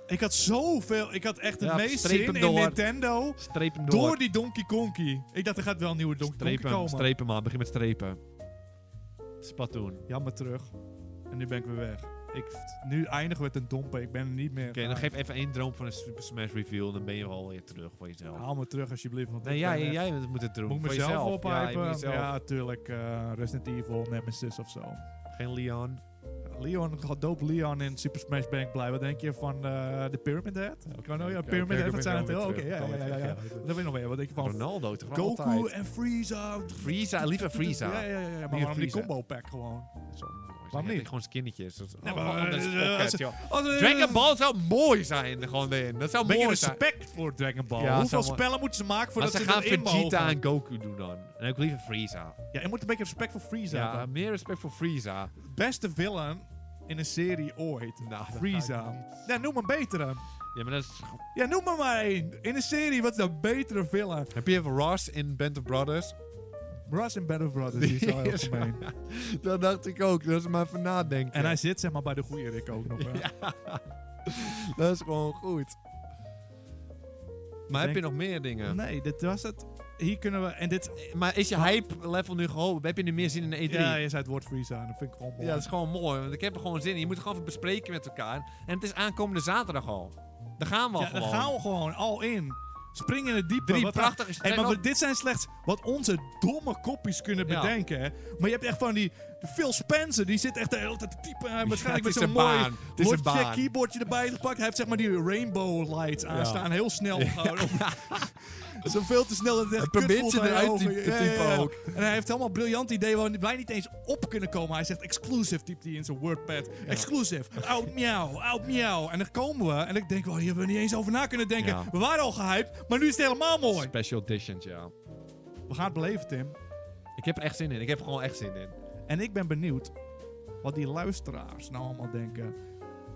Speaker 1: Ik had zoveel... Ik had echt de
Speaker 2: Ja,
Speaker 1: meeste
Speaker 2: streep
Speaker 1: zin
Speaker 2: hem door.
Speaker 1: in Nintendo
Speaker 2: Streep hem
Speaker 1: door.
Speaker 2: door.
Speaker 1: die Donkey Konkie. Ik dacht, er gaat wel een nieuwe Donkey
Speaker 2: streep
Speaker 1: Konkie
Speaker 2: hem,
Speaker 1: komen.
Speaker 2: streep hem aan. Begin met strepen. Splatoon. Oké,
Speaker 1: Jammer terug. En nu ben ik weer weg. Ik, nu eindigen we met een dompen. Ik ben er niet meer. Ah,
Speaker 2: dan geef even één droom van een Super Smash Reveal. En dan ben je wel weer terug voor jezelf.
Speaker 1: Haal me terug alsjeblieft. Want
Speaker 2: Nou, nee,
Speaker 1: ik
Speaker 2: jij,
Speaker 1: ben echt-
Speaker 2: jij moet het doen.
Speaker 1: Moet ik
Speaker 2: voor
Speaker 1: mezelf
Speaker 2: jezelf. Ja, je
Speaker 1: ophypen?
Speaker 2: moet
Speaker 1: Ja,
Speaker 2: jezelf.
Speaker 1: natuurlijk. eh, Resident Evil, Nemesis of zo.
Speaker 2: Geen Leon.
Speaker 1: Leon, doop Leon in Super Smash Bank blij. Wat denk je van eh, de Pyramid Head? Ik kan nou ja, Pyramid Head, dat zijn het heel. Oké, ja, ja, ja. ja, ja. Dat weet ik nog meer. Wat denk je van
Speaker 2: Ronaldo toch
Speaker 1: Goku
Speaker 2: altijd.
Speaker 1: en Frieza?
Speaker 2: Frieza, [LAUGHS] liever Frieza.
Speaker 1: Ja, ja, ja, ja. Maar
Speaker 2: Meer
Speaker 1: waarom die
Speaker 2: Frieza.
Speaker 1: combo pack gewoon?
Speaker 2: Zo mooi. Ze
Speaker 1: Waarom
Speaker 2: hebben
Speaker 1: niet?
Speaker 2: Gewoon skinnetjes. Dat is-
Speaker 1: Nee,
Speaker 2: oh,
Speaker 1: maar,
Speaker 2: oh, dat [LAUGHS] is
Speaker 1: eh,
Speaker 2: pocket,
Speaker 1: als-
Speaker 2: joh. Dragon Ball zou mooi zijn. Gewoon in. Dat zou
Speaker 1: Beetje
Speaker 2: mooi zijn.
Speaker 1: respect voor Dragon Ball.
Speaker 2: Ja,
Speaker 1: Hoeveel
Speaker 2: zo mooi.
Speaker 1: spellen moeten ze maken
Speaker 2: Maar
Speaker 1: voordat
Speaker 2: ze
Speaker 1: ze
Speaker 2: gaan
Speaker 1: erin mogen?
Speaker 2: Vegeta en Goku doen dan. En ook liever Frieza.
Speaker 1: Ja, je moet een beetje respect voor Frieza
Speaker 2: Ja,
Speaker 1: hebben.
Speaker 2: meer respect voor Frieza.
Speaker 1: Beste villain in een serie ooit.
Speaker 2: Nou, dat ga ik
Speaker 1: Frieza.
Speaker 2: niet.
Speaker 1: Ja, noem een betere.
Speaker 2: Ja, maar dat is...
Speaker 1: Ja, noem maar maar één. In een serie, wat is een betere villain?
Speaker 2: Heb je even Ross in Band of Brothers?
Speaker 1: Russ in Battle Brothers, die is wel
Speaker 2: [LAUGHS]
Speaker 1: heel
Speaker 2: is-
Speaker 1: gemeen.
Speaker 2: [LAUGHS] dat dacht ik ook. Dat is maar even nadenken.
Speaker 1: En hij zit zeg maar bij de goede Rick ook nog. hè.
Speaker 2: Dat is gewoon goed. Maar heb
Speaker 1: Denk-
Speaker 2: je nog meer dingen?
Speaker 1: Nee, dit was het. Hier kunnen we... En dit...
Speaker 2: Maar is je hype level nu gehoord? Heb je nu meer zin in een E3?
Speaker 1: Ja, je zei het woord Freeze aan. Dat vind ik gewoon mooi.
Speaker 2: Ja, dat is gewoon mooi. Want ik heb er gewoon zin in. Je moet het gewoon even bespreken met elkaar. En het is aankomende zaterdag al. Daar gaan we al
Speaker 1: Ja, dan
Speaker 2: gewoon.
Speaker 1: gaan we gewoon al in. Spring in het diepe.
Speaker 2: Drie
Speaker 1: Wat-
Speaker 2: prachtige
Speaker 1: Hey, maar
Speaker 2: zijn
Speaker 1: we- dit zijn slechts wat onze domme kopjes kunnen
Speaker 2: Ja.
Speaker 1: bedenken. Hè? Maar je hebt echt van die de Phil Spencer, die zit echt de hele tijd te typen. Hij waarschijnlijk
Speaker 2: het
Speaker 1: met
Speaker 2: is
Speaker 1: zo'n
Speaker 2: een
Speaker 1: mooi
Speaker 2: baan. Het is een
Speaker 1: lotje
Speaker 2: baan.
Speaker 1: keyboardje erbij gepakt. Hij heeft zeg maar die rainbow lights aanstaan, heel snel.
Speaker 2: [LAUGHS]
Speaker 1: gehouden. zo veel te snel dat het echt
Speaker 2: Een
Speaker 1: kut
Speaker 2: permitje
Speaker 1: voelt aan je
Speaker 2: eruit
Speaker 1: ogen.
Speaker 2: typen- te typen ook.
Speaker 1: En hij heeft helemaal een briljant idee waar wij niet eens op kunnen komen. Hij zegt exclusive, typt hij in zijn wordpad. Exclusive, oud miauw, oud miauw. En dan komen we en ik denk, wel, hier hebben we niet eens over na kunnen denken.
Speaker 2: Ja.
Speaker 1: We waren al gehyped, maar nu is het helemaal mooi.
Speaker 2: Special editions, ja.
Speaker 1: We gaan het beleven, Tim.
Speaker 2: Ik heb er echt zin in. Ik heb er gewoon echt zin in.
Speaker 1: En ik ben benieuwd wat die luisteraars nou allemaal denken.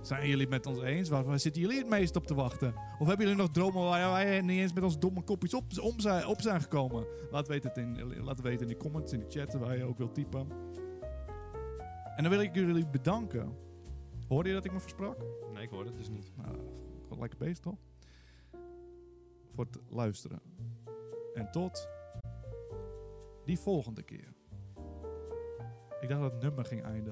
Speaker 1: Zijn jullie het met ons eens? Waar, waar zitten jullie het meest op te wachten? Of hebben jullie nog dromen waar wij niet eens met ons domme kopjes op, om zijn, op zijn gekomen? Laat weten, het in, laat weten in de comments, in de chat, waar je ook wilt typen. En dan wil ik jullie bedanken. Hoorde je dat ik me versprak?
Speaker 2: Nee, ik hoor het dus niet.
Speaker 1: Nou, gewoon lekker bezig toch? Voor het luisteren. En tot die volgende keer. Ik dacht dat het nummer ging eindigen.